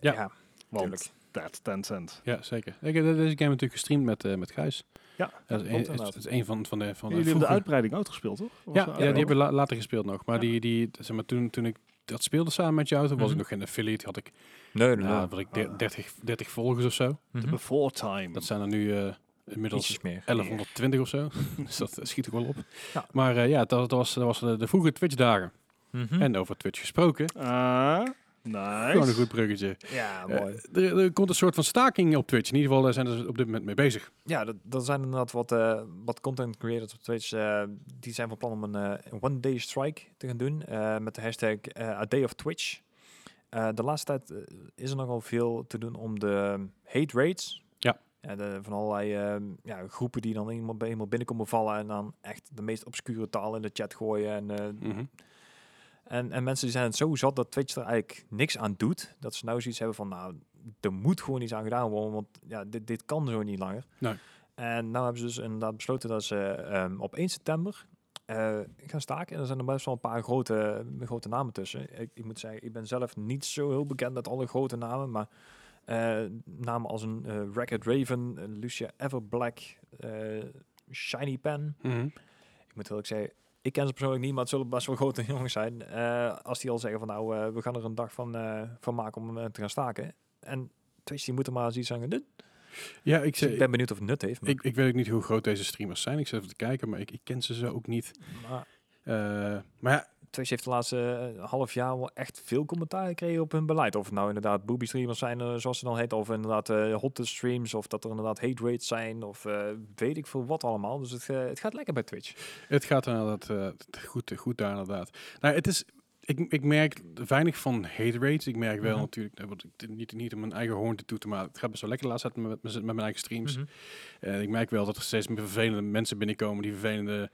Speaker 1: Ja.
Speaker 2: Want
Speaker 3: tuurlijk.
Speaker 2: dat Tencent.
Speaker 1: Ja, zeker. Ik heb deze game natuurlijk gestreamd met, eh, met Gijs.
Speaker 2: Ja,
Speaker 1: dat is
Speaker 3: klopt
Speaker 1: een, is-
Speaker 3: inderdaad.
Speaker 1: is een van, van de... Van de
Speaker 2: Jullie hebben de
Speaker 1: vroege-
Speaker 2: uitbreiding ook gespeeld, toch? Of
Speaker 1: Ja,
Speaker 2: zo?
Speaker 1: ja, die hebben we la- later gespeeld nog. Maar,
Speaker 2: Ja.
Speaker 1: die, die, zeg maar toen, toen ik dat speelde samen met jou, toen was
Speaker 3: Mhm.
Speaker 1: ik nog geen affiliate. Had ik,
Speaker 3: Nee, nee, nee.
Speaker 1: nou, had ik
Speaker 2: Ah.
Speaker 1: de- 30, 30 volgers of zo.
Speaker 3: Mhm.
Speaker 2: De Before Time.
Speaker 1: Mm-hmm. Dat zijn er nu eh, inmiddels
Speaker 3: Ietsjes meer.
Speaker 1: 1120 of zo. dus dat eh, schiet ook wel op.
Speaker 3: Ja.
Speaker 1: Maar eh, ja, dat, dat was, dat was de, de vroege Twitch dagen.
Speaker 3: Mhm.
Speaker 1: En over Twitch gesproken.
Speaker 2: Ah, nice.
Speaker 1: Gewoon een goed bruggetje.
Speaker 3: ja,
Speaker 1: Eh,
Speaker 3: mooi.
Speaker 1: er, er komt een soort van staking op Twitch. In ieder geval daar zijn ze op dit moment mee bezig.
Speaker 3: Ja, dat, dat zijn inderdaad wat, eh, wat content creators op Twitch. eh, die zijn van plan om een eh, een one-day strike te gaan doen eh, met de hashtag eh, A Day of Twitch. Eh, de laatste tijd eh, is er nogal veel te doen om de hate raids.
Speaker 1: Ja.
Speaker 3: Eh, de- van allerlei eh, ja, groepen die dan iemand, bij iemand binnenkomen vallen en dan echt de meest obscure taal in de chat gooien. En, eh,
Speaker 1: Mhm.
Speaker 3: en, en mensen die zijn het zo zat dat Twitch er eigenlijk niks aan doet. Dat ze nou zoiets hebben van, nou, er moet gewoon iets aan gedaan worden, want ja, dit, dit kan zo niet langer.
Speaker 1: Nee.
Speaker 3: En nou hebben ze dus inderdaad besloten dat ze ehm, op 1 september eh, gaan staken. En er zijn er best wel een paar grote, grote namen tussen. Ik, ik moet zeggen, ik ben zelf niet zo heel bekend met alle grote namen, maar eh, namen als een eh Racket Raven, eh, Lucia Everblack, eh, Shiny Pen,
Speaker 1: Mhm.
Speaker 3: ik moet eerlijk zeggen, ik ken ze persoonlijk niet, maar het zullen best wel grote jongens zijn. eh, als die al zeggen van nou, eh, we gaan er een dag van, eh, van maken om eh, te gaan staken. En Twitch die moet er maar eens iets aan gaan doen.
Speaker 1: Ja, ik,
Speaker 3: Dus ik
Speaker 1: zeg,
Speaker 3: ben benieuwd of het nut heeft. Maar,
Speaker 1: ik, ik weet ook niet hoe groot deze streamers zijn. Ik zit even te kijken, maar ik, ik ken ze zo ook niet.
Speaker 3: maar
Speaker 1: Eh, maar ja,
Speaker 3: Twitch heeft de laatste eh, half jaar wel echt veel commentaar gekregen op hun beleid. Of het nou inderdaad booby streamers zijn, eh, zoals ze dan heet. Of inderdaad eh hot streams. Of dat er inderdaad hate rates zijn. Of eh, weet ik veel wat allemaal. Dus het, eh, het gaat lekker bij Twitch.
Speaker 1: Het gaat inderdaad eh, goed, goed daar inderdaad. Nou, het is, ik, ik merk weinig van hate rates. Ik merk wel
Speaker 3: Mhm.
Speaker 1: natuurlijk, eh, want ik, niet, niet om mijn eigen hoorn te toeten, maar het gaat best wel lekker de laatste tijd met, met, met mijn eigen streams. En ik merk wel dat er steeds meer vervelende mensen binnenkomen die vervelende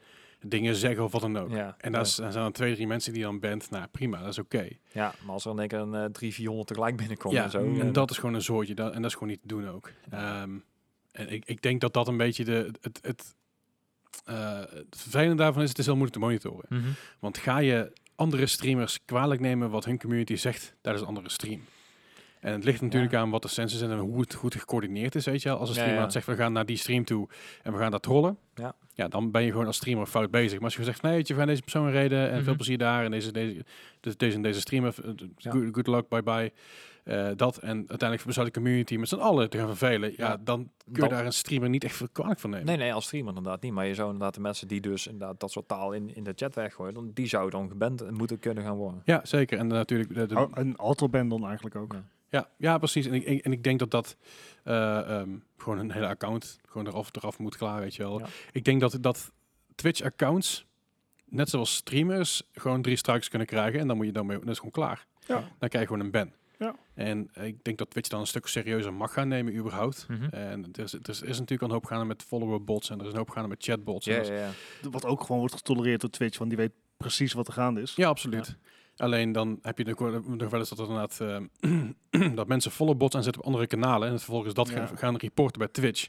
Speaker 1: dingen zeggen of wat dan ook.
Speaker 3: Ja,
Speaker 1: En daar s- daar zijn dan twee, drie mensen die je dan bent. Nou, prima, dat is oké.
Speaker 3: ja, maar als er in één keer een eh, drie, 400 tegelijk binnenkomt
Speaker 1: Ja,
Speaker 3: en zo.
Speaker 1: en
Speaker 3: eh,
Speaker 1: dat is gewoon een zoortje. Dat, en dat is gewoon niet te doen ook. Ehm, en ik, ik denk dat dat een beetje de, het, het, eh, het vervelende daarvan is, het is heel moeilijk te monitoren.
Speaker 3: mhm.
Speaker 1: Want ga je andere streamers kwalijk nemen wat hun community zegt tijdens een andere stream? En het ligt natuurlijk aan wat de senses zijn en hoe het goed gecoördineerd is, weet je wel. Als een
Speaker 3: Ja,
Speaker 1: streamer
Speaker 3: ja.
Speaker 1: aan het zegt, we gaan naar die stream toe en we gaan daar trollen.
Speaker 3: Ja.
Speaker 1: ja, dan ben je gewoon als streamer fout bezig. Maar als je zegt, nee, weet je, we gaan deze persoon reden en veel
Speaker 3: Mhm.
Speaker 1: plezier daar en deze, deze, dus deze en deze streamer, eh,
Speaker 3: Ja.
Speaker 1: good, good luck, bye bye. eh, dat en uiteindelijk besluit de community met z'n allen te gaan vervelen. Ja,
Speaker 3: Ja.
Speaker 1: dan kun je
Speaker 3: Dan-
Speaker 1: daar een streamer niet echt veel kwalijk van nemen.
Speaker 3: Nee, nee, als streamer inderdaad niet. Maar je zou inderdaad de mensen die dus inderdaad dat soort taal in, in de chat weggooien, dan, die zou dan geband moeten kunnen gaan worden.
Speaker 1: Ja, zeker. En eh, natuurlijk... de- de-
Speaker 2: Oh, Een autoband dan eigenlijk ook.
Speaker 3: Ja.
Speaker 1: Ja, ja precies. En ik- ik, en ik denk dat dat eh, ehm, gewoon een hele account gewoon eraf, eraf moet klaar, weet je wel.
Speaker 3: Ja.
Speaker 1: Ik denk dat, dat Twitch-accounts, net zoals streamers, gewoon drie strikes kunnen krijgen. En dan moet je daarmee, dat is gewoon klaar.
Speaker 2: Ja.
Speaker 1: Dan krijg je gewoon een ban.
Speaker 2: Ja.
Speaker 1: En ik denk dat Twitch dan een stuk serieuzer mag gaan nemen, überhaupt. En er is, er is natuurlijk al een hoop gaande met follower bots en er is een hoop gaande met chatbots. en
Speaker 3: Ja,
Speaker 1: er is-
Speaker 3: ja, ja.
Speaker 2: Wat ook gewoon wordt getolereerd door Twitch, want die weet precies wat er gaande is.
Speaker 1: Ja, absoluut. Alleen dan heb je nog wel- nog wel eens dat er inderdaad eh, dat mensen volle bots aanzetten op andere kanalen en het vervolgens dat
Speaker 2: Ja.
Speaker 1: gaan- gaan reporten bij Twitch.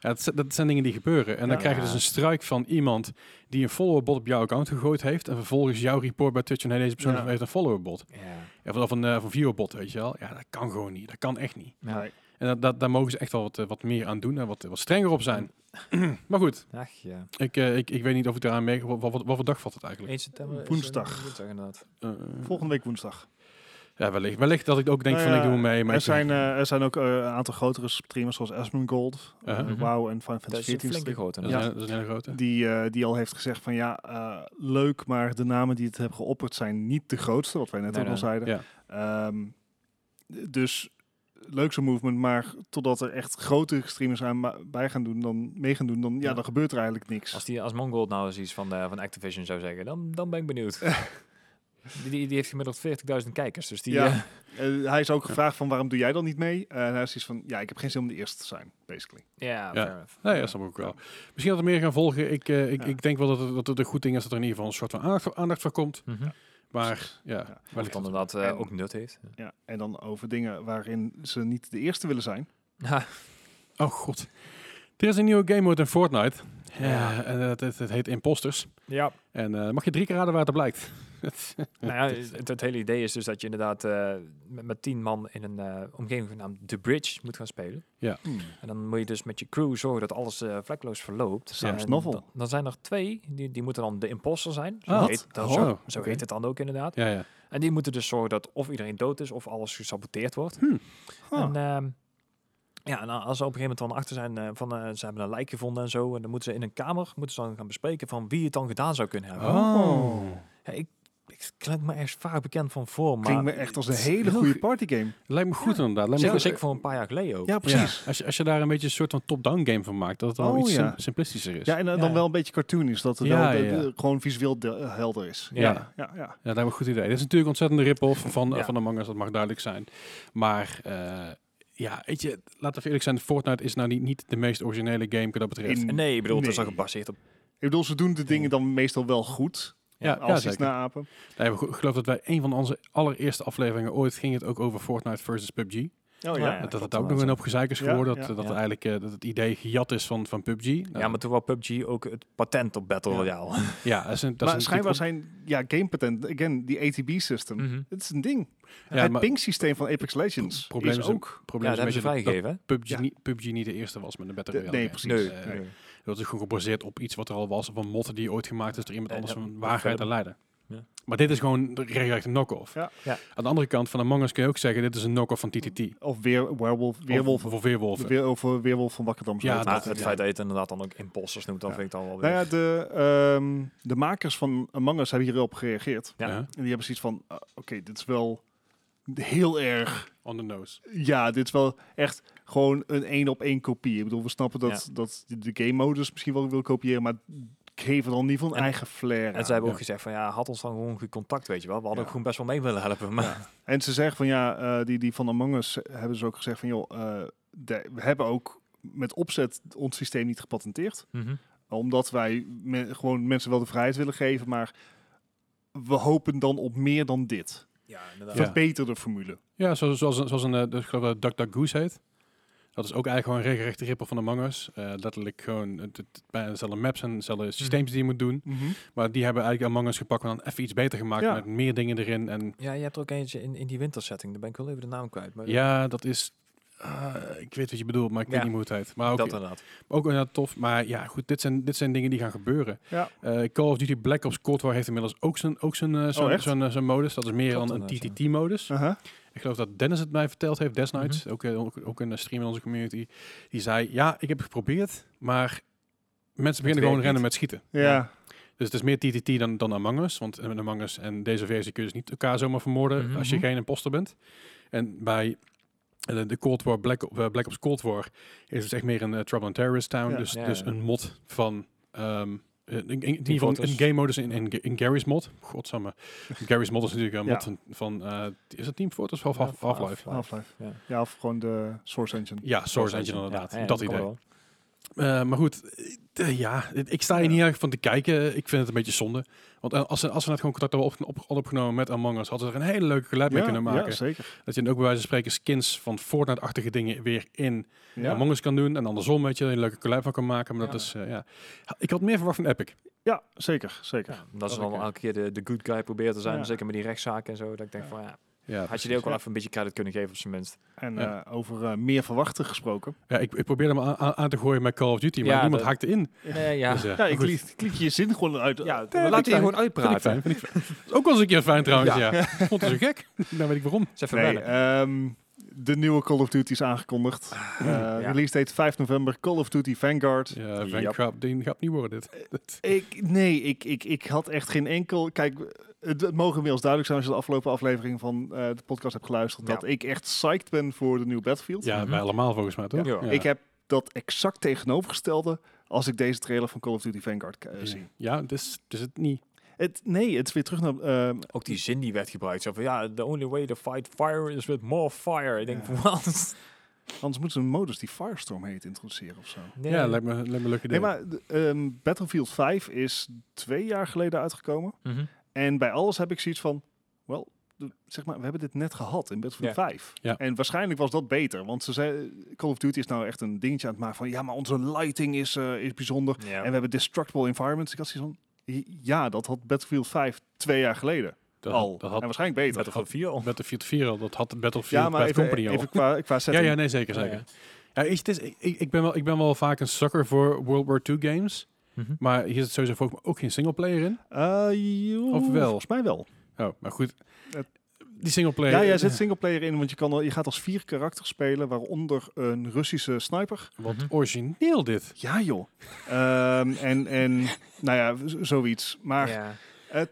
Speaker 1: Ja, dat, zi- dat zijn dingen die gebeuren. En dan
Speaker 2: Ja.
Speaker 1: krijg je dus een struik van iemand die een follower bot op jouw account gegooid heeft en vervolgens jouw report bij Twitch en hey, deze persoon
Speaker 2: Ja.
Speaker 1: heeft een follower bot.
Speaker 3: ja.
Speaker 1: Of, of een, eh, of een viewer bot, weet je wel. Ja, dat kan gewoon niet. Dat kan echt niet.
Speaker 3: Ja.
Speaker 2: Nee.
Speaker 1: En dat, dat, daar mogen ze echt wel wat, eh, wat meer aan doen en wat, wat strenger op zijn. maar goed,
Speaker 3: Ach ja.
Speaker 1: ik, eh, ik, ik weet niet of ik daaraan merk. Wat, wat, wat, wat voor dag valt het eigenlijk?
Speaker 3: 1 september. is, eh,
Speaker 2: Woensdag.
Speaker 3: woensdag inderdaad.
Speaker 1: Eh,
Speaker 2: Volgende week woensdag.
Speaker 1: Ja, wellicht. Wellicht dat ik ook denk
Speaker 2: Nou
Speaker 1: van
Speaker 2: ja,
Speaker 1: ik doe mee. Maar
Speaker 2: er,
Speaker 1: ik doe
Speaker 2: zijn, eh, er zijn ook eh, een aantal grotere streamers zoals Asmongold, Gold, eh,
Speaker 1: Uh-huh.
Speaker 2: WoW en Final
Speaker 3: Dat is
Speaker 2: Fantasy
Speaker 3: een
Speaker 2: 14.
Speaker 3: flinke grote.
Speaker 1: Dat,
Speaker 3: inderdaad.
Speaker 1: is een, dat is een hele grote.
Speaker 2: Die, eh, die al heeft gezegd van ja, eh, leuk, maar de namen die het hebben geopperd zijn niet de grootste, wat wij net
Speaker 3: Nee,
Speaker 2: ook al
Speaker 3: nee.
Speaker 2: zeiden.
Speaker 1: Ja.
Speaker 2: Ehm, d- Ehm, dus leuk zo'n movement, maar totdat er echt grote streamers aan ma- bij gaan doen, dan mee gaan doen, dan, ja,
Speaker 3: Ja.
Speaker 2: dan gebeurt er eigenlijk niks.
Speaker 3: Als, die, als Mongold nou eens iets van, eh, van Activision zou zeggen, dan, dan ben ik benieuwd. die, die, die heeft gemiddeld 40.000 kijkers, dus die...
Speaker 2: Ja.
Speaker 3: eh,
Speaker 2: Eh, hij is ook gevraagd van waarom doe jij dan niet mee? Eh, En hij is zoiets van, ja, ik heb geen zin om de eerste te zijn, basically.
Speaker 3: ja,
Speaker 1: Nou Ja.
Speaker 3: fair enough.
Speaker 1: Nee, dat snap ik ook wel. Misschien dat er meer gaan volgen. Ik, eh, ik,
Speaker 2: Ja.
Speaker 1: ik denk wel dat het, dat het een goed ding is dat er in ieder geval een soort van aandacht, aandacht voor komt.
Speaker 3: Mhm.
Speaker 1: Maar ja,
Speaker 2: Ja.
Speaker 1: wellicht.
Speaker 3: Of het inderdaad eh,
Speaker 2: En-
Speaker 3: ook nut heeft.
Speaker 2: Ja. En dan over dingen waarin ze niet de eerste willen zijn.
Speaker 3: Ja.
Speaker 1: Oh god. Er is een nieuwe game mode in Fortnite. Ja.
Speaker 3: Ja.
Speaker 1: en het, het, het heet Imposters. En eh, mag je drie keer raden waar het blijkt.
Speaker 3: Nou ja, het, het hele idee is dus dat je inderdaad eh, met, met tien man in een eh, omgeving genaamd The Bridge moet gaan spelen. En dan moet je dus met je crew zorgen dat alles eh, vlekkeloos verloopt.
Speaker 2: Sam's
Speaker 3: En
Speaker 2: novel.
Speaker 3: Dan, dan zijn er twee, die, die moeten dan de imposter zijn. Zo,
Speaker 1: Ah, wat?
Speaker 3: heet, dat,
Speaker 1: Oh,
Speaker 3: zo,
Speaker 1: oké.
Speaker 3: zo heet het dan ook inderdaad.
Speaker 1: ja, ja.
Speaker 3: En die moeten dus zorgen dat of iedereen dood is of alles gesaboteerd wordt.
Speaker 1: Oh.
Speaker 2: Ah.
Speaker 3: En, ehm, ja, en als ze op een gegeven moment dan achter zijn eh, van eh, ze hebben een lijk gevonden en zo. En dan moeten ze in een kamer moeten ze dan gaan bespreken van wie het dan gedaan zou kunnen hebben.
Speaker 1: Oh.
Speaker 3: Ja, ik, ik klink me echt vaak bekend van voor, maar...
Speaker 2: Klinkt me echt als een hele
Speaker 1: heel
Speaker 2: goede
Speaker 1: goed.
Speaker 2: partygame.
Speaker 1: Lijkt me goed inderdaad. Lijkt me
Speaker 3: Zeker,
Speaker 1: goed.
Speaker 3: zeker voor een paar jaar geleden ook.
Speaker 2: Ja, precies.
Speaker 1: Ja. Als, je, als je daar een beetje een soort van top-down game van maakt, dat het al
Speaker 2: Oh,
Speaker 1: iets sim-
Speaker 2: ja.
Speaker 1: simplistischer is.
Speaker 2: Ja,
Speaker 1: Ja,
Speaker 2: en eh,
Speaker 3: Ja,
Speaker 2: dan
Speaker 3: ja.
Speaker 2: wel een beetje cartoonisch, dat het
Speaker 1: Ja,
Speaker 2: wel de-
Speaker 1: ja, ja.
Speaker 2: de- gewoon visueel de- eh, helder is.
Speaker 1: Ja.
Speaker 2: ja, ja.
Speaker 1: dat lijkt me een goed idee. Dit is natuurlijk een ontzettende rip-off van,
Speaker 3: Ja.
Speaker 1: van Among Us, dat mag duidelijk zijn. Maar eh, ja, weet je, laten we eerlijk zijn, Fortnite is nou niet, niet de meest originele game wat dat betreft.
Speaker 2: In-
Speaker 3: Nee, ik bedoel, het is al
Speaker 2: Nee.
Speaker 3: gebaseerd
Speaker 1: Oh
Speaker 3: op...
Speaker 2: Ik bedoel, ze doen de dingen dan meestal wel goed.
Speaker 1: ja, ja,
Speaker 2: Als ze iets
Speaker 1: zeker.
Speaker 2: naapen.
Speaker 1: Nee, maar goed, ik geloof dat wij een van onze allereerste afleveringen ooit ging het ook over Fortnite versus PUBG.
Speaker 2: Oh
Speaker 3: Nou ja.
Speaker 1: dat
Speaker 3: klopt
Speaker 1: het ook nog een
Speaker 3: wel.
Speaker 1: hoop gezeik is
Speaker 2: Ja,
Speaker 1: geworden.
Speaker 2: ja,
Speaker 1: dat, dat,
Speaker 3: ja.
Speaker 1: Eigenlijk, eh, dat het idee gejat is van, van PUBG. Nou,
Speaker 3: Ja, maar toen wou PUBG ook het patent op Battle
Speaker 2: Ja.
Speaker 3: Royale.
Speaker 1: ja, dat is een, dat
Speaker 2: maar
Speaker 1: is
Speaker 2: schijnbaar
Speaker 1: natuurlijk Hm.
Speaker 2: zijn, ja, gamepatent, again, die ATB-system.
Speaker 3: Mhm.
Speaker 2: Het is een ding.
Speaker 1: Ja,
Speaker 2: het
Speaker 1: maar-
Speaker 2: ping-systeem van Apex
Speaker 1: het
Speaker 2: Legends
Speaker 1: probleem
Speaker 2: is
Speaker 1: is een-
Speaker 2: ook...
Speaker 1: het probleem
Speaker 3: Ja, dat
Speaker 1: is een
Speaker 3: hebben ze
Speaker 1: beetje dat- dat
Speaker 3: vrijgegeven.
Speaker 1: PUBG,
Speaker 3: hè?
Speaker 2: Ja.
Speaker 1: niet, PUBG niet de eerste was met een Battle
Speaker 2: De-
Speaker 1: Royale
Speaker 2: nee,
Speaker 1: game.
Speaker 2: precies.
Speaker 3: Nee,
Speaker 1: Eh,
Speaker 2: nee.
Speaker 3: nee.
Speaker 1: Dat is gewoon gebaseerd op iets wat er al was. Of een motte die ooit gemaakt is door iemand
Speaker 3: Ja,
Speaker 1: anders
Speaker 3: Eh, ja,
Speaker 1: van
Speaker 3: dat
Speaker 1: waarheid te
Speaker 3: verder.
Speaker 1: leiden.
Speaker 3: Ja.
Speaker 1: Maar dit is gewoon de- regelrecht een knock-off.
Speaker 2: Ja.
Speaker 3: Ja.
Speaker 1: Aan de andere kant van Among Us kun je ook zeggen, dit is een knock-off van TTT.
Speaker 2: Of weer, werewolf, weerwolf.
Speaker 1: Of, of weerwolven.
Speaker 2: De weer, of eh, weerwolf van Wakkerdam. zo
Speaker 1: Ja,
Speaker 2: heet
Speaker 1: dat-
Speaker 3: Maar
Speaker 2: het.
Speaker 3: het feit dat je het inderdaad dan ook imposters noemt, dan
Speaker 2: Ja.
Speaker 3: vind ik dan wel weer...
Speaker 2: Nou ja, de, ehm, de makers van Among Us hebben hierop gereageerd.
Speaker 3: ja.
Speaker 1: Ja,
Speaker 2: En die hebben zoiets van, ah, oké, dit is wel heel erg...
Speaker 1: On the nose.
Speaker 2: Ja, dit is wel echt gewoon een één op één kopie. Ik bedoel, we snappen dat, dat de game modus misschien wel wil kopiëren, maar geven dan in ieder geval een
Speaker 3: En-
Speaker 2: eigen flair
Speaker 3: En
Speaker 2: aan.
Speaker 3: ze hebben ook
Speaker 1: Ja.
Speaker 3: gezegd van, ja, had ons dan gewoon goed contact, weet je wel. We hadden
Speaker 2: Ja.
Speaker 3: ook gewoon best wel mee willen helpen, maar...
Speaker 2: En ze zeggen van ja, eh, die, die van Among Us hebben ze ook gezegd van joh, eh, de- we hebben ook met opzet ons systeem niet gepatenteerd.
Speaker 3: Mhm.
Speaker 2: Omdat wij me- gewoon mensen wel de vrijheid willen geven, maar we hopen dan op meer dan dit.
Speaker 3: Ja, inderdaad.
Speaker 1: Ja.
Speaker 2: Verbeterde formule.
Speaker 1: Ja, zoals, zoals, zoals een, eh, ik geloof dat Duck Duck Goose heet. Dat is ook eigenlijk gewoon een regelrechte ripper van Among Us. Eh, letterlijk gewoon het, het, bijna dezelfde maps en
Speaker 3: Mhm.
Speaker 1: dezelfde systems die je moet doen. Maar die hebben eigenlijk Among Us gepakt en dan even iets beter gemaakt
Speaker 2: Ja.
Speaker 1: met meer dingen erin. En
Speaker 3: Ja, je hebt er ook eentje in, in die wintersetting. Daar ben ik wel even de naam kwijt. Maar
Speaker 1: ja, dat is... ah, ik weet wat je bedoelt, maar ik weet
Speaker 3: Oh, Ja.
Speaker 1: niet hoe het heet. Maar ook,
Speaker 3: dat inderdaad.
Speaker 1: ook inderdaad tof. Maar ja, goed, dit zijn, dit zijn dingen die gaan gebeuren.
Speaker 2: Ja.
Speaker 1: Eh, Call of Duty Black Ops Cold War heeft inmiddels ook zijn ook zijn eh, zo'n
Speaker 2: echt?
Speaker 1: zo'n, eh, zo'n modus. Dat is meer
Speaker 3: Klopt
Speaker 1: dan een
Speaker 3: inderdaad, ja.
Speaker 1: TTT-modus.
Speaker 2: Aha.
Speaker 1: Ik geloof dat Dennis het mij verteld heeft destijds, ook, eh, ook, ook in een stream in onze community. Die zei, ja, ik heb het geprobeerd, maar mensen beginnen
Speaker 3: werkt
Speaker 1: gewoon rennen
Speaker 3: niet.
Speaker 1: met schieten.
Speaker 2: Ja.
Speaker 1: Dus het is meer TTT dan, dan Among Us, want met Among Us en deze versie kun je dus niet elkaar zomaar vermoorden
Speaker 3: Mhm.
Speaker 1: als je geen imposter bent. En bij eh, de Cold War, Black, Op- eh, Black Ops Cold War, is het echt meer een eh, Trouble in Terrorist Town,
Speaker 2: Ja.
Speaker 1: dus,
Speaker 3: Ja,
Speaker 1: dus
Speaker 3: ja.
Speaker 1: een mod van... ehm, eh, in, in, in ieder geval een
Speaker 3: foto's.
Speaker 1: game modus in, in, in Gary's mod. Godsamme. Gary's mod is natuurlijk een
Speaker 2: Ja.
Speaker 1: mod van, van eh, is het Team Fortress of Half-
Speaker 3: Ja,
Speaker 1: Half-Life?
Speaker 2: Half-Life.
Speaker 3: Ja.
Speaker 2: Ja, of gewoon de Source Engine.
Speaker 1: Ja, Source Engine
Speaker 3: Ja,
Speaker 1: inderdaad.
Speaker 3: ja,
Speaker 1: dat
Speaker 3: kan
Speaker 1: idee.
Speaker 3: wel.
Speaker 1: Eh, maar goed, eh, eh, ja, ik ik sta hier niet erg van te kijken. Ik vind het een beetje zonde. Want eh, als ze, als ze net gewoon contact hadden op, op, hadden opgenomen met Among Us, hadden ze er een hele leuke geluid mee kunnen maken.
Speaker 2: Ja, zeker.
Speaker 1: dat je dan ook bij wijze van spreken skins van Fortnite-achtige dingen weer in
Speaker 2: Ja.
Speaker 1: Among Us kan doen. En andersom, weet je, er een leuke geluid van kan maken. Maar dat
Speaker 3: Ja.
Speaker 1: is, eh, ja. Ik had meer verwacht van Epic.
Speaker 2: Ja, zeker, zeker.
Speaker 3: Ja, dat ze
Speaker 1: Dat
Speaker 3: dan
Speaker 1: ik, eh,
Speaker 3: elke keer de, de good guy proberen te zijn.
Speaker 2: Ja.
Speaker 3: Zeker met die rechtszaken en zo. Dat ik denk
Speaker 2: Ja.
Speaker 3: van, ja,
Speaker 1: Ja,
Speaker 3: had je die ook wel
Speaker 2: Ja.
Speaker 3: even een beetje credit kunnen geven op zijn minst.
Speaker 2: En
Speaker 1: Ja.
Speaker 2: eh, over eh, meer verwachten gesproken.
Speaker 1: ja ik, ik probeerde hem aan, aan te gooien met Call of Duty, maar
Speaker 3: Ja,
Speaker 1: niemand
Speaker 3: dat-
Speaker 1: haakte in.
Speaker 3: Nee, ja.
Speaker 1: Dus, eh,
Speaker 2: Ja, ik
Speaker 1: goed.
Speaker 2: klik, klik je zin gewoon uit. Eh,
Speaker 3: ja,
Speaker 1: vind
Speaker 3: we
Speaker 1: ik
Speaker 3: laten je
Speaker 1: fijn.
Speaker 3: gewoon
Speaker 1: Vind ik
Speaker 3: uitpraten.
Speaker 1: fijn, vind ik fijn. Is ook wel eens een keer fijn trouwens, ja. Vond het zo gek. Nou weet ik waarom.
Speaker 3: Ze even
Speaker 2: nee,
Speaker 3: wennen.
Speaker 2: ehm, de nieuwe Call of Duty is aangekondigd. Eh, Release date 5 november, Call of Duty Vanguard.
Speaker 1: Ja,
Speaker 2: Yep.
Speaker 1: Van gaat, die gaat niet worden dit. Dat-
Speaker 2: Ik, nee, ik, ik, ik had echt geen enkel. Kijk, het, het mogen inmiddels duidelijk zijn als je de afgelopen aflevering van eh, de podcast hebt geluisterd.
Speaker 3: Ja.
Speaker 2: Dat ik echt psyched ben voor de nieuwe Battlefield.
Speaker 1: ja, wij allemaal volgens mij toch?
Speaker 3: Ja.
Speaker 2: Ik heb dat exact tegenovergestelde als ik deze trailer van Call of Duty Vanguard eh, zie.
Speaker 1: Ja, dus, dus het niet.
Speaker 2: Het, nee, het is weer terug naar. ehm,
Speaker 3: Ook die zin die werd gebruikt. Zo van, ja, the only way to fight fire is with more fire. Ik denk van, wat?
Speaker 2: anders moeten ze een modus die Firestorm heet introduceren of zo.
Speaker 3: Nee.
Speaker 1: Ja, lijkt me, lijkt me een leuk idee.
Speaker 2: Nee, maar de- ehm, Battlefield 5 is twee jaar geleden uitgekomen.
Speaker 3: Mhm.
Speaker 2: En bij alles heb ik zoiets van, wel, de- zeg maar, we hebben dit net gehad in Battlefield 5.
Speaker 1: Ja.
Speaker 2: En waarschijnlijk was dat beter, want ze zei, Call of Duty is nou echt een dingetje aan het maken van, ja, maar onze lighting is, eh, is bijzonder.
Speaker 3: Ja.
Speaker 2: En we hebben destructible environments. Ik had zoiets van, j- ja, dat had Battlefield 5 twee jaar geleden
Speaker 1: dat,
Speaker 2: al.
Speaker 1: Dat
Speaker 2: en
Speaker 1: had
Speaker 2: waarschijnlijk beter.
Speaker 3: Battlefield 4 al.
Speaker 1: Battlefield 4 al. Dat had Battlefield
Speaker 2: ja, maar
Speaker 1: Bad
Speaker 2: even,
Speaker 1: Company al.
Speaker 2: even qua, qua
Speaker 1: ja,
Speaker 2: setting.
Speaker 1: ja, nee, zeker,
Speaker 3: Ja,
Speaker 1: zeker. Ja, is, het is, ik, ik, ben wel, ik ben wel vaak een sucker voor World War II games.
Speaker 3: Mhm.
Speaker 1: Maar hier zit sowieso volgens mij ook geen singleplayer in.
Speaker 2: Eh, joh,
Speaker 1: Of wel?
Speaker 2: Volgens mij wel.
Speaker 1: Oh, maar goed.
Speaker 2: Het-
Speaker 1: Die singleplayer...
Speaker 2: Ja, jij zit singleplayer in, want je, kan, al- je gaat als vier karakters spelen, waaronder een Russische sniper.
Speaker 1: Wat origineel dit.
Speaker 2: Ja, joh. Ehm, en, en, nou ja, z- zoiets. Maar
Speaker 3: Ja.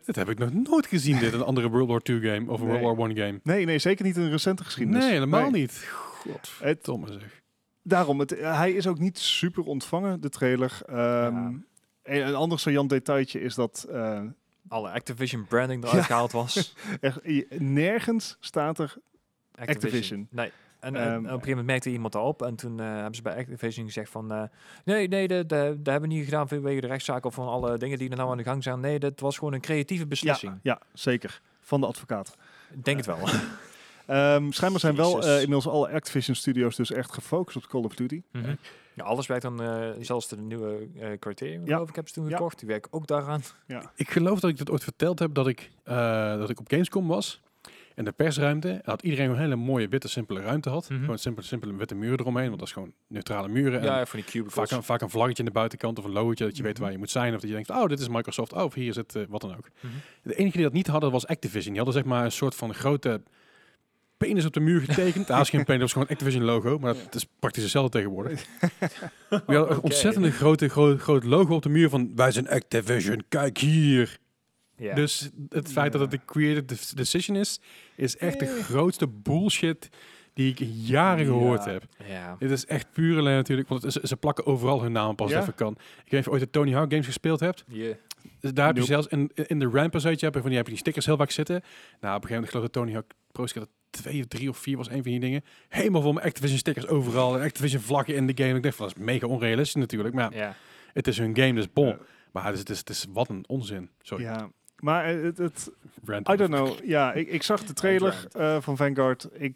Speaker 1: Dit heb ik nog nooit gezien, dit. Een andere World War II game of een
Speaker 2: Nee.
Speaker 1: World War I game.
Speaker 2: nee, nee, zeker niet in de recente geschiedenis.
Speaker 1: Nee, helemaal
Speaker 2: Nee.
Speaker 1: niet. Godverdomme zeg.
Speaker 2: Daarom, het, eh, hij is ook niet super ontvangen, de trailer. Ehm,
Speaker 3: Ja.
Speaker 2: en een ander saillant detailtje is dat eh,
Speaker 3: Alle Activision branding eruit
Speaker 2: Ja.
Speaker 3: gehaald was.
Speaker 2: er, je- nergens staat er... Activision.
Speaker 3: Nee. En,
Speaker 2: Ehm,
Speaker 3: en op een gegeven moment merkte iemand dat op. En toen eh, hebben ze bij Activision gezegd van... eh, nee, nee, dat, dat, dat hebben we niet gedaan vanwege de rechtszaak... of van alle dingen die er nou aan de gang zijn. Nee, dat was gewoon een creatieve beslissing.
Speaker 2: Ja, ja, zeker. Van de advocaat.
Speaker 3: Ik Denk het wel.
Speaker 2: Ehm, schijnbaar zijn wel
Speaker 3: Jezus.
Speaker 2: eh, inmiddels alle Activision studios dus echt gefocust op Call of Duty.
Speaker 3: Mhm. Ja, alles werkt dan, eh, zelfs de nieuwe eh criterion, geloof ik, heb ze toen
Speaker 2: Ja.
Speaker 3: gekocht. Die werken ook daaraan.
Speaker 1: Ik geloof dat ik dat ooit verteld heb, dat ik, eh, dat ik op Gamescom was. En de persruimte, en dat iedereen een hele mooie witte, simpele ruimte had.
Speaker 3: Mhm.
Speaker 1: Gewoon simpele, simpele witte muren eromheen, want dat is gewoon neutrale muren. En
Speaker 3: Ja, van die cubicles.
Speaker 1: vaak, een, vaak een vlaggetje aan de buitenkant of een logootje, dat je weet
Speaker 3: Mhm.
Speaker 1: waar je moet zijn. Of dat je denkt, oh, dit is Microsoft, oh, of hier zit eh, wat dan ook.
Speaker 3: Mhm.
Speaker 1: De enige die dat niet hadden, was Activision. Die hadden zeg maar een soort van grote penis op de muur getekend. Daar is geen penis, dat is gewoon een Activision logo. Maar dat is praktisch hetzelfde tegenwoordig. We hadden een
Speaker 3: Oké.
Speaker 1: ontzettend grote, groot, groot logo op de muur van, wij zijn Activision, kijk hier.
Speaker 3: Ja.
Speaker 1: Dus het feit dat het een creative de- decision is, is echt de grootste bullshit die ik in jaren gehoord
Speaker 2: Eh. Ja.
Speaker 1: heb.
Speaker 3: ja.
Speaker 1: Dit is echt puur alleen natuurlijk, want het is, ze plakken overal hun naam pas
Speaker 2: Ja.
Speaker 1: even kan. Ik weet niet of je ooit de Tony Hawk games gespeeld hebt.
Speaker 3: Je-
Speaker 1: Dus Daar heb je
Speaker 2: Nope.
Speaker 1: zelfs in, in de ramp en zoiets, heb je van die, heb je die stickers heel vaak zitten. Nou, op een gegeven moment geloof ik dat Tony Hawk Pro Skater 2 of 3 of 4 was een van die dingen. Helemaal vol met Activision stickers overal en Activision vlaggen in de game. Ik dacht van, dat is mega onrealistisch natuurlijk, maar ja,
Speaker 3: ja.
Speaker 1: het is hun game, dus bon.
Speaker 2: Ja.
Speaker 1: Maar het is, het, is, het is wat een onzin. Sorry,
Speaker 2: Ja, maar eh, het, het,
Speaker 1: rant.
Speaker 2: I don't know. Ja, ik, ik zag de trailer eh, van Vanguard. Ik,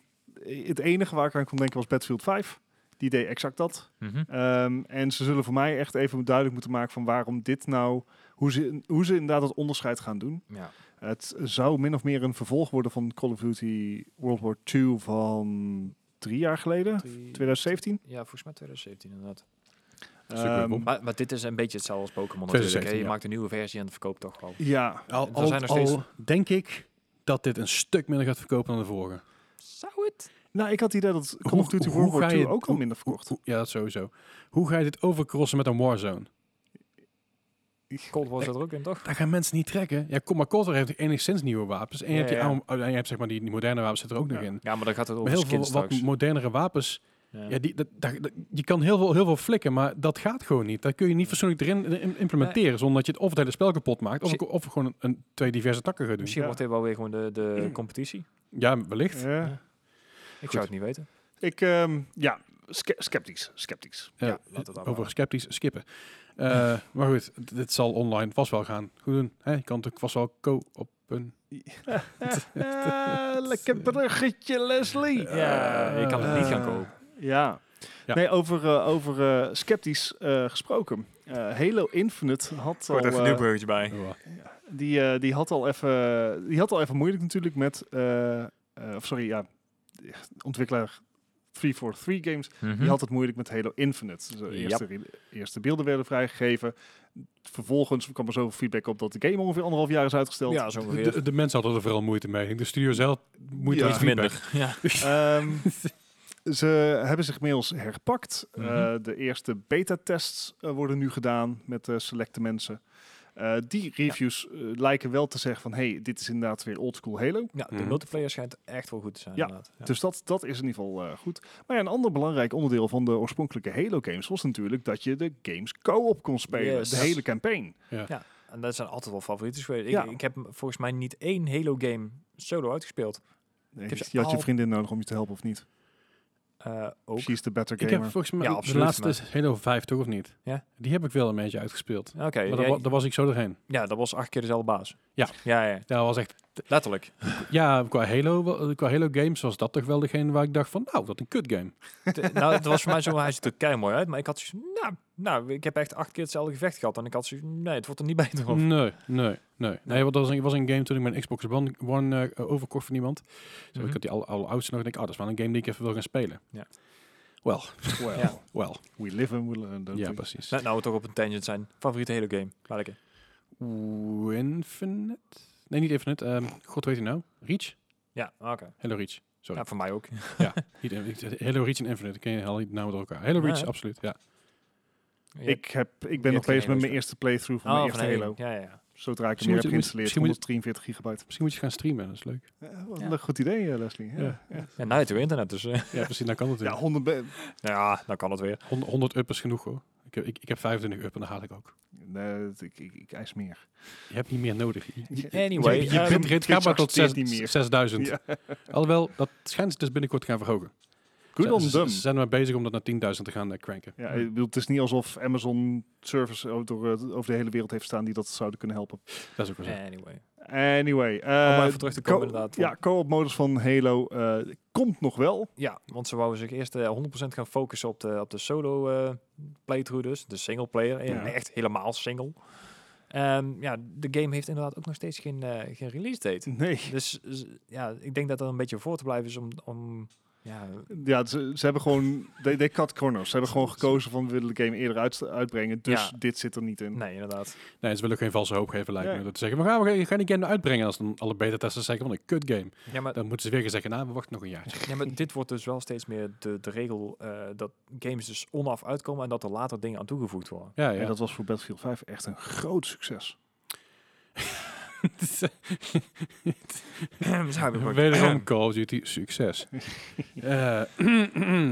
Speaker 2: het enige waar ik aan kon denken was Battlefield 5. Die deed exact dat.
Speaker 3: Mhm.
Speaker 2: Ehm, en ze zullen voor mij echt even duidelijk moeten maken van waarom dit nou... Hoe ze, hoe ze inderdaad dat onderscheid gaan doen.
Speaker 3: ja.
Speaker 2: Het zou min of meer een vervolg worden van Call of Duty World War II van drie jaar geleden. 2017.
Speaker 3: Ja, volgens mij 2017 inderdaad.
Speaker 1: is ook weer
Speaker 2: Ehm,
Speaker 1: bom.
Speaker 3: Maar, maar dit is een beetje hetzelfde als Pokémon natuurlijk. hè.
Speaker 1: 2017,
Speaker 3: Je
Speaker 1: ja.
Speaker 3: maakt een nieuwe versie en het verkoopt toch wel.
Speaker 2: ja,
Speaker 1: Al,
Speaker 3: Er
Speaker 1: al,
Speaker 3: zijn nog steeds-
Speaker 1: al denk ik dat dit een stuk minder gaat verkopen dan de vorige.
Speaker 3: Zou het?
Speaker 2: nou ik had het idee dat Call
Speaker 1: Hoe-
Speaker 2: of Duty
Speaker 1: hoe
Speaker 2: World
Speaker 1: ga
Speaker 2: War
Speaker 1: je-
Speaker 2: II ook al
Speaker 1: hoe-
Speaker 2: minder verkocht.
Speaker 1: Hoe- ja, dat sowieso. Hoe ga je dit overcrossen met een Warzone?
Speaker 3: Cold War zat er ook in, toch?
Speaker 1: Daar gaan mensen niet trekken. Ja, kom maar, Cold War heeft enigszins nieuwe wapens. En je
Speaker 3: Ja,
Speaker 1: hebt, die,
Speaker 3: ja.
Speaker 1: oude- en je hebt zeg maar die, die moderne wapens zit er ook nog in.
Speaker 3: Ja, maar dan gaat het
Speaker 1: Maar
Speaker 3: over
Speaker 1: heel veel
Speaker 3: skins
Speaker 1: wat
Speaker 3: straks.
Speaker 1: modernere wapens,
Speaker 3: Ja.
Speaker 1: ja. die, dat, daar- dat- je kan heel veel, heel veel flikken, maar dat gaat gewoon niet. Daar kun je niet fatsoenlijk erin in- in- implementeren, zonder dat je het of het hele spel kapot maakt, of,
Speaker 3: Misschien-
Speaker 1: of gewoon een, een- twee diverse takken gaat doen.
Speaker 3: Misschien
Speaker 2: Ja.
Speaker 3: wordt dit wel weer gewoon de, de competitie.
Speaker 1: Ja, wellicht.
Speaker 2: Ja.
Speaker 3: Ja. Ik zou het niet weten.
Speaker 2: Ik, ehm, ja, ske- sceptisch, sceptisch.
Speaker 1: Eh,
Speaker 3: Ja, laten we het
Speaker 1: over
Speaker 3: allemaal.
Speaker 1: sceptisch skippen. Eh, maar goed, d- dit zal online vast wel gaan. Goed doen. Hè? Je kan natuurlijk vast wel co op een...
Speaker 2: Eh, lekker bruggetje, Leslie. Eh,
Speaker 3: Ja, je kan het niet gaan kopen.
Speaker 2: Ja.
Speaker 1: Ja.
Speaker 2: Nee, over, eh, over eh, sceptisch eh, gesproken. Eh, Halo Infinite had al, eh,
Speaker 3: bruggetje bij.
Speaker 2: die, eh, die had al even, die had al even moeilijk natuurlijk met, eh, eh, of sorry, ja, de ontwikkelaar 343 games.
Speaker 3: Mhm.
Speaker 2: Die had het moeilijk met Halo Infinite. Dus de
Speaker 3: Yep.
Speaker 2: eerste, re- eerste beelden werden vrijgegeven. Vervolgens kwam er zoveel feedback op dat de game ongeveer anderhalf jaar is uitgesteld.
Speaker 3: Ja, zo ongeveer.
Speaker 1: De, de mensen hadden er vooral moeite mee. De studio zelf moeite
Speaker 2: Ja.
Speaker 1: iets minder.
Speaker 3: Minder. Ja.
Speaker 2: Ehm, ze hebben zich inmiddels herpakt. Eh,
Speaker 3: Mhm.
Speaker 2: de eerste beta-tests eh, worden nu gedaan met eh, selecte mensen. Eh, die reviews eh, lijken wel te zeggen van... hey, dit is inderdaad weer oldschool Halo.
Speaker 3: ja, de
Speaker 1: Mhm.
Speaker 3: multiplayer schijnt echt wel goed te zijn.
Speaker 2: Ja,
Speaker 3: inderdaad. Ja.
Speaker 2: Dus dat, dat is in ieder geval eh, goed. Maar ja, een ander belangrijk onderdeel van de oorspronkelijke Halo-games... was natuurlijk dat je de games co-op kon spelen.
Speaker 3: Yes.
Speaker 2: De hele campaign.
Speaker 3: En dat zijn altijd wel favorieten geweest.
Speaker 2: Ja.
Speaker 3: Ik, ik heb volgens mij niet één Halo game solo uitgespeeld.
Speaker 2: Nee,
Speaker 3: heb ze
Speaker 2: je had je
Speaker 3: al-
Speaker 2: vriendin nodig om je te helpen of niet?
Speaker 3: Eh, ook.
Speaker 2: Precies de better
Speaker 1: Ik
Speaker 2: gamer.
Speaker 1: heb volgens mij
Speaker 3: Ja,
Speaker 1: de
Speaker 3: absoluut,
Speaker 1: laatste
Speaker 3: maar-
Speaker 1: is Halo 5 toch of niet?
Speaker 3: Ja.
Speaker 1: Die heb ik wel een beetje uitgespeeld.
Speaker 3: Oké,
Speaker 1: Maar
Speaker 3: ja,
Speaker 1: daar, wa- daar was ik zo doorheen.
Speaker 3: ja, dat was acht keer dezelfde baas.
Speaker 1: Ja.
Speaker 3: Ja, ja,
Speaker 1: Dat was echt
Speaker 3: letterlijk.
Speaker 1: Ja, qua Halo, wel- qua Halo games was dat toch wel degene waar ik dacht van, nou, wat een kut game.
Speaker 3: De- nou, het was voor mij zo, hij ziet er kei mooi uit, maar ik had zoiets, nou, nou, ik heb echt acht keer hetzelfde gevecht gehad en ik had zoiets, nee, het wordt er niet beter op.
Speaker 1: Nee, nee, nee. Nee, want dat was een, was een game toen ik mijn Xbox One, One eh, overkocht van iemand. Dus
Speaker 3: Mhm.
Speaker 1: ik had die al, al oudste nog en ik, oh, dat is wel een game die ik even wil gaan spelen.
Speaker 3: Ja.
Speaker 1: Wel,
Speaker 2: Well,
Speaker 3: Ja.
Speaker 1: wel.
Speaker 2: we live and we learn. don't
Speaker 1: Ja,
Speaker 2: we?
Speaker 1: precies.
Speaker 3: Nou, nou we toch op een tangent zijn. Favoriete Halo game. Welke?
Speaker 1: Oeh, Infinite? Nee, niet Infinite. ehm, God weet hij nou. Reach?
Speaker 3: Ja, oké.
Speaker 1: Halo Reach. Sorry.
Speaker 3: Ja, voor mij ook.
Speaker 1: Niet Infinite. Halo Reach en Infinite. Ik ken je al die namen door elkaar. Halo Reach,
Speaker 3: Ja, hè?
Speaker 1: absoluut. Ja.
Speaker 2: Ik, heb, ik ben nog
Speaker 3: geen
Speaker 2: bezig met
Speaker 3: Halo's
Speaker 2: mijn
Speaker 3: meer.
Speaker 2: eerste playthrough van
Speaker 3: Oh,
Speaker 2: mijn
Speaker 3: van
Speaker 2: eerste Halo.
Speaker 3: Ja, ja, ja.
Speaker 2: Zodra ik hem
Speaker 1: Misschien
Speaker 2: weer
Speaker 1: moet
Speaker 2: heb
Speaker 1: je-
Speaker 2: geïnstalleerd,
Speaker 1: misschien moet je-
Speaker 2: 143 gigabyte.
Speaker 1: Misschien moet je gaan streamen, dat is leuk.
Speaker 2: Eh, wat
Speaker 3: Ja.
Speaker 2: een goed idee, eh, Leslie. Ja,
Speaker 1: Ja.
Speaker 2: ja.
Speaker 3: Ja, nou, het weer internet dus. eh.
Speaker 1: Ja, precies. Dan kan het weer.
Speaker 2: 100 be-
Speaker 3: ja, dan kan het weer.
Speaker 1: 100, 100 up is genoeg hoor. Ik heb, ik, ik heb 25 up en dat haal ik ook.
Speaker 2: Nee, dat- ik, ik, ik eis meer.
Speaker 1: Je hebt niet meer nodig. Je, je,
Speaker 3: Anyway,
Speaker 1: Dus je
Speaker 3: ehm,
Speaker 1: bitrate gaat maar tot
Speaker 2: accepteert niet meer.
Speaker 1: 6, 6000.
Speaker 2: Ja.
Speaker 1: Alhoewel, dat schijnt ze dus binnenkort te gaan verhogen.
Speaker 2: Good
Speaker 1: Ze-
Speaker 2: on
Speaker 1: ze-
Speaker 2: them.
Speaker 1: Ze zijn maar bezig om dat naar 10.000 te gaan eh, cranken.
Speaker 2: dus Ja, ik bedoel, het is niet alsof Amazon service ook door, eh, over de hele wereld heeft staan die dat zouden kunnen helpen.
Speaker 1: Dat is
Speaker 2: eh.
Speaker 1: ook wel zo.
Speaker 3: anyway.
Speaker 2: Anyway. eh,
Speaker 3: maar even terug te komen
Speaker 2: co-
Speaker 3: inderdaad,
Speaker 2: Ja, co-op modus van Halo eh, komt nog wel.
Speaker 3: Ja, want ze wouden zich eerst eh, 100% gaan focussen op de, op de solo eh, playthrough dus. De single player. eh,
Speaker 2: Ja.
Speaker 3: Echt helemaal single. Ehm, ja, de game heeft inderdaad ook nog steeds geen, eh, geen release date.
Speaker 2: Nee.
Speaker 3: Dus z- ja, ik denk dat dat een beetje voor te blijven is om... om ja,
Speaker 2: Ja, ze, ze hebben gewoon... They, they cut corners. Ze hebben gewoon gekozen van we willen de game eerder uit, uitbrengen. Dus
Speaker 3: Ja.
Speaker 2: dit zit er niet in.
Speaker 3: nee, inderdaad.
Speaker 1: Nee, ze willen ook geen valse hoop geven, lijkt
Speaker 2: Nee.
Speaker 1: me. Dat te zeggen, we gaan, we gaan- we gaan die game uitbrengen als dan alle beta-testers zeggen van een kut game.
Speaker 3: Ja, maar
Speaker 1: Dan moeten ze weer gaan zeggen, nou, we wachten nog een jaar.
Speaker 3: Ja, maar dit wordt dus wel steeds meer de, de regel eh, dat games dus onaf uitkomen en dat er later dingen aan toegevoegd worden.
Speaker 1: Ja,
Speaker 2: En
Speaker 1: ja.
Speaker 2: dat was voor Battlefield 5 echt een groot succes.
Speaker 1: Wederom Call of Duty, succes. Eh,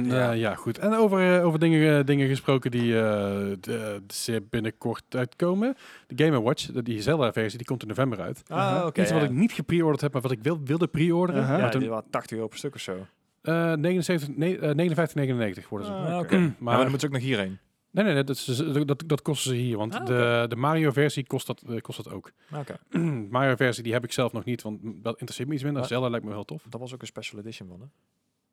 Speaker 1: ja. ja, goed. En over, eh, over dingen, eh, dingen gesproken die eh, de- zeer binnenkort uitkomen. De Game Watch, de- die Zelda-versie, die komt in november uit.
Speaker 3: Ah, oké.
Speaker 1: Iets wat
Speaker 3: ja.
Speaker 1: ik niet gepreorderd heb, maar wat ik wil, wilde pre-orderen.
Speaker 2: Aha.
Speaker 3: Ja,
Speaker 1: Maar
Speaker 3: die
Speaker 1: toen,
Speaker 3: waren 80 euro per stuk of zo. Ja,
Speaker 1: eh 79, nee, eh, 59,99 worden ze. Hm,
Speaker 2: Ah,
Speaker 3: oké.
Speaker 2: oké.
Speaker 1: maar,
Speaker 3: maar dan moet ze ook nog hierheen.
Speaker 1: nee, nee, nee, dat, is- eh, dat, dat kosten ze hier. Want
Speaker 3: Ah,
Speaker 1: de, de Mario-versie kost dat, eh, kost dat ook.
Speaker 3: Oké.
Speaker 1: Mario-versie die heb ik zelf nog niet, want dat interesseert me iets minder.
Speaker 3: Maar-
Speaker 1: Zelda lijkt me wel tof.
Speaker 3: Dat was ook een special edition van, hè?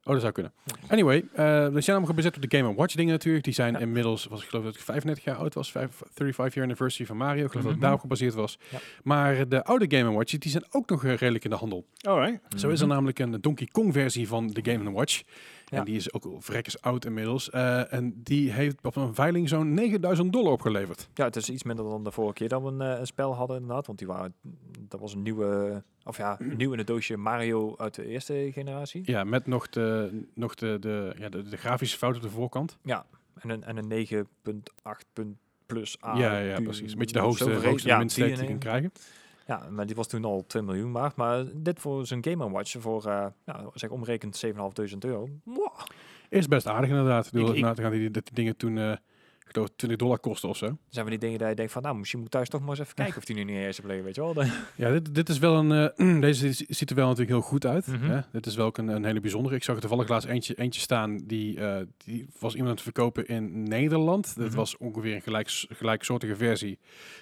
Speaker 1: Oh, dat zou kunnen. Anyway, eh we zijn allemaal bezet op de Game Watch dingen natuurlijk. Die zijn
Speaker 3: Ja.
Speaker 1: inmiddels, was, ik geloof dat ik 35 jaar oud was, vijf- 35 year anniversary van Mario. Ik geloof dat
Speaker 3: Mhm.
Speaker 1: het daarop gebaseerd was.
Speaker 3: Ja.
Speaker 1: Maar de oude Game Watch, die zijn ook nog eh, redelijk in de handel.
Speaker 2: Alright.
Speaker 1: Zo is er namelijk een Donkey Kong versie van de Game Watch.
Speaker 3: Mhm. Ja.
Speaker 1: En die is ook al vrekkers oud inmiddels. Eh, en die heeft op een veiling zo'n 9000 dollar opgeleverd.
Speaker 3: Ja, het is iets minder dan de vorige keer dat we een, eh, een spel hadden, inderdaad. Want die waren, dat was een nieuwe, of ja, nieuw in het doosje Mario uit de eerste generatie.
Speaker 1: Ja, met nog de, nog de, de, ja, de, de grafische fout op de voorkant.
Speaker 3: En een, en een 9.8 punt plus A.
Speaker 1: ja, ja,
Speaker 3: Q,
Speaker 1: precies. Met je de
Speaker 3: zo
Speaker 1: hoogste,
Speaker 3: verreed.
Speaker 1: hoogste
Speaker 3: Ja, eh,
Speaker 1: minste die je
Speaker 3: en
Speaker 1: kan
Speaker 3: een.
Speaker 1: krijgen.
Speaker 3: Ja, maar die was toen al 2 miljoen waard. Maar dit voor zijn Game Watch voor, eh nou, zeg omrekend 7.500 euro. Mwah.
Speaker 1: Is best aardig inderdaad. Ik bedoel,
Speaker 2: Ik- ik-
Speaker 1: na te gaan dat die, dat die dingen toen, eh, ik geloof 20 dollar kosten of zo.
Speaker 3: Zijn we die dingen dat je denkt van, nou, misschien moet ik thuis toch maar eens even kijken of die nu niet eens hebben liggen, weet je wel. De-
Speaker 1: Ja, dit, dit is wel een. eh, deze zi- ziet er wel natuurlijk heel goed uit.
Speaker 3: Mhm.
Speaker 1: hè? Dit is wel ook een, een hele bijzondere. Ik zag er toevallig laatst eentje, eentje staan. Die, eh, die was iemand aan het verkopen in Nederland. Dit
Speaker 3: Mhm.
Speaker 1: was ongeveer een gelijks, gelijksoortige versie.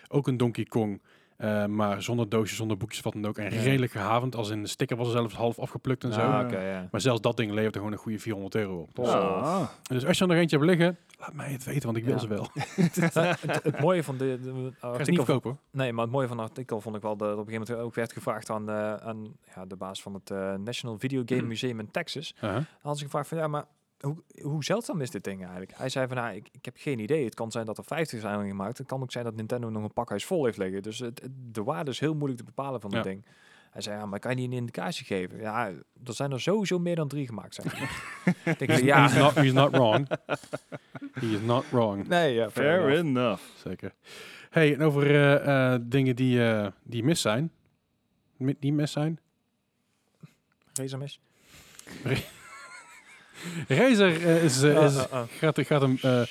Speaker 1: Ook een Donkey Kong. eh, maar zonder doosjes, zonder boekjes, wat dan ook. En
Speaker 3: Ja.
Speaker 1: redelijk gehavend. Als in de sticker was er zelfs half afgeplukt en zo.
Speaker 3: Ah,
Speaker 2: Ja.
Speaker 3: oké, ja.
Speaker 1: Maar zelfs dat ding leverde gewoon een goede 400 euro op. Dus,
Speaker 3: Oh.
Speaker 2: Ah.
Speaker 1: dus als je er nog eentje hebt liggen, laat mij het weten, want ik wil
Speaker 3: Ja.
Speaker 1: ze wel. Ik
Speaker 3: Nou, het, het mooie van de, de-
Speaker 1: ga ze niet
Speaker 3: artikel...
Speaker 1: verkopen. hoor.
Speaker 3: nee, maar het mooie van het artikel vond ik wel dat er op een gegeven moment ook werd gevraagd aan, eh, aan ja, de baas van het eh, National Video Game Museum in Texas.
Speaker 1: Uh-huh.
Speaker 3: Dan hadden ze gevraagd van, ja, maar hoe, hoe zeldzaam is dit ding eigenlijk? Hij zei van, nou, ik, ik heb geen idee. Het kan zijn dat er 50 zijn gemaakt. Het kan ook zijn dat Nintendo nog een pakhuis vol heeft liggen. Dus het, het- de waarde is heel moeilijk te bepalen van dat
Speaker 1: Ja.
Speaker 3: ding. Hij zei, ja, maar kan je niet een indicatie geven? Ja, er zijn er sowieso meer dan drie gemaakt. Zijn. ik denk,
Speaker 1: He's,
Speaker 3: ja,
Speaker 1: he's, not, he's not wrong. He is not wrong.
Speaker 3: nee, ja, fair
Speaker 2: Fair
Speaker 3: enough.
Speaker 2: enough.
Speaker 1: Zeker. Hey, en over eh, eh, dingen die, eh, die mis zijn. Mi- die mis zijn.
Speaker 3: Razer mis.
Speaker 1: Razer eh, is, eh,
Speaker 3: Ah,
Speaker 1: is,
Speaker 3: ah, ah.
Speaker 1: gaat, gaat, een, eh,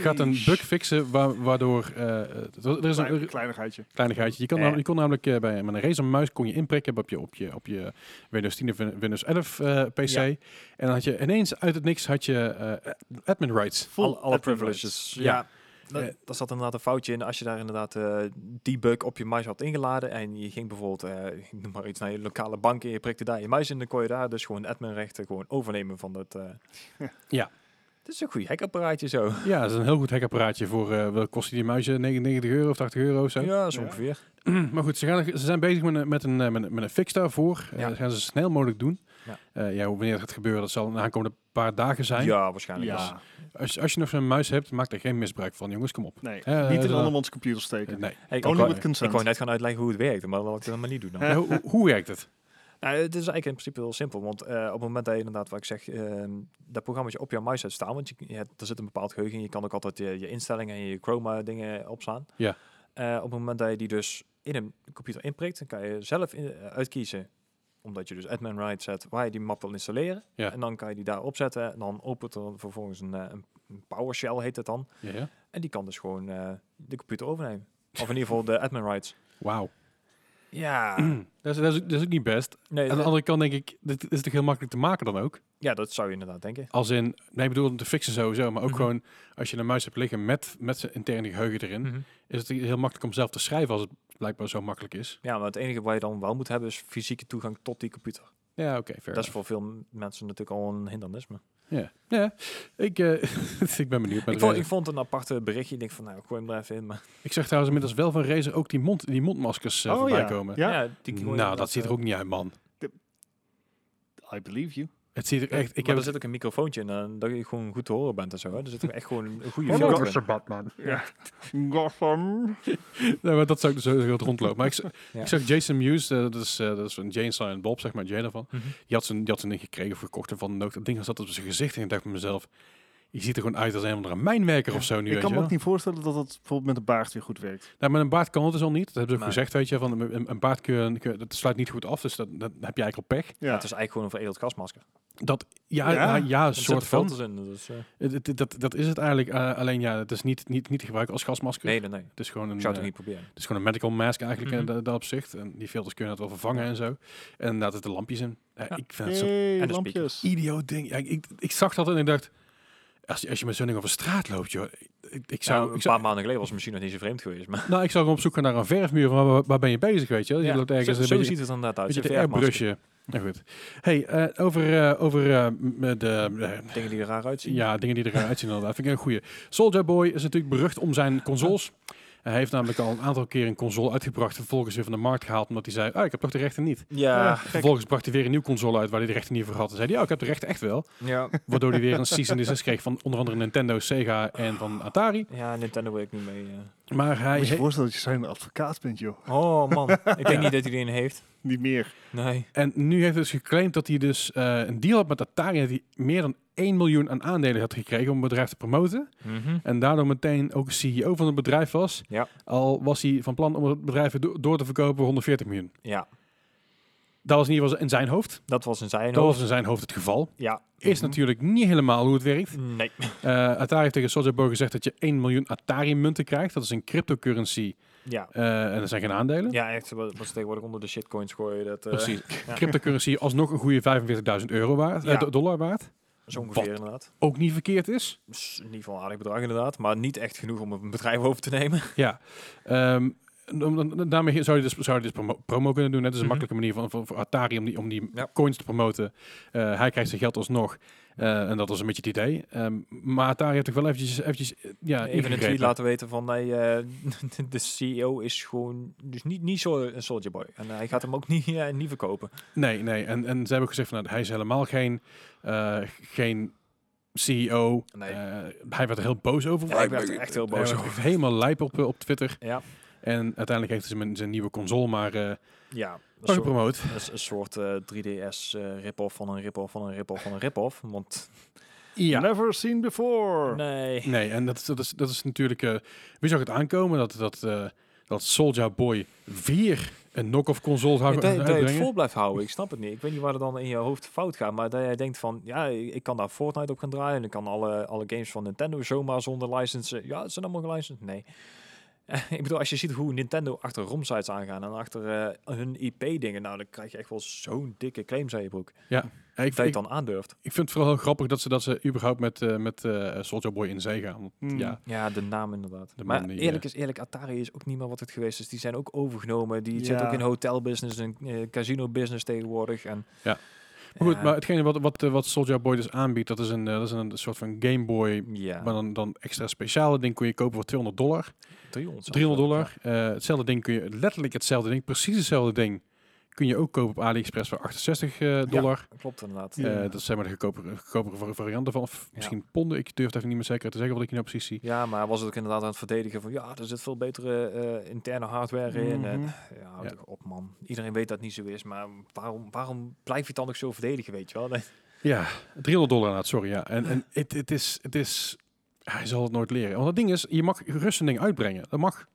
Speaker 1: gaat een bug fixen wa- waardoor... eh, het- er is
Speaker 2: Klein,
Speaker 1: een
Speaker 2: kleinigheidje.
Speaker 1: kleinigheidje. Je, kan
Speaker 2: Eh.
Speaker 1: namelijk- je kon namelijk eh, bij met een Razer muis kon je inprikken op je, op je, op je Windows 10 of Win- Windows 11 eh, PC.
Speaker 3: Ja.
Speaker 1: En dan had je ineens uit het niks had je eh, admin rights.
Speaker 2: Full
Speaker 3: alle, alle
Speaker 2: admin
Speaker 3: privileges.
Speaker 1: rights.
Speaker 3: Ja.
Speaker 1: Ja.
Speaker 3: Dat-
Speaker 1: Eh.
Speaker 3: Daar zat inderdaad een foutje in. Als je daar inderdaad eh, die bug op je muis had ingeladen en je ging bijvoorbeeld eh, ik noem maar iets naar je lokale bank en je prikte daar je muis in, dan kon je daar dus gewoon adminrechten gewoon overnemen van dat. eh.
Speaker 1: Ja.
Speaker 3: Het is een goed hekapparaatje zo.
Speaker 1: Ja, dat is een heel goed hackapparaatje voor... eh wat kost die muizen? 99 euro of 80 euro of zo?
Speaker 3: Ja, zo
Speaker 2: Ja.
Speaker 3: ongeveer.
Speaker 1: maar goed, ze, gaan, ze zijn bezig met een, met een, eh, met een, met een fix daarvoor. Eh,
Speaker 3: Ja.
Speaker 1: dat gaan ze zo snel mogelijk doen.
Speaker 3: Ja.
Speaker 1: Ja. ja, hoe- wanneer het gaat gebeuren, dat zal een aankomende paar dagen zijn.
Speaker 3: Ja, waarschijnlijk.
Speaker 2: Ja.
Speaker 3: Dus
Speaker 1: Als, als je nog zo'n muis hebt, maak er geen misbruik van. Jongens, kom op.
Speaker 2: Nee,
Speaker 1: Eh,
Speaker 2: niet in
Speaker 1: eh,
Speaker 2: andermans computer steken.
Speaker 1: Eh, Nee.
Speaker 3: ik,
Speaker 2: Only
Speaker 3: wou-
Speaker 2: with consent.
Speaker 3: ik wou net gaan uitleggen hoe het werkt, maar dat laat ik dat maar niet doen. Dan.
Speaker 1: Ja, hoe, hoe werkt het?
Speaker 3: Nou, het is eigenlijk in principe heel simpel. Want eh, op het moment dat je inderdaad, wat ik zeg, ehm, dat programmaatje op jouw muis hebt staan. Want je, je hebt- er zit een bepaald geheugen in. Je kan ook altijd je, je instellingen en je Chroma dingen opslaan.
Speaker 1: Ja.
Speaker 3: Eh, op het moment dat je die dus in een computer inprikt, dan kan je zelf in- eh, uitkiezen omdat je dus admin right zet waar je die map wil installeren.
Speaker 1: Ja.
Speaker 3: En dan kan je die daar opzetten. En dan opent er vervolgens een, eh, een een PowerShell heet dat dan.
Speaker 1: Ja, ja.
Speaker 3: En die kan dus gewoon eh, de computer overnemen. Of in ieder geval de admin rights.
Speaker 1: Wauw.
Speaker 3: Ja.
Speaker 1: Dat is, dat, is, ook- dat is ook niet best.
Speaker 3: Nee,
Speaker 1: Aan de
Speaker 3: dat-
Speaker 1: andere kant denk ik, dit is toch heel makkelijk te maken dan ook?
Speaker 3: ja, dat zou je inderdaad denken.
Speaker 1: Als in, nee, ik bedoel, te fixen sowieso. Maar ook
Speaker 3: Mhm.
Speaker 1: gewoon, als je een muis hebt liggen met, met zijn interne geheugen erin,
Speaker 3: Mhm.
Speaker 1: is het heel makkelijk om zelf te schrijven als het blijkbaar zo makkelijk is.
Speaker 3: Ja, maar het enige wat je dan wel moet hebben is fysieke toegang tot die computer.
Speaker 1: Ja, oké, fair
Speaker 3: dat is voor veel m- mensen natuurlijk al een hindernis. Maar
Speaker 1: Ja, ja. Ik, eh, ik ben benieuwd. Met
Speaker 3: ik, vond,
Speaker 1: Razer.
Speaker 3: ik vond een aparte berichtje. Ik denk van, nou, ik gooi hem er even in. Maar
Speaker 1: Ik zeg trouwens inmiddels wel van Razer ook die, mond, die mondmaskers eh,
Speaker 2: Oh,
Speaker 1: voorbij
Speaker 2: ja.
Speaker 1: komen.
Speaker 2: Ja,
Speaker 3: die gooi je
Speaker 1: nou,
Speaker 3: inderdaad,
Speaker 1: dat ziet er
Speaker 3: eh,
Speaker 1: ook niet uit, man.
Speaker 2: I believe you.
Speaker 1: Het ziet er echt... Ik
Speaker 3: maar
Speaker 1: heb
Speaker 3: er zit ook een microfoontje in, eh, dat je gewoon goed te horen bent en zo. Hè. Er zit ook echt gewoon een goede
Speaker 2: Oh,
Speaker 3: filter in.
Speaker 1: Batman.
Speaker 2: Gotham.
Speaker 1: Nee, nou, maar dat zou ik zo heel rondlopen. Maar ik, z-
Speaker 3: Ja.
Speaker 1: ik zag Jason Mewes, eh, dat, is, eh, dat is van Jane Silent Bob, zeg maar, Jane ervan.
Speaker 3: Mhm.
Speaker 1: Die had zijn die had zijn ding gekregen of gekocht en van ook dat ding zat op zijn gezicht. En ik dacht bij mezelf, je ziet er gewoon uit als een of andere mijnwerker of zo nu,
Speaker 2: Ik
Speaker 1: weet je
Speaker 2: kan me
Speaker 1: wel.
Speaker 2: ook niet voorstellen dat dat bijvoorbeeld met een baard weer goed werkt.
Speaker 1: Nou, met een baard kan het dus al niet. Dat hebben ze ook
Speaker 3: Nee.
Speaker 1: gezegd, weet je. Van, een, een baard kun je, kun je- dat sluit niet goed af, dus dat, dat heb je eigenlijk al pech.
Speaker 2: Ja.
Speaker 3: Het is eigenlijk gewoon een veredeld gasmasker.
Speaker 1: Dat, ja,
Speaker 2: Ja.
Speaker 1: ja, ja, een
Speaker 3: Er
Speaker 1: soort
Speaker 3: zitten
Speaker 1: van.
Speaker 3: filters in. Dus, eh,
Speaker 1: Het- het- dat, dat is het eigenlijk. eh, alleen ja, het is niet, niet, niet te gebruiken als gasmasker.
Speaker 3: nee, nee, nee.
Speaker 1: Het is gewoon een,
Speaker 3: Ik zou het
Speaker 1: eh,
Speaker 3: ook niet proberen.
Speaker 1: het is gewoon een medical mask eigenlijk eh, in
Speaker 3: Mhm.
Speaker 1: dat- dat opzicht. En die filters kunnen dat wel vervangen en zo. En inderdaad, het de lampjes in. Ja,
Speaker 3: Ja.
Speaker 1: Ik vind het zo'n
Speaker 2: Hey,
Speaker 3: en de
Speaker 2: lampjes.
Speaker 1: idioot ding. Ja, ik, ik, ik zag dat en ik dacht, als, je- als je met zo'n ding over straat loopt, joh. Ik, ik zou,
Speaker 3: Nou, een
Speaker 1: ik
Speaker 3: paar
Speaker 1: zou,
Speaker 3: maanden geleden was het misschien nog niet zo vreemd geweest. Maar
Speaker 1: nou, ik zou gewoon op zoek gaan naar een verfmuur. Van waar, waar ben je bezig, weet je wel? Je
Speaker 3: Ja,
Speaker 1: loopt ergens
Speaker 3: zo,
Speaker 1: een
Speaker 3: zo
Speaker 1: beetje-
Speaker 3: ziet het er inderdaad uit.
Speaker 1: beetje
Speaker 3: Een
Speaker 1: te
Speaker 3: verfmasker.
Speaker 1: airbrushen. Nou goed. Hey, eh, over, eh, over eh, m- de, eh,
Speaker 3: Dingen die er raar uitzien.
Speaker 1: Ja, dingen die eruit zien inderdaad. Vind ik een goeie. Soldier Boy is natuurlijk berucht om zijn consoles. Hij heeft namelijk al een aantal keer een console uitgebracht. Vervolgens weer van de markt gehaald. Omdat hij zei, ah, ik heb toch de rechten niet.
Speaker 2: Ja,
Speaker 3: Ja.
Speaker 2: gek.
Speaker 1: Vervolgens bracht hij weer een nieuwe console uit waar hij de rechten niet voor had. En zei hij, ja, ik heb de rechten echt wel.
Speaker 3: Ja.
Speaker 1: Waardoor hij weer een cease and desist kreeg van onder andere Nintendo, Sega en van Atari.
Speaker 3: ja, Nintendo wil ik niet mee. eh.
Speaker 1: Maar hij...
Speaker 2: Moet je je
Speaker 1: he-
Speaker 2: voorstellen dat je zijn advocaat bent, joh.
Speaker 3: Oh man, ik denk niet dat hij die een heeft.
Speaker 2: Niet meer.
Speaker 3: Nee.
Speaker 1: En nu heeft hij dus geclaimd dat hij dus eh, een deal had met Atari. Dat hij meer dan 1 miljoen aan aandelen had gekregen om het bedrijf te promoten.
Speaker 3: Mhm.
Speaker 1: En daardoor meteen ook CEO van het bedrijf was.
Speaker 3: Ja.
Speaker 1: Al was hij van plan om het bedrijf do- door te verkopen voor 140 miljoen.
Speaker 3: Ja,
Speaker 1: Dat was in ieder geval in zijn hoofd.
Speaker 3: dat was in zijn
Speaker 1: Dat
Speaker 3: hoofd.
Speaker 1: was in zijn hoofd het geval.
Speaker 3: Ja,
Speaker 1: Is
Speaker 2: Mhm.
Speaker 1: natuurlijk niet helemaal hoe het werkt.
Speaker 3: nee.
Speaker 1: Eh, Atari heeft tegen Sojibo gezegd dat je 1 miljoen Atari-munten krijgt. Dat is een cryptocurrency.
Speaker 3: Ja,
Speaker 1: eh, en dat zijn geen aandelen.
Speaker 3: ja echt, wat wat ze tegenwoordig onder de shitcoins gooien. Dat, eh,
Speaker 1: Precies.
Speaker 3: ja.
Speaker 1: Cryptocurrency alsnog een goede 45.000 euro waard, eh,
Speaker 3: Ja.
Speaker 1: do- dollar waard.
Speaker 3: Zo ongeveer
Speaker 1: Wat?
Speaker 3: inderdaad.
Speaker 1: Ook niet verkeerd is.
Speaker 3: Is in ieder geval een aardig bedrag inderdaad, maar niet echt genoeg om een bedrijf over te nemen.
Speaker 1: Ja. Ehm, en om- dan- daarmee zou je dus, zou je dus promo, promo kunnen doen. hè. Dat is een
Speaker 3: Mhm.
Speaker 1: makkelijke manier van, van, voor Atari om die, om die
Speaker 3: Ja.
Speaker 1: coins te promoten. Eh, hij krijgt zijn geld alsnog. Eh, en dat was een beetje het idee. Ehm, maar Atari heeft toch wel eventjes... eventjes eh, ja,
Speaker 3: Even een
Speaker 1: ingegrepen.
Speaker 3: tweet laten weten van nee, eh, de CEO is gewoon dus niet, niet zo een soldier boy. En hij gaat hem ook niet, eh, niet verkopen.
Speaker 1: Nee, nee. En, en ze hebben ook gezegd van... nou, hij is helemaal geen... eh, geen CEO.
Speaker 3: Nee.
Speaker 1: Eh, hij werd er heel boos over.
Speaker 3: Ja, ik werd er echt heel boos
Speaker 1: hij werd
Speaker 3: over.
Speaker 1: helemaal lijp op, eh, op Twitter.
Speaker 3: Ja,
Speaker 1: En uiteindelijk heeft hij zijn, zijn nieuwe console maar eh
Speaker 3: ja. Een soort,
Speaker 1: gepromoot.
Speaker 3: een, een soort eh, 3DS eh rip-off van een rip-off van een rip-off van een rip-off. Want
Speaker 1: Ja.
Speaker 2: Never seen before.
Speaker 3: nee.
Speaker 1: Nee, en dat, is- dat, is, dat is natuurlijk... eh, wie zag het aankomen dat, dat, eh dat Soulja Boy weer een knock-off console zou gaan
Speaker 3: Ja, dat, dat je het
Speaker 1: uitbrengen?
Speaker 3: vol blijft houden, ik snap het niet. Ik weet niet waar het dan in je hoofd fout gaat, maar dat jij denkt van, ja, ik kan daar Fortnite op gaan draaien en ik kan alle, alle games van Nintendo zomaar zonder license. Ja, het zijn allemaal gelicensed. Nee. ik bedoel, als je ziet hoe Nintendo achter ROM-sites aangaan en achter eh, hun IP-dingen, nou, dan krijg je echt wel zo'n dikke claims aan je broek.
Speaker 1: Ja, ik,
Speaker 3: Dat je het
Speaker 1: ik,
Speaker 3: dan aandurft.
Speaker 1: ik vind het vooral heel grappig dat ze, dat ze überhaupt met, eh met eh, Soulja Boy in zee gaan. Want
Speaker 2: Hmm.
Speaker 1: Ja,
Speaker 3: Ja, de naam inderdaad.
Speaker 1: De
Speaker 3: maar
Speaker 1: man die,
Speaker 3: eerlijk is eerlijk, Atari is ook niet meer wat het geweest is. Die zijn ook overgenomen. Die zitten
Speaker 2: Ja.
Speaker 3: ook in hotelbusiness en eh, casino-business tegenwoordig. En,
Speaker 1: Ja. Maar goed,
Speaker 3: Ja,
Speaker 1: maar hetgene wat, wat, eh, wat Soulja Boy dus aanbiedt, dat is een, eh, dat is een soort van Game Boy,
Speaker 3: ja,
Speaker 1: maar dan, dan extra speciale ding kun je kopen voor 200 dollar.
Speaker 3: 300. zelfs
Speaker 1: 300
Speaker 3: wel, ja.
Speaker 1: dollar. Eh, hetzelfde ding kun je, letterlijk hetzelfde ding, precies hetzelfde ding, kun je ook kopen op AliExpress voor 68 eh, dollar.
Speaker 3: Klopt inderdaad.
Speaker 1: Eh,
Speaker 2: Ja.
Speaker 1: dat zijn maar de goedkopere, goedkopere var- varianten van, of
Speaker 3: Ja.
Speaker 1: misschien ponden. Ik durf het even niet meer zeker te zeggen wat ik hier nou precies zie.
Speaker 3: Ja, maar hij was het ook inderdaad aan het verdedigen van ja, er zit veel betere eh, interne hardware in. En,
Speaker 2: Mhm.
Speaker 3: ja, houd toch op man. Iedereen weet dat het niet zo is, maar waarom, waarom blijf je het dan ook zo verdedigen, weet je wel? Nee.
Speaker 1: Ja, 300 dollar inderdaad, sorry. Ja. En, en het, het is, het is, hij zal het nooit leren. Want het ding is, je mag gerust een ding uitbrengen. Dat mag.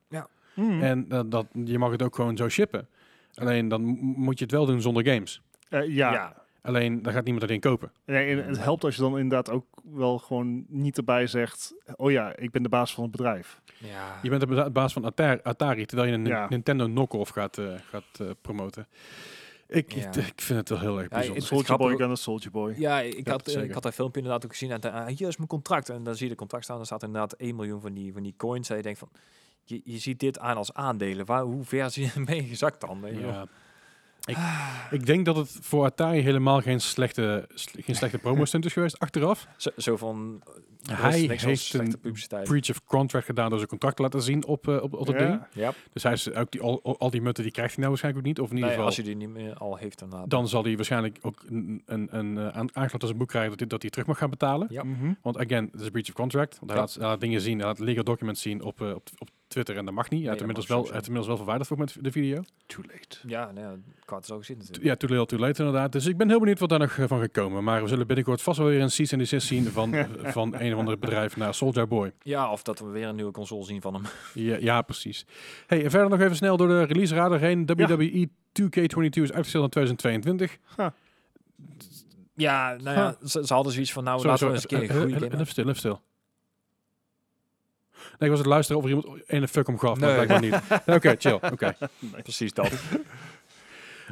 Speaker 2: Mm.
Speaker 1: En eh, dat, je mag het ook gewoon zo shippen. Alleen dan m- moet je het wel doen zonder games.
Speaker 2: Eh, ja,
Speaker 1: Alleen dan gaat niemand dat ding kopen.
Speaker 2: Nee, en het helpt als je dan inderdaad ook wel gewoon niet erbij zegt... oh ja, ik ben de baas van het bedrijf.
Speaker 3: ja.
Speaker 1: Je bent de ba- baas van Atar- Atari, terwijl je een
Speaker 2: Ja.
Speaker 1: Nintendo knock-off gaat, eh, gaat eh, promoten. Ik,
Speaker 3: Ja.
Speaker 1: ik, ik vind het wel heel erg
Speaker 3: Ja,
Speaker 1: bijzonder.
Speaker 3: Het
Speaker 2: Soldier
Speaker 3: grappige-
Speaker 2: boy dan een soldier boy.
Speaker 3: Ja, ik,
Speaker 1: Ja,
Speaker 3: had, eh,
Speaker 1: zeker.
Speaker 3: ik had dat filmpje inderdaad ook gezien. En daar- ah, hier is mijn contract. En dan zie je de contract staan. Dan staat inderdaad 1 miljoen van die, van die coins. En je denkt van, je, je ziet dit aan als aandelen. Waar, hoe ver zie je mee gezakt dan? weet je wel?
Speaker 1: Ja. Ik, ik denk dat het voor Atari helemaal geen slechte, sle- geen slechte promo-stunt is geweest. Achteraf,
Speaker 3: Zo, zo van, eh, er is
Speaker 1: Hij
Speaker 3: niks als
Speaker 1: heeft
Speaker 3: slechte
Speaker 1: een
Speaker 3: publiciteit.
Speaker 1: breach of contract gedaan door zijn contract te laten zien op, eh, op, op dat
Speaker 2: Ja.
Speaker 1: ding.
Speaker 3: ja,
Speaker 1: Dus hij is ook die, al, al die munten, die krijgt hij nou waarschijnlijk ook niet. Of in ieder
Speaker 3: nee,
Speaker 1: geval,
Speaker 3: als je die niet meer al heeft inderdaad.
Speaker 1: dan zal hij waarschijnlijk ook een, een, een eh, aan- aanklacht als een boek krijgen dat hij, dat hij terug mag gaan betalen.
Speaker 3: Ja.
Speaker 2: Mhm.
Speaker 1: Want again, het is breach of contract. Want hij,
Speaker 3: Ja.
Speaker 1: laat, hij laat dingen zien, hij laat legal documents zien op, eh, op, op Twitter en dat mag niet. Hij
Speaker 3: Nee,
Speaker 1: heeft
Speaker 3: dat
Speaker 1: inmiddels
Speaker 3: mag
Speaker 1: wel,
Speaker 3: sowieso
Speaker 1: hij heeft inmiddels wel verwijderd voor met de video.
Speaker 2: Too late.
Speaker 3: Ja, nee, ik had het al gezien natuurlijk.
Speaker 1: Ja, too little too late inderdaad. Dus ik ben heel benieuwd wat daar nog eh, van gaat komen. Maar we zullen binnenkort vast wel weer een cease and desist zien van, van een of ander bedrijf naar Soldier Boy.
Speaker 3: Ja, of dat we weer een nieuwe console zien van hem.
Speaker 1: Ja, ja, precies. Hey, en verder nog even snel door de release radar heen. E
Speaker 2: Ja.
Speaker 1: WWE 2K22 is uitgesteld naar 2022.
Speaker 3: Ja, nou ja, ze, ze hadden zoiets van, nou, laten we eens een keer een
Speaker 1: eh,
Speaker 3: goede
Speaker 1: eh, eh,
Speaker 3: game
Speaker 1: Even stil, even stil. Nee, ik was aan het luisteren of er iemand een fuck om gaf, maar
Speaker 3: Nee.
Speaker 1: blijkbaar niet. Nee, Oké, chill. Oké.
Speaker 3: hebben. Precies dat.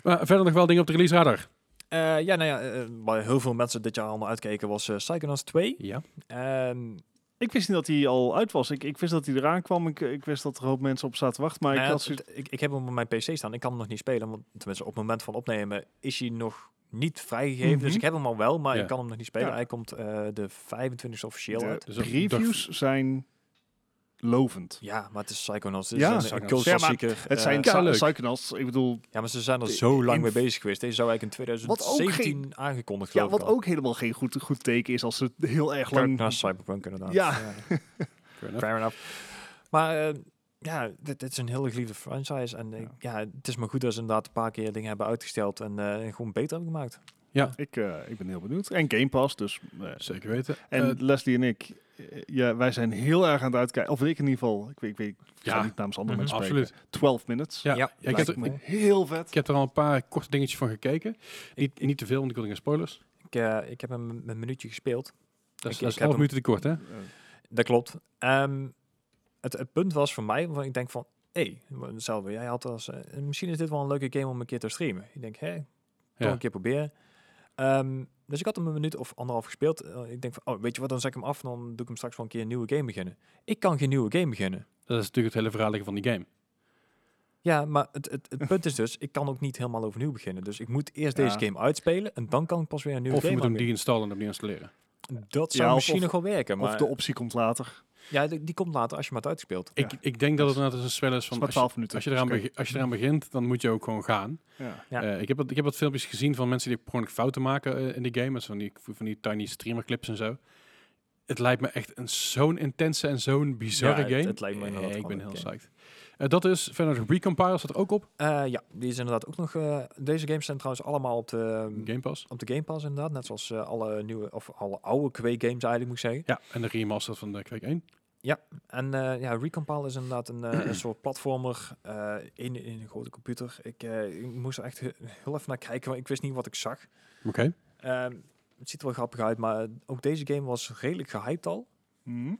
Speaker 1: Maar verder nog wel dingen op de release radar.
Speaker 3: Eh, ja, nou ja, eh, waar heel veel mensen dit jaar allemaal uitkeken was eh, Psychonauts 2.
Speaker 1: Ja.
Speaker 3: Ehm,
Speaker 2: Ik wist niet dat hij al uit was. Ik, ik wist dat hij eraan kwam. Ik, ik wist dat er een hoop mensen op zaten te wachten. Maar
Speaker 3: nou ja,
Speaker 2: ik had
Speaker 3: het-
Speaker 2: zoiets...
Speaker 3: ik, ik heb hem op mijn PC staan. Ik kan hem nog niet spelen, want tenminste, op het moment van opnemen is hij nog niet vrijgegeven. Dus
Speaker 2: Mhm.
Speaker 3: ik heb hem al wel, maar
Speaker 1: Ja.
Speaker 3: ik kan hem nog niet spelen.
Speaker 2: Ja.
Speaker 3: Hij komt eh, de 25e officieel uit.
Speaker 1: Dus
Speaker 2: De
Speaker 1: dat-
Speaker 2: reviews zijn lovend.
Speaker 3: Ja, maar het is Psychonauts. Het
Speaker 2: Ja.
Speaker 3: is een- een
Speaker 1: Psychonauts.
Speaker 2: Ja, maar
Speaker 3: cultklassieker.
Speaker 2: Het
Speaker 3: Eh,
Speaker 2: zijn
Speaker 1: Ja,
Speaker 2: sa-
Speaker 1: leuk.
Speaker 2: psychonauts. Ik bedoel,
Speaker 3: ja, maar ze zijn er
Speaker 2: de-
Speaker 3: zo lang
Speaker 2: in-
Speaker 3: mee bezig geweest. Deze zou eigenlijk in
Speaker 2: Wat ook
Speaker 3: 2017 aangekondigd
Speaker 2: ja,
Speaker 3: geloof ik
Speaker 2: wat
Speaker 3: al.
Speaker 2: ook helemaal geen goed, goed teken is als ze het heel erg
Speaker 3: Kijk
Speaker 2: lang...
Speaker 3: naar Cyberpunk inderdaad.
Speaker 2: Ja.
Speaker 1: Fair enough.
Speaker 3: Fair enough. Maar eh, ja, dit, dit is een hele geliefde franchise. En eh, ja. het is maar goed dat ze inderdaad een paar keer dingen hebben uitgesteld en eh, gewoon beter hebben gemaakt.
Speaker 2: Ik, eh, ik ben heel benieuwd. En Game Pass, dus... eh,
Speaker 1: Zeker weten.
Speaker 2: En
Speaker 1: Eh,
Speaker 2: Leslie en ik, eh, ja, wij zijn heel erg aan het uitkijken. Of ik in ieder geval. Ik weet, ik weet ik ga
Speaker 1: Ja.
Speaker 2: niet namens
Speaker 3: Mhm.
Speaker 2: andere mensen
Speaker 1: absoluut.
Speaker 2: spreken. 12 minutes.
Speaker 1: Ja,
Speaker 3: Ja,
Speaker 1: ja, ik, heb
Speaker 3: lijkt
Speaker 1: er,
Speaker 3: me.
Speaker 1: ik,
Speaker 2: Heel vet.
Speaker 1: ik heb er al een paar korte dingetjes van gekeken. Niet, niet te veel, want ik wil geen spoilers.
Speaker 3: Ik, eh, ik heb een, een minuutje gespeeld.
Speaker 1: Dat is,
Speaker 3: Ik-
Speaker 1: dat
Speaker 3: ik
Speaker 1: is
Speaker 3: heb
Speaker 1: 11
Speaker 3: hem-
Speaker 1: minuten te kort, hè?
Speaker 3: Dat klopt. Ehm, het, het punt was voor mij, want ik denk van, hé, hey, hetzelfde. Jij had als, eh, misschien is dit wel een leuke game om een keer te streamen. Ik denk, hé, toch
Speaker 1: Ja.
Speaker 3: een keer proberen. Ehm, dus ik had hem een minuut of anderhalf gespeeld. Eh, ik denk van, oh, weet je wat, dan zet ik hem af en dan doe ik hem straks wel een keer een nieuwe game beginnen. Ik kan geen nieuwe game beginnen.
Speaker 1: Dat is natuurlijk het hele verhaal liggen van die game.
Speaker 3: Ja, maar het, het, het punt is dus, ik kan ook niet helemaal overnieuw beginnen. Dus ik moet eerst deze
Speaker 2: Ja.
Speaker 3: game uitspelen en dan kan ik pas weer een nieuwe
Speaker 1: Of je
Speaker 3: game
Speaker 1: moet hem
Speaker 3: aanbieden.
Speaker 1: die installen en opnieuw installeren.
Speaker 3: Dat zou
Speaker 2: Ja, of-
Speaker 3: misschien
Speaker 2: of-
Speaker 3: nog wel werken,
Speaker 2: Of
Speaker 3: maar
Speaker 2: de optie komt later.
Speaker 3: ja, die, die komt later als je hem hebt uitgespeeld.
Speaker 1: Ik, ik denk dat het inderdaad een spel is
Speaker 2: Het is
Speaker 1: van...
Speaker 2: maar
Speaker 1: als je-
Speaker 2: 12 minuten.
Speaker 1: Als je, eraan
Speaker 2: Dus oké.
Speaker 1: begi- als je eraan begint, dan moet je ook gewoon gaan.
Speaker 2: Ja.
Speaker 3: Ja.
Speaker 1: Eh, ik, heb wat, ik heb wat filmpjes gezien van mensen die gewoon fouten maken eh, in de game. Dat is Van die, van die tiny streamer clips en zo. het lijkt me echt een, zo'n intense en zo'n bizarre
Speaker 3: Ja, het-
Speaker 1: game.
Speaker 3: het lijkt me
Speaker 1: Eh,
Speaker 3: inderdaad
Speaker 1: ik ben
Speaker 3: gewoon
Speaker 1: heel
Speaker 3: een game.
Speaker 1: psyched. Eh, dat is verder Recompile staat er ook op.
Speaker 3: Eh, ja, die is inderdaad ook nog... eh, deze games zijn trouwens allemaal op de,
Speaker 1: Game Pass.
Speaker 3: op de Game Pass inderdaad. Net zoals eh, alle nieuwe, of alle oude Quake games eigenlijk moet ik zeggen.
Speaker 1: Ja, en de remaster van de Quake 1.
Speaker 3: En eh, ja, Recompile is inderdaad een, eh, een soort platformer eh, in, in een grote computer. Ik, eh, ik moest er echt he- heel even naar kijken, want ik wist niet wat ik zag.
Speaker 1: Oké.
Speaker 3: Ehm, het ziet er wel grappig uit, maar eh, ook deze game was redelijk gehyped al.
Speaker 2: Hm?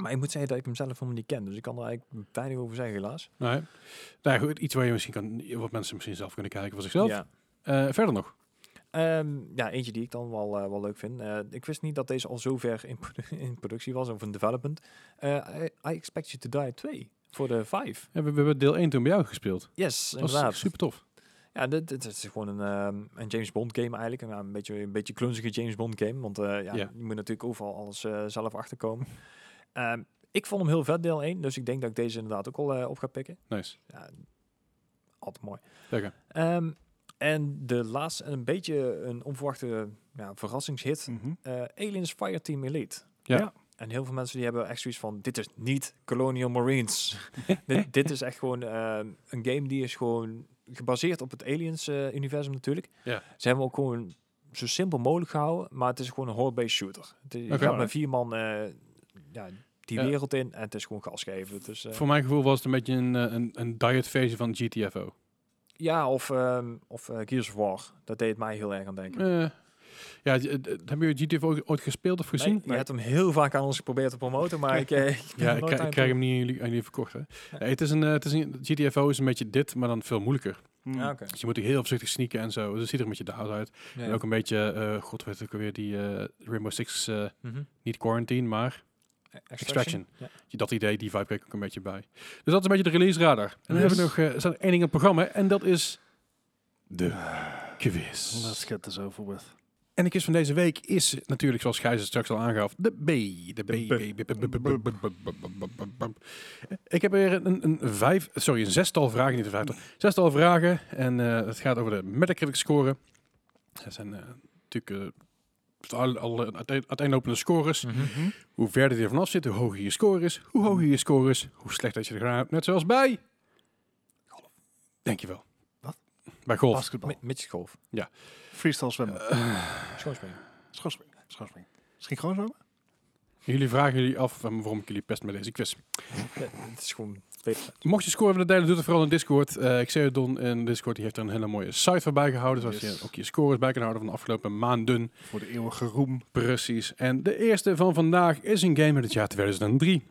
Speaker 3: Maar ik moet zeggen dat ik hem zelf helemaal niet ken, dus ik kan er eigenlijk weinig over zeggen helaas.
Speaker 1: Nee. Nou ja, goed, iets waar je misschien kan, wat mensen misschien zelf kunnen kijken voor zichzelf. Eh, verder nog.
Speaker 3: Ehm, ja, eentje die ik dan wel, eh, wel leuk vind. Eh, ik wist niet dat deze al zo ver in, produ- in productie was, of in development. Eh, I, I Expect You To Die 2 voor de 5.
Speaker 1: Ja, we, we hebben deel 1 toen bij jou gespeeld.
Speaker 3: Yes,
Speaker 1: Dat
Speaker 3: inderdaad.
Speaker 1: was super tof.
Speaker 3: Ja, dit, dit is gewoon een, ehm, een James Bond game eigenlijk. Ja, een beetje een beetje klunzige James Bond game. Want eh, ja,
Speaker 1: Ja.
Speaker 3: je moet natuurlijk overal alles eh, zelf achterkomen. Ehm, ik vond hem heel vet deel 1. Dus ik denk dat ik deze inderdaad ook al eh, op ga pikken.
Speaker 1: Nice.
Speaker 3: Ja, altijd mooi.
Speaker 1: Lekker.
Speaker 3: Ehm, en de laatste, en een beetje een onverwachte ja, verrassingshit.
Speaker 2: Mhm.
Speaker 3: eh, Aliens Fireteam Elite.
Speaker 1: Ja.
Speaker 2: Ja.
Speaker 3: En heel veel mensen die hebben echt zoiets van, dit is niet Colonial Marines. dit, dit is echt gewoon ehm, een game die is gewoon gebaseerd op het Aliens-universum natuurlijk.
Speaker 1: Ja.
Speaker 3: Ze hebben ook gewoon zo simpel mogelijk gehouden, maar het is gewoon een horde-based shooter. Het, je
Speaker 1: Oké.
Speaker 3: gaat met vier man eh, ja, die
Speaker 1: Ja.
Speaker 3: wereld in en het is gewoon gas geven. Dus, eh,
Speaker 1: Voor mijn gevoel was het een beetje een, eh, een, een diet versie van GTFO.
Speaker 3: ja, of, ehm, of eh, Gears of War. Dat deed mij heel erg aan denken.
Speaker 1: Eh, ja, d- d- hebben jullie GTFO ooit gespeeld of gezien?
Speaker 3: Nee, Je hebt hem heel vaak aan ons geprobeerd te promoten, maar ik, eh, ik ben
Speaker 1: Ja,
Speaker 3: er
Speaker 1: ik,
Speaker 3: nooit
Speaker 1: krijg-
Speaker 3: aan
Speaker 1: ik krijg hem niet aan jullie, aan jullie verkocht. Hè? Nee, het is een, eh, het is een, GTFO is een beetje dit, maar dan veel moeilijker.
Speaker 2: Hm.
Speaker 3: Ja, oké.
Speaker 1: Dus je moet er heel voorzichtig sneaken en zo. Dus het ziet er een beetje daar uit. En
Speaker 3: Ja.
Speaker 1: ook een beetje, eh god weet ik alweer, die eh, Rainbow Six, eh,
Speaker 3: Mhm.
Speaker 1: niet quarantine, maar Extraction.
Speaker 3: Ja.
Speaker 1: dat idee, die vibe kreeg ik een beetje bij. Dus dat is een beetje de release radar. En dan hebben we nog,
Speaker 3: Yes.
Speaker 1: eh, er staat één ding in het programma en dat is de quiz.
Speaker 4: Let's get this over with.
Speaker 1: En de quiz van deze week is natuurlijk, zoals Gijs het straks al aangaf, de B. De B. B- B- B- B- B- B- B- Ik heb weer een, een vijf, sorry, een zestal vragen, niet een vijftal, zestal vragen. En eh, het gaat over de Metacritic score. Dat zijn eh, natuurlijk eh, alle, alle uiteen- uiteenlopende scores. Hoe verder je er vanaf zit, hoe hoger je score is. Hoe hoger je score is, hoe slecht dat je er gedaan hebt. Net zoals bij... Dankjewel.
Speaker 2: Wat?
Speaker 1: Bij golf.
Speaker 2: Basketbal.
Speaker 3: Mitch Golf.
Speaker 2: Freestyle zwemmen.
Speaker 3: Eh. Schoonspringen.
Speaker 2: Schoonspringen. Schoonspringen. Misschien gewoon zo?
Speaker 1: Jullie vragen jullie af eh, waarom ik jullie pest met deze quiz.
Speaker 3: Ja, het is gewoon... weet-
Speaker 1: Mocht je scoren willen delen, doe het vooral in Discord. Eh ik zei Don in Discord, die heeft er een hele mooie site voor bijgehouden. Zodat
Speaker 2: Yes.
Speaker 1: je ook je scores bij kan houden van de afgelopen maanden.
Speaker 2: Voor de eeuwige roem.
Speaker 1: Precies. En de eerste van vandaag is een game uit het jaar 2003.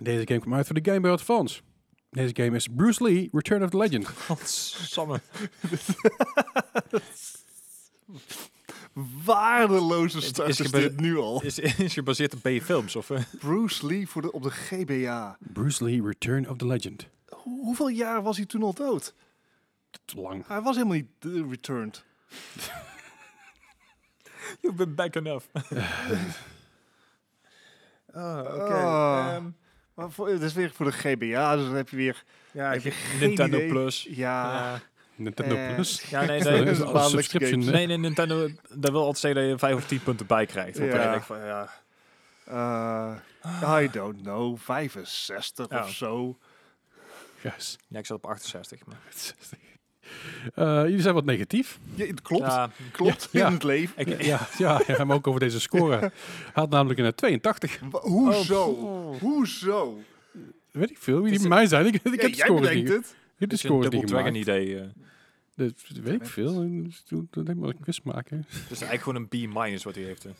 Speaker 1: Deze game kwam uit voor de Game Boy Advance. Deze game is Bruce Lee, Return of the Legend.
Speaker 3: Godsamme.
Speaker 2: Waardeloze
Speaker 3: Het
Speaker 2: start
Speaker 3: is
Speaker 2: is,
Speaker 3: gebe-
Speaker 2: dit nu al.
Speaker 3: Is, is gebaseerd op B-films of... eh?
Speaker 2: Bruce Lee voor de, op de GBA.
Speaker 1: Bruce Lee, Return of the Legend.
Speaker 2: Hoe- hoeveel jaar was hij toen al dood?
Speaker 1: Te lang.
Speaker 2: Hij was helemaal niet eh, returned.
Speaker 3: You've been back enough. oh, oké.
Speaker 2: Ah.
Speaker 3: Ehm,
Speaker 2: Maar voor, het is weer voor de GBA, dus dan heb je weer...
Speaker 3: ja,
Speaker 2: heb je geen
Speaker 3: Nintendo
Speaker 2: idee.
Speaker 3: Plus.
Speaker 2: Ja,
Speaker 3: Ja.
Speaker 1: Nintendo
Speaker 2: Eh,
Speaker 1: Plus.
Speaker 3: Ja, nee,
Speaker 1: Dat
Speaker 3: nee.
Speaker 1: is
Speaker 2: een
Speaker 1: al
Speaker 2: maandelijkse
Speaker 1: subscription.
Speaker 2: game.
Speaker 1: hè?
Speaker 3: Nee, nee, Nintendo, dat wil altijd zeggen dat je 5 of 10 punten bij krijgt. Want dan
Speaker 2: Ja.
Speaker 3: denk ik van, ja.
Speaker 2: eh, I don't know, 65
Speaker 3: Ja.
Speaker 2: of zo.
Speaker 1: Yes.
Speaker 3: ja, ik zat op 68. Maar.
Speaker 1: Eh, jullie zijn wat negatief.
Speaker 2: Ja, het klopt,
Speaker 3: Ja,
Speaker 2: klopt
Speaker 1: Ja.
Speaker 2: in het leven.
Speaker 3: ik,
Speaker 1: Ja, ja, ja, maar ook over deze score. Hij had namelijk een 82.
Speaker 3: Oh,
Speaker 2: Wa- Hoezo? Hoezo?
Speaker 1: Weet ik veel. Wie
Speaker 3: Het
Speaker 1: die
Speaker 3: is-
Speaker 1: mij zijn. Ik, ik
Speaker 2: Ja,
Speaker 1: heb de
Speaker 2: jij
Speaker 1: scores
Speaker 2: bedenkt
Speaker 1: niet. Ik
Speaker 2: het.
Speaker 1: heb de
Speaker 3: Het is een
Speaker 1: scores
Speaker 3: Double
Speaker 1: niet
Speaker 3: Dragon
Speaker 1: gemaakt.
Speaker 3: idee. eh.
Speaker 1: Dat weet ik veel. Toen denk ik maar een quiz maken.
Speaker 3: Het is Dus eigenlijk gewoon een B- wat hij heeft. eh.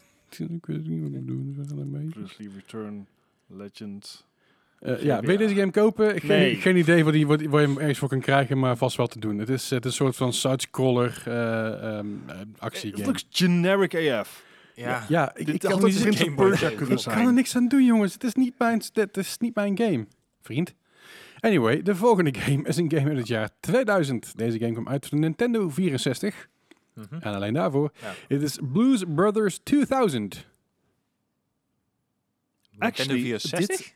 Speaker 1: Ik weet niet wat ik moet doen. Dus we gaan ermee.
Speaker 4: Bruce Lee Return Legend.
Speaker 1: Eh, ja, wil je deze game kopen? Geen,
Speaker 4: Nee.
Speaker 1: geen idee waar, die, waar, die- waar je hem ergens voor kan krijgen, maar vast wel te doen. Het is, het is een soort van side-scroller eh, ehm, eh,
Speaker 2: It
Speaker 1: actiegame.
Speaker 2: looks generic AF.
Speaker 3: Ja.
Speaker 1: Ja, ik,
Speaker 2: Dit
Speaker 1: ik
Speaker 2: had
Speaker 1: kan,
Speaker 2: het
Speaker 3: dus
Speaker 1: niet-
Speaker 2: Prince of
Speaker 3: Game Boy
Speaker 2: Persia
Speaker 3: game.
Speaker 2: kunnen
Speaker 1: ik kan er
Speaker 2: zijn.
Speaker 1: niks aan doen, jongens. Het is niet mijn, het is niet mijn game, vriend. Anyway, de volgende game is een game uit het jaar 2000. Deze game kwam uit voor de Nintendo 64.
Speaker 3: Mhm.
Speaker 1: En alleen daarvoor.
Speaker 3: Ja.
Speaker 1: Het is Blues Brothers 2000.
Speaker 3: Nintendo
Speaker 2: Actually,
Speaker 3: 64?
Speaker 2: dit-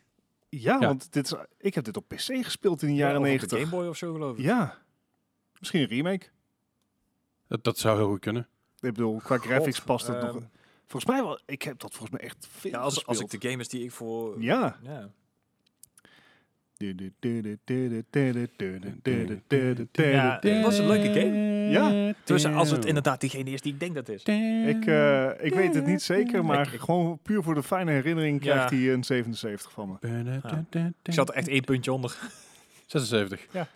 Speaker 2: Ja,
Speaker 1: Ja.
Speaker 2: want dit is, ik heb dit op PC gespeeld in de
Speaker 3: Ja,
Speaker 2: jaren
Speaker 3: of op
Speaker 2: 90.
Speaker 3: De Game Boy of zo geloof ik.
Speaker 2: Ja. Misschien een remake.
Speaker 1: Dat, dat zou heel goed kunnen.
Speaker 2: Ik bedoel, qua graphics past het nog. Volgens mij wel, ik heb dat volgens mij echt veel
Speaker 3: ehm, Ja, als, als ik
Speaker 2: gespeeld.
Speaker 3: de game is die ik voor...
Speaker 2: Ja.
Speaker 3: Ja. Ja, het was een leuke game.
Speaker 2: Ja.
Speaker 3: Dus als het inderdaad diegene is die ik denk dat is.
Speaker 2: Ik, eh, ik weet het niet zeker, maar
Speaker 3: Ik- ik-
Speaker 2: gewoon puur voor de fijne herinnering
Speaker 3: Ja.
Speaker 2: krijgt hij een 77 van me.
Speaker 3: Ik zat er echt één puntje onder.
Speaker 1: 76.
Speaker 2: Ja.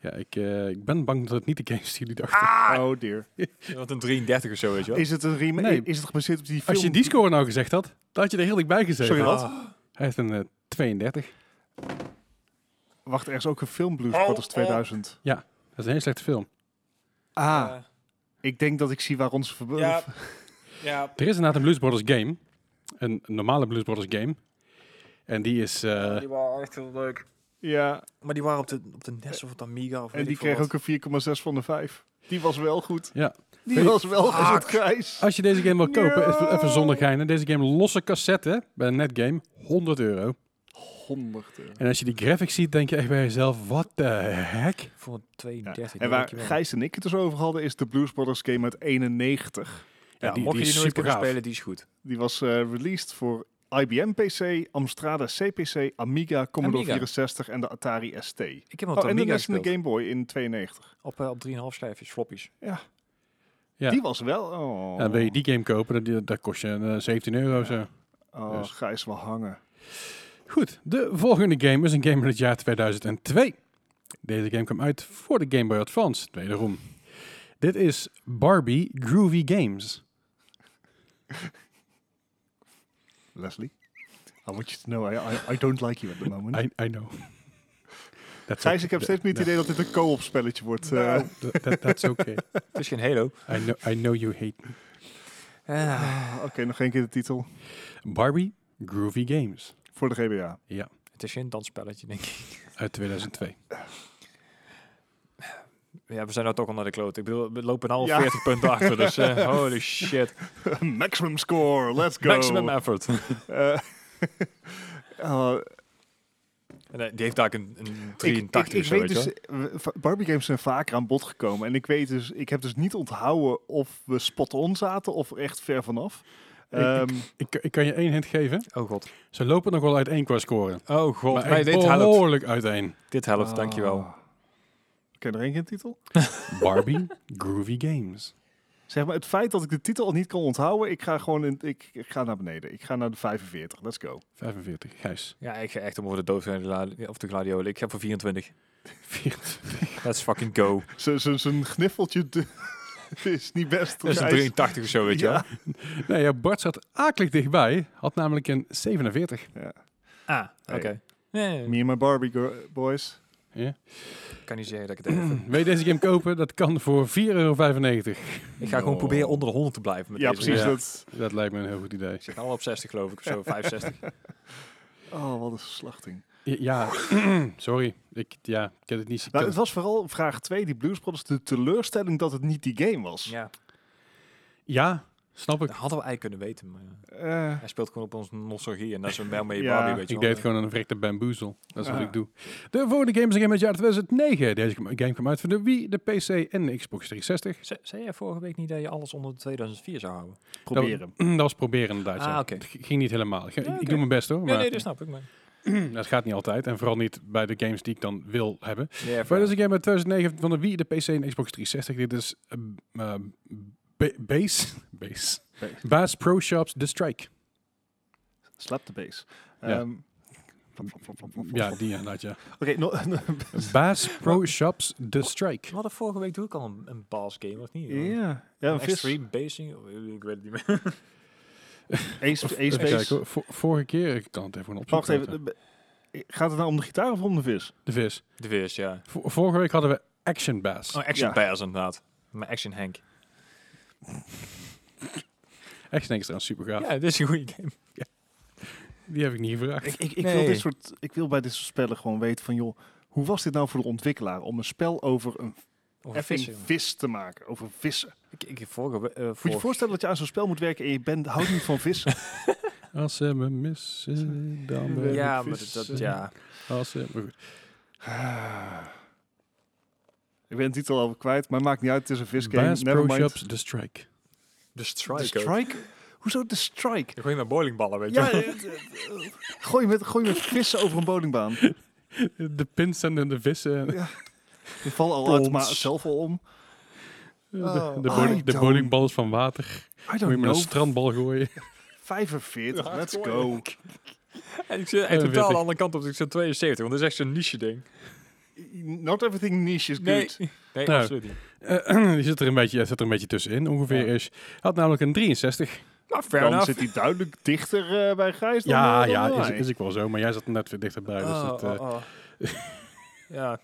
Speaker 1: Ja, ik, eh, ik ben bang dat het niet de game is die jullie dachten.
Speaker 3: Ah,
Speaker 2: Oh dear.
Speaker 3: Want een 33 of zo, weet je wel.
Speaker 2: Is het een remake?
Speaker 1: Nee.
Speaker 2: Is het gebaseerd op die film?
Speaker 1: Als je die score nou gezegd had, dan had je er heel dichtbij gezeten.
Speaker 2: Sorry, wat?
Speaker 3: Ah.
Speaker 1: Hij heeft een eh, 32.
Speaker 2: Wacht, er is ook een film Blues Brothers 2000.
Speaker 1: Dat is een hele slechte film.
Speaker 2: Ah,
Speaker 3: Eh,
Speaker 2: ik denk dat ik zie waar onze verbe-
Speaker 3: ja. ja.
Speaker 1: Er is inderdaad een Blues Brothers game. Een normale Blues Brothers game. En die is... eh,
Speaker 3: Die waren echt heel leuk.
Speaker 2: ja,
Speaker 3: Maar die waren op de, op de NES of op de Amiga of
Speaker 2: en die kreeg ook een 4,6 van de 5. Die was wel goed.
Speaker 1: Ja. Ah.
Speaker 2: Die
Speaker 1: Weet-
Speaker 2: was wel goed, Gijs.
Speaker 1: als je deze game wil kopen,
Speaker 2: Ja.
Speaker 1: even, even zonder geinen. Deze game losse cassette bij een netgame. 100 euro.
Speaker 2: 100 euro.
Speaker 1: En als je die graphics ziet, denk je echt bij jezelf, wat de heck?
Speaker 3: Voor een 32.
Speaker 2: En waar Gijs en ik het dus over hadden, is de Blues Brothers game uit 91.
Speaker 1: Ja, die-
Speaker 3: mocht
Speaker 1: die
Speaker 3: je
Speaker 1: is
Speaker 3: die nooit kunnen
Speaker 1: supergaaf.
Speaker 3: spelen, die is goed.
Speaker 2: Die was eh, released voor IBM PC, Amstrada CPC, Amiga, Commodore
Speaker 3: Amiga.
Speaker 2: 64 en de Atari ST.
Speaker 3: Ik heb hem op
Speaker 2: Oh,
Speaker 3: de
Speaker 2: en de
Speaker 3: Amiga
Speaker 2: NES en
Speaker 3: gespeeld.
Speaker 2: de Game Boy in 92.
Speaker 3: Op, eh, op 3,5 schijfjes, floppies.
Speaker 1: Ja.
Speaker 2: Die was wel... Oh,
Speaker 1: En wil je die game kopen, dat, dat kost je een, eh, 17 euro zo.
Speaker 2: oh
Speaker 1: Dus.
Speaker 2: Gijs wel hangen.
Speaker 1: Goed, de volgende game is een game van het jaar 2002. Deze game kwam uit voor de Game Boy Advance, wederom. Dit is Barbie Groovy Games.
Speaker 2: Leslie? I want you to know, I, I, I don't like you at the moment.
Speaker 1: I, I know. That's
Speaker 2: Gijs, ik
Speaker 1: okay.
Speaker 2: heb steeds meer het idee dat dit een co-op spelletje wordt. eh.
Speaker 3: Nou.
Speaker 1: That- that- that's okay.
Speaker 3: Het is geen Halo.
Speaker 1: I know, I know you hate me.
Speaker 2: Ah, Oké, nog één keer de titel.
Speaker 1: Barbie Groovy Games
Speaker 2: Voor de GBA.
Speaker 3: het is geen dansspelletje, denk ik.
Speaker 1: uit 2002.
Speaker 3: Ja, we zijn nou toch al naar de kloot. Ik bedoel, we lopen nou al
Speaker 2: Ja.
Speaker 3: 40 punten achter, dus eh, holy shit.
Speaker 2: Maximum score, let's go.
Speaker 3: Maximum effort.
Speaker 2: Eh, eh,
Speaker 3: En, eh, die heeft daar een, een
Speaker 2: Ik-
Speaker 3: 83
Speaker 2: ik,
Speaker 3: of
Speaker 2: ik,
Speaker 3: zo,
Speaker 2: weet
Speaker 3: weet je
Speaker 2: dus, eh, va- Barbie games zijn vaker aan bod gekomen. En ik weet dus, ik heb dus niet onthouden of we spot-on zaten of echt ver vanaf.
Speaker 1: Ik-
Speaker 2: Ehm,
Speaker 1: Ik, ik kan je één hint geven.
Speaker 3: wel. Oh god.
Speaker 1: Ze lopen nog wel uiteen qua scoren.
Speaker 3: Oh god.
Speaker 1: Maar
Speaker 3: Nee,
Speaker 1: echt
Speaker 3: dit helpt.
Speaker 1: behoorlijk uiteen.
Speaker 3: Dit helpt, dankjewel.
Speaker 2: Ah. Ken je er één keer een titel?
Speaker 1: Barbie Groovy Games.
Speaker 2: Zeg maar, het feit dat ik de titel al niet kan onthouden, ik ga gewoon in, ik, ik ga naar beneden. Ik ga naar de 45. Let's go.
Speaker 1: 45, Gijs.
Speaker 3: Ja, ik ga echt om over de dood en de la- of de gladiolen. Ik ga voor 24.
Speaker 1: 40.
Speaker 3: Let's fucking go.
Speaker 2: Z- z- Zijn gniffeltje d- is niet best.
Speaker 3: Dat is een
Speaker 2: Gijs.
Speaker 3: 83 of zo, weet je wel.
Speaker 2: Ja.
Speaker 1: Nee, ja, Bart zat akelig dichtbij. Had namelijk een 47.
Speaker 3: Ah, oké.
Speaker 2: Hey.
Speaker 3: Nee,
Speaker 2: Me and my Barbie gir- boys.
Speaker 1: Ja.
Speaker 3: ik kan niet zeggen dat ik het even...
Speaker 1: Wil je deze game kopen? Dat kan voor 4,95 euro.
Speaker 3: Ik ga gewoon
Speaker 2: No.
Speaker 3: proberen onder de 100 te blijven met
Speaker 2: Ja,
Speaker 3: deze.
Speaker 2: precies.
Speaker 1: Ja.
Speaker 2: Dat.
Speaker 1: Dat lijkt me een heel goed idee.
Speaker 3: Ik zit al op 60 geloof ik, of zo, 65.
Speaker 2: Oh, wat een slachting.
Speaker 1: Ja, ja, sorry. Ik, ja, ik heb het niet... ik
Speaker 2: Nou,
Speaker 1: kan-
Speaker 2: het was vooral vraag 2, die Blues Brothers, de teleurstelling dat het niet die game was.
Speaker 3: Ja,
Speaker 1: ja, snap
Speaker 3: dat
Speaker 1: ik.
Speaker 3: hadden we eigenlijk kunnen weten. Maar ja.
Speaker 2: Eh,
Speaker 3: hij speelt gewoon op ons nostalgie en dat is een wel mee
Speaker 2: Ja,
Speaker 3: Barbie,
Speaker 1: Ik
Speaker 3: weet je wel.
Speaker 1: deed het gewoon aan een verrekte bamboezel. Dat is wat
Speaker 2: Ja.
Speaker 1: ik doe. De volgende game is een game uit het jaar 2009. Deze game kwam uit voor de Wii, de PC en de Xbox 360.
Speaker 3: Ze- Zei jij vorige week niet dat je alles onder de 2004 zou houden?
Speaker 2: proberen.
Speaker 1: Dat was proberen inderdaad.
Speaker 3: Ah,
Speaker 1: ja.
Speaker 3: oké.
Speaker 1: Het g- ging niet helemaal. Ik, ik
Speaker 3: Ja, oké.
Speaker 1: doe mijn best hoor.
Speaker 3: Nee,
Speaker 1: maar-
Speaker 3: nee, dus dat snap ik. Maar.
Speaker 1: Dat gaat niet altijd. En vooral niet bij de games die ik dan wil hebben.
Speaker 3: Ja,
Speaker 1: Verder is een game uit 2009 van de Wii, de PC en Xbox 360. Dit is eh, eh, Ba- Base. Base.
Speaker 2: Base.
Speaker 1: Bass Pro Shops The Strike.
Speaker 2: slap de base.
Speaker 1: Ja.
Speaker 2: Ehm, flop, flop, flop, flop, flop,
Speaker 1: Ja,
Speaker 2: flop.
Speaker 1: die inderdaad, ja.
Speaker 2: Oké, no-
Speaker 1: Bass Pro Shops The Strike.
Speaker 3: we hadden vorige week doe ik al een, een baas game, of niet?
Speaker 2: ja. Ja, een
Speaker 3: Een
Speaker 2: vis.
Speaker 3: extreme basing? oh, Ik weet het niet meer.
Speaker 2: Ace, ace
Speaker 1: Even kijken,
Speaker 2: base.
Speaker 1: hoor. Vo- vorige keer, ik kan het even opzoeken.
Speaker 2: Wacht even. de- Gaat het nou om de gitaar of om de vis?
Speaker 1: De vis.
Speaker 3: De vis, ja.
Speaker 1: Vo- vorige week hadden we Action Bass.
Speaker 3: Oh, Action
Speaker 2: Ja.
Speaker 3: Bass inderdaad. Maar Action Henk.
Speaker 1: Action Extra, super gaaf.
Speaker 3: Ja, dit is een goede game.
Speaker 1: Die heb ik niet gevraagd.
Speaker 2: Ik, ik, ik, wil
Speaker 3: Nee.
Speaker 2: dit soort, ik wil bij dit soort spellen gewoon weten van, joh, hoe was dit nou voor de ontwikkelaar om een spel over een
Speaker 3: Of een vis,
Speaker 2: effing
Speaker 3: jongen.
Speaker 2: vis te maken? Over vissen.
Speaker 3: Ik, ik heb vorige we- eh,
Speaker 2: Moet je
Speaker 3: vorige-
Speaker 2: je voorstellen dat je aan zo'n spel moet werken en je bent, houdt niet van vissen?
Speaker 1: Als ze me missen, dan ben
Speaker 3: Ja,
Speaker 1: ik
Speaker 3: maar dat,
Speaker 1: vis.
Speaker 3: dat- ja.
Speaker 1: Als ze... maar goed.
Speaker 2: Ah. ik ben de titel al kwijt, maar maakt niet uit, het is een visgame.
Speaker 1: Bass Pro
Speaker 2: Nevermind.
Speaker 1: Shops The Strike.
Speaker 3: De
Speaker 2: De
Speaker 3: Strike. ook.
Speaker 2: Strike? Hoezo de strike?
Speaker 3: Ik gooi met bowlingballen, weet je
Speaker 2: Ja,
Speaker 3: wel.
Speaker 2: het- eh, het- het-
Speaker 4: Gooi met, gooi met vissen over een bowlingbaan.
Speaker 1: De pins en de
Speaker 3: Oh,
Speaker 1: vissen.
Speaker 2: Ja.
Speaker 4: Je valt al
Speaker 2: Pons.
Speaker 4: uit, maar zelf al om.
Speaker 1: De, de,
Speaker 2: Oh, I
Speaker 1: bowling, de
Speaker 2: don't-
Speaker 1: bowlingbal is van water.
Speaker 2: I
Speaker 1: Moet je
Speaker 2: don't
Speaker 1: met een
Speaker 2: know.
Speaker 1: strandbal gooien.
Speaker 2: 45,
Speaker 3: Ja,
Speaker 2: let's
Speaker 3: gooi.
Speaker 2: go.
Speaker 3: En ik zit echt
Speaker 1: Eh,
Speaker 3: totaal aan
Speaker 1: wettig.
Speaker 3: de andere kant op. dus Ik zit 72, want dat is echt zo'n niche ding.
Speaker 4: Not everything niche is
Speaker 3: Nee,
Speaker 4: good.
Speaker 3: nee
Speaker 1: Nou.
Speaker 3: absoluut niet.
Speaker 1: Eh, die zit er, een beetje, zit er een beetje tussenin, ongeveer
Speaker 3: Ja.
Speaker 1: is. Hij had namelijk een 63.
Speaker 3: Maar Nou, fair
Speaker 2: Dan
Speaker 3: enough.
Speaker 2: zit hij duidelijk dichter eh, bij Gijs dan,
Speaker 1: Ja,
Speaker 2: eh, dan bij
Speaker 1: ja, is,
Speaker 2: mij.
Speaker 1: is ik wel zo. Maar jij zat er net weer dichterbij. Dus
Speaker 3: Oh,
Speaker 1: dat, eh,
Speaker 3: oh, oh. ja,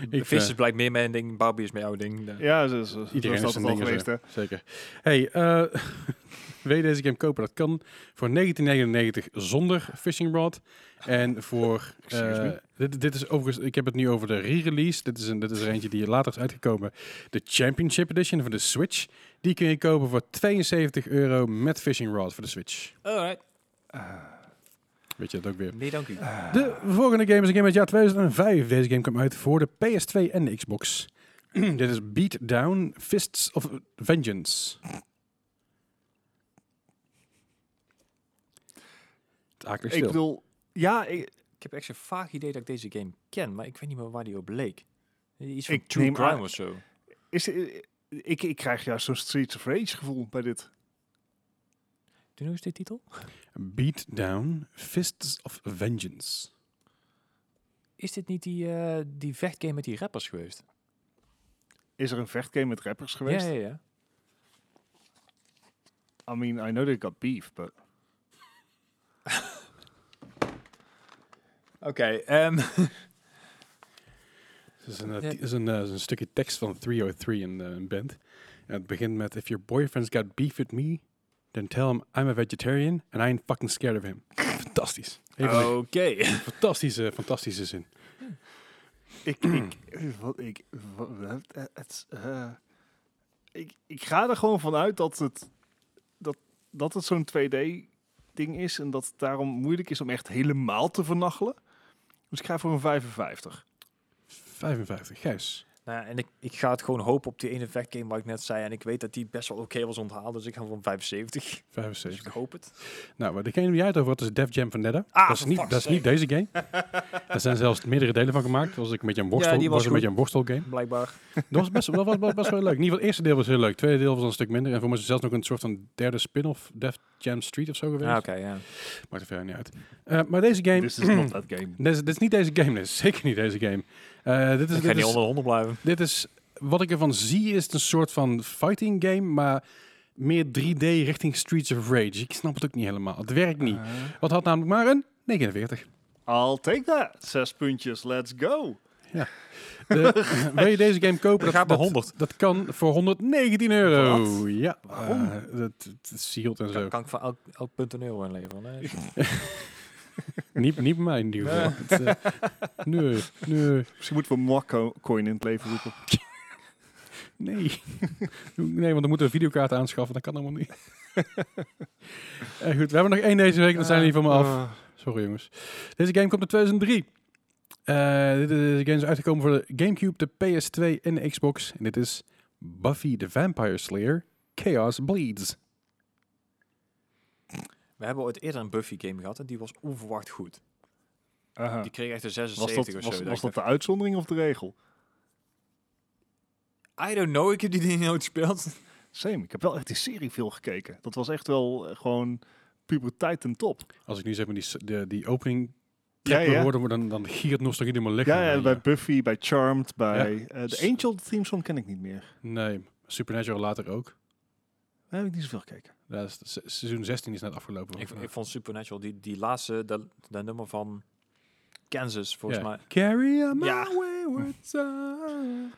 Speaker 1: ik,
Speaker 3: de vis
Speaker 1: eh,
Speaker 3: is blijkt meer mijn ding, Barbie is mijn jouw ding. Eh,
Speaker 4: Ja, zo, zo, zo
Speaker 1: iedereen
Speaker 4: is dat
Speaker 1: is een
Speaker 4: wel
Speaker 1: ding
Speaker 4: geweest, hè.
Speaker 1: zo. Zeker. Hey, eh wil je deze game kopen? Dat kan voor 1999 zonder Fishing Rod. En voor...
Speaker 4: Excuse
Speaker 1: eh,
Speaker 4: me.
Speaker 1: dit, dit is overigens... Ik heb het nu over de re-release. Dit, is een- dit is er eentje die later is uitgekomen. De Championship Edition van de Switch. Die kun je kopen voor 72 euro met Fishing Rod voor de Switch.
Speaker 3: Alright.
Speaker 1: Weet je dat ook weer?
Speaker 3: Nee, dank u.
Speaker 1: De volgende game is een game uit het jaar 2005. Deze game kwam uit voor de PS2 en de Xbox. Dit is Beat Down Fists of Vengeance. Het akelig
Speaker 2: Ik
Speaker 1: stil.
Speaker 2: bedoel, ja, ik,
Speaker 3: Ik heb echt zo'n vaag idee dat ik deze game ken, maar ik weet niet meer waar die op leek. Iets van
Speaker 2: Ik
Speaker 3: True
Speaker 2: neem
Speaker 3: Crime
Speaker 2: aan-
Speaker 3: of zo.
Speaker 2: is, eh, ik, ik krijg juist zo'n Streets of Rage gevoel bij dit.
Speaker 3: Toen hoe is dit titel?
Speaker 1: Beat Down Fists of Vengeance.
Speaker 3: Is dit niet die, eh, die vechtgame met die rappers geweest?
Speaker 2: Is er een vechtgame met rappers geweest?
Speaker 3: Ja, ja, ja.
Speaker 2: I mean, I know they got beef, but...
Speaker 3: Oké, ehm,
Speaker 1: Het is een, eh,
Speaker 3: Ja.
Speaker 1: ti- is een, eh, is een stukje tekst van 303 in eh, een band. En het begint met... If your boyfriend's got beef with me, then tell him I'm a vegetarian and I ain't fucking scared of him. Fantastisch. Een van de
Speaker 3: oké.
Speaker 1: fantastische, fantastische zin.
Speaker 2: Ik, ik, wat ik, wat, eh, het, eh, ik, ik ga er gewoon vanuit dat het, dat, dat het zo'n 2D-ding is en dat het daarom moeilijk is om echt helemaal te vernachelen. Dus ik ga voor een 55.
Speaker 1: 55, Gijs.
Speaker 3: Nou ja, en ik, ik ga het gewoon hopen op die ene vechtgame waar ik net zei. En ik weet dat die best wel oké was onthaald, dus ik ga van 75. Dus
Speaker 1: 75.
Speaker 3: ik hoop het.
Speaker 1: Nou, maar degene die jij het over had is Def Jam Vendetta.
Speaker 3: Ah,
Speaker 1: dat is
Speaker 3: for
Speaker 1: niet,
Speaker 3: fuck's
Speaker 1: dat is niet deze game. Daar zijn zelfs meerdere delen van gemaakt. Dat was ik een beetje een worstel,
Speaker 3: Ja, die was
Speaker 1: was een
Speaker 3: goed.
Speaker 1: beetje een worstelgame.
Speaker 3: Blijkbaar.
Speaker 1: Dat was best, dat was best, best wel leuk. In ieder geval, het eerste deel was heel leuk. Het tweede deel was een stuk minder. En voor mij is er zelfs nog een soort van derde spin-off, Def Jam Street of zo geweest.
Speaker 3: Ah, oké, ja.
Speaker 1: Maakt er verder niet uit. Eh, maar deze game...
Speaker 2: This is not that game.
Speaker 1: Dit is, dit is niet deze game. Dit is zeker niet deze game. Eh, dit is,
Speaker 3: Ik ga
Speaker 1: dit
Speaker 3: niet
Speaker 1: is,
Speaker 3: onder 100 blijven.
Speaker 1: Dit is, wat ik ervan zie, is het een soort van fighting game, maar meer 3D richting Streets of Rage. Ik snap het ook niet helemaal. Het werkt niet.
Speaker 2: Eh?
Speaker 1: Wat had namelijk maar een 49.
Speaker 4: I'll take that. Zes puntjes, let's go.
Speaker 1: De- eh, wil je deze game kopen?
Speaker 3: Dat gaat bij 100.
Speaker 1: Dat, kan voor 119 euro.
Speaker 4: Wat?
Speaker 1: Ja.
Speaker 4: Waarom?
Speaker 1: Eh, dat, dat sealed en zo.
Speaker 3: Kan, kan ik van elk, elk punt een euro inleveren? Nee.
Speaker 1: Niet, niet bij mij in ieder geval. Het, eh, nee, nee,
Speaker 2: Misschien moeten we Marco Coin in het leven roepen.
Speaker 1: nee. Nee, want dan moeten we videokaart aanschaffen. Dat kan allemaal niet. Eh, goed, we hebben nog één deze week. Dan zijn die van me af.
Speaker 2: Ah.
Speaker 1: Sorry jongens. Deze game komt uit 2003. Eh, dit is- deze game is uitgekomen voor de Gamecube, de PS2 en de Xbox. En dit is Buffy the Vampire Slayer Chaos Bleeds.
Speaker 3: We hebben ooit eerder een Buffy game gehad en die was onverwacht goed.
Speaker 2: Aha.
Speaker 3: Die kreeg echt een
Speaker 2: Was
Speaker 3: 76
Speaker 2: dat,
Speaker 3: of
Speaker 2: was,
Speaker 3: zo.
Speaker 2: was
Speaker 3: Dat ik
Speaker 2: dat de uitzondering of de regel?
Speaker 3: dacht, I don't know, ik heb die ding nooit gespeeld.
Speaker 2: Same, ik heb wel echt die serie veel gekeken. Dat was echt wel eh, gewoon puberteit ten top.
Speaker 1: Als ik nu zeg maar die, s- de, die opening
Speaker 2: Ja,
Speaker 1: trek
Speaker 2: ja.
Speaker 1: hoorde, maar dan, dan giert nostalgie in mijn lichaam.
Speaker 2: Ja, ja, bij Buffy, bij Charmed, bij... eh, de
Speaker 1: S-
Speaker 2: Angel theme song ken ik niet meer.
Speaker 1: Nee, Supernatural later ook.
Speaker 2: Daar heb ik niet zoveel gekeken.
Speaker 1: Dat is, se- seizoen 16 is net afgelopen.
Speaker 3: ik,
Speaker 1: volgens
Speaker 3: ik vond Supernatural, die, die laatste, dat, dat nummer van Kansas, volgens
Speaker 1: Ja.
Speaker 3: mij.
Speaker 1: mij. Carry on my
Speaker 3: Ja.
Speaker 1: wayward son.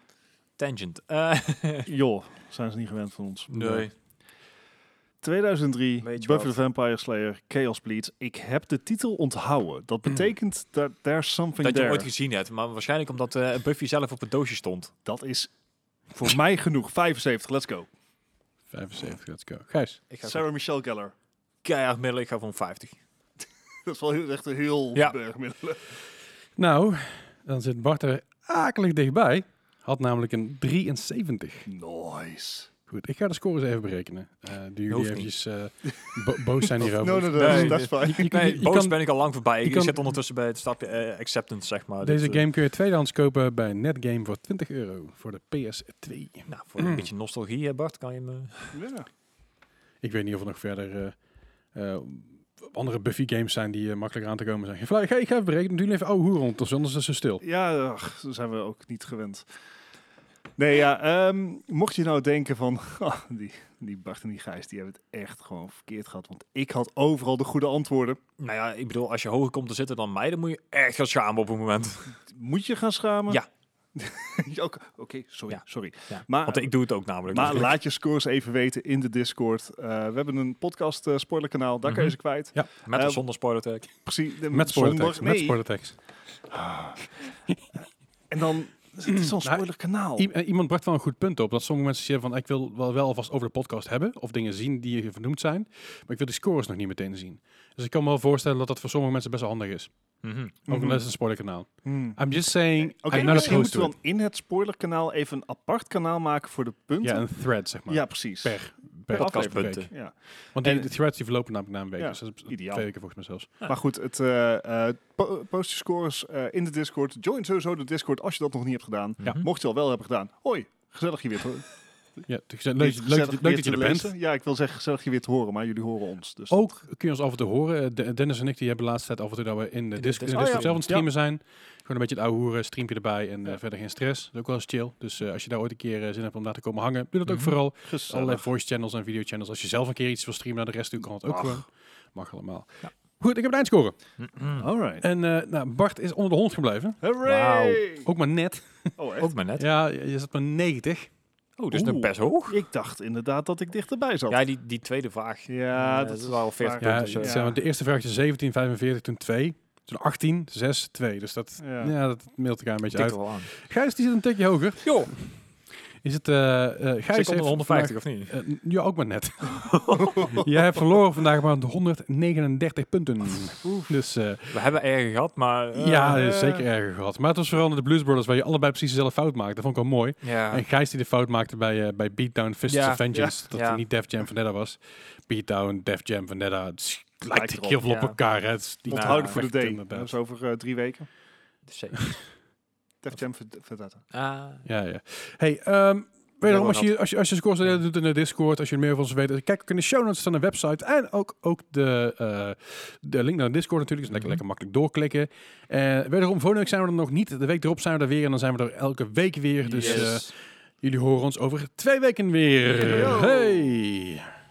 Speaker 3: Tangent. Eh,
Speaker 2: Joh,
Speaker 4: Zijn ze niet gewend van ons.
Speaker 3: nee.
Speaker 2: 2003,
Speaker 3: Weet je
Speaker 2: Buffy the
Speaker 3: wat?
Speaker 2: Vampire Slayer, Chaos Bleeds. Ik heb de titel onthouden. Dat betekent dat there's something
Speaker 3: Dat je
Speaker 2: there.
Speaker 3: hem ooit gezien hebt, maar waarschijnlijk omdat eh, Buffy zelf op het doosje stond.
Speaker 2: Dat is voor mij genoeg. 75, let's go.
Speaker 1: 75, let's go. Gijs.
Speaker 3: Ik ga
Speaker 4: Sarah Michelle Gellar.
Speaker 3: keihard middelen, ik ga van 50.
Speaker 4: Dat is wel heel, echt een heel
Speaker 3: Ja.
Speaker 4: bergmiddelen.
Speaker 1: Nou, dan zit Bart er akelig dichtbij. Had namelijk een 73.
Speaker 2: Nice.
Speaker 1: Goed, ik ga de scores even berekenen. Eh die jullie
Speaker 3: hoeft
Speaker 1: eventjes eh, bo- boos zijn hierover.
Speaker 4: No, no, no,
Speaker 3: Nee,
Speaker 4: dat is fijn.
Speaker 1: Je- je-
Speaker 3: Nee,
Speaker 1: je
Speaker 3: boos
Speaker 1: kan-
Speaker 3: ben ik al lang voorbij.
Speaker 1: je
Speaker 3: Ik
Speaker 1: kan-
Speaker 3: zit ondertussen bij het stapje eh, acceptance, zeg maar.
Speaker 1: Deze
Speaker 3: Dat, eh,
Speaker 1: game kun je tweedehands kopen bij Netgame voor 20 euro voor de PS2.
Speaker 3: Nou, voor een beetje nostalgie, hè, Bart, kan je me...
Speaker 4: Ja.
Speaker 1: Ik weet niet of er nog verder eh, eh, andere Buffy games zijn die eh, makkelijk aan te komen zijn. Ik ga, ik ga even berekenen, doen jullie even oh, ouwe hoer rond, anders is ze stil.
Speaker 2: Eh,
Speaker 4: Ja, ach, dat zijn we ook niet gewend.
Speaker 2: Nee, ja, ehm, mocht je nou denken van, ah, die, die Bart en die Gijs, die hebben het echt gewoon verkeerd gehad. Want ik had overal de goede antwoorden.
Speaker 3: Nou ja, ik bedoel, als je hoger komt te zitten dan mij, dan moet je echt gaan schamen op een moment.
Speaker 2: Moet je gaan schamen?
Speaker 3: Ja.
Speaker 2: Ja, Oké, oké, sorry,
Speaker 3: Ja.
Speaker 2: sorry.
Speaker 3: Ja,
Speaker 2: Maar,
Speaker 3: Want ik doe het ook namelijk. Dus
Speaker 2: maar laat je scores even weten in de Discord. Eh, we hebben een podcast eh, spoilerkanaal, daar kan je
Speaker 3: Mhm.
Speaker 2: ze kwijt.
Speaker 3: Met
Speaker 2: eh,
Speaker 3: of zonder spoiler tag.
Speaker 2: Precies, eh,
Speaker 1: Met spoilertext.
Speaker 2: zonder-
Speaker 1: Met
Speaker 2: nee.
Speaker 1: spoilertext.
Speaker 2: En dan, het is zo'n
Speaker 1: Nou,
Speaker 2: spoilerkanaal.
Speaker 1: I- eh, iemand bracht wel een goed punt op. Dat sommige mensen zeggen van ik wil wel, wel alvast over de podcast hebben. Of dingen zien die hier vernoemd zijn. Maar ik wil die scores nog niet meteen zien. Dus ik kan me wel voorstellen dat dat voor sommige mensen best wel handig is.
Speaker 3: Mhm.
Speaker 1: Ook
Speaker 2: Mhm.
Speaker 1: al is het een spoilerkanaal.
Speaker 2: Hmm.
Speaker 1: I'm just saying,
Speaker 2: Oké,
Speaker 1: I'm not
Speaker 2: misschien
Speaker 1: opposed
Speaker 2: moeten
Speaker 1: to
Speaker 2: we
Speaker 1: it.
Speaker 2: dan in het spoilerkanaal even een apart kanaal maken voor de punten.
Speaker 1: Ja, een thread zeg maar.
Speaker 2: Ja, precies.
Speaker 1: Per, per
Speaker 3: Podcastpunten.
Speaker 1: week.
Speaker 2: Ja.
Speaker 1: Want die
Speaker 2: En-
Speaker 1: de threads die verlopen namelijk na een week.
Speaker 2: Ja,
Speaker 1: dus dat is
Speaker 2: ideaal.
Speaker 1: twee weken volgens mij zelfs.
Speaker 2: Maar goed, het, eh, eh, po- post je scores eh, in de Discord. Join sowieso de Discord als je dat nog niet hebt gedaan.
Speaker 1: Ja.
Speaker 3: Mhm.
Speaker 2: Mocht je al wel hebben gedaan. Hoi, gezellig je weer te horen.
Speaker 1: Ja, te- leuk, leuk, leuk, leuk dat je er bent.
Speaker 2: Ja, ik wil zeggen gezellig je weer te horen, maar jullie horen ons. Dus
Speaker 1: Ook kun je ons af en toe horen. Eh, De- Dennis en ik die hebben de laatste tijd af en toe dat we in de,
Speaker 3: de
Speaker 1: disc, in de
Speaker 3: Discord.
Speaker 1: Discord
Speaker 2: Oh ja.
Speaker 1: zelf aan het streamen zijn. Gewoon een beetje het ouwe hoeren, streampje erbij en eh,
Speaker 2: Ja.
Speaker 1: verder geen stress. Dat is ook wel eens chill. Dus eh, als je daar ooit een keer eh, zin hebt om daar te komen hangen, doe dat ook
Speaker 3: Mhm.
Speaker 1: vooral. Allerlei
Speaker 2: gezellig.
Speaker 1: voice channels en video channels. Als je zelf een keer iets wil streamen naar de rest toe, kan dat ook
Speaker 2: Mag.
Speaker 1: gewoon. Mag allemaal.
Speaker 3: Ja.
Speaker 1: Goed, ik heb een eindscore.
Speaker 3: Mhm.
Speaker 2: All right.
Speaker 1: En eh, nou, Bart is onder de 100 gebleven.
Speaker 2: Hooray!
Speaker 1: Ook maar net.
Speaker 2: Oh, echt?
Speaker 3: Mhm. Ook maar net.
Speaker 1: Ja, je je zat maar 90.
Speaker 3: Oh, dus nog
Speaker 2: Oeh.
Speaker 3: best hoog.
Speaker 2: Ik dacht inderdaad dat ik dichterbij zat.
Speaker 3: Ja, die, die tweede vraag.
Speaker 2: Ja,
Speaker 3: Eh, dat waren al 40
Speaker 2: waar.
Speaker 1: Ja,
Speaker 3: punten.
Speaker 1: het
Speaker 2: ja.
Speaker 1: zijn- De eerste vraagje 17, 45, toen 2. Toen 18, 6, 2. Dus dat, ja.
Speaker 2: Ja.
Speaker 1: dat mailt elkaar een beetje
Speaker 3: Tikt
Speaker 1: uit.
Speaker 3: er wel aan.
Speaker 1: Gijs die zit een tikje hoger.
Speaker 3: Joh,
Speaker 1: Is het, eh eh, Gijs
Speaker 3: zit ik
Speaker 1: heeft
Speaker 3: onder 150 of niet?
Speaker 1: vandaag- eh, ja, ook maar net. Jij hebt verloren vandaag maar 139 punten. Dus eh,
Speaker 3: We hebben erger gehad, maar... eh,
Speaker 1: ja,
Speaker 2: eh.
Speaker 1: zeker erger gehad. Maar het was vooral in de Blues Brothers waar je allebei precies dezelfde fout maakte. Dat vond ik wel mooi.
Speaker 3: Ja.
Speaker 1: En Gijs die de fout maakte bij, eh, bij Beatdown Fists
Speaker 3: Ja,
Speaker 1: of Vengeance. Dat
Speaker 3: ja.
Speaker 1: het niet Def Jam Vanetta was. Beatdown, Def Jam Vanetta. Het is- lijkt
Speaker 2: erop,
Speaker 1: heel veel op
Speaker 3: ja.
Speaker 1: elkaar. Hè. Het is die
Speaker 2: Onthouden
Speaker 3: Ja,
Speaker 2: voor de
Speaker 1: perfect,
Speaker 2: day.
Speaker 1: inderdaad.
Speaker 2: Dat is over eh, drie weken.
Speaker 3: Zeker.
Speaker 2: Def Jam Vendetta. Vendetta.
Speaker 3: Ah.
Speaker 1: Ja, ja. Hey, ehm wederom,
Speaker 3: wel
Speaker 1: als je, als je, als je scores doet in de Discord, als je meer van ons weet, eh, kijk ook in de show notes van de website en ook, ook de, eh, de link naar de Discord natuurlijk. Dus lekker,
Speaker 3: Mhm.
Speaker 1: lekker makkelijk doorklikken. Eh wederom, volgende week zijn we er nog niet. De week erop zijn we er weer en dan zijn we er elke week weer. Dus eh,
Speaker 3: Yes.
Speaker 1: jullie horen ons over twee weken weer.
Speaker 2: Yo.
Speaker 1: Hey!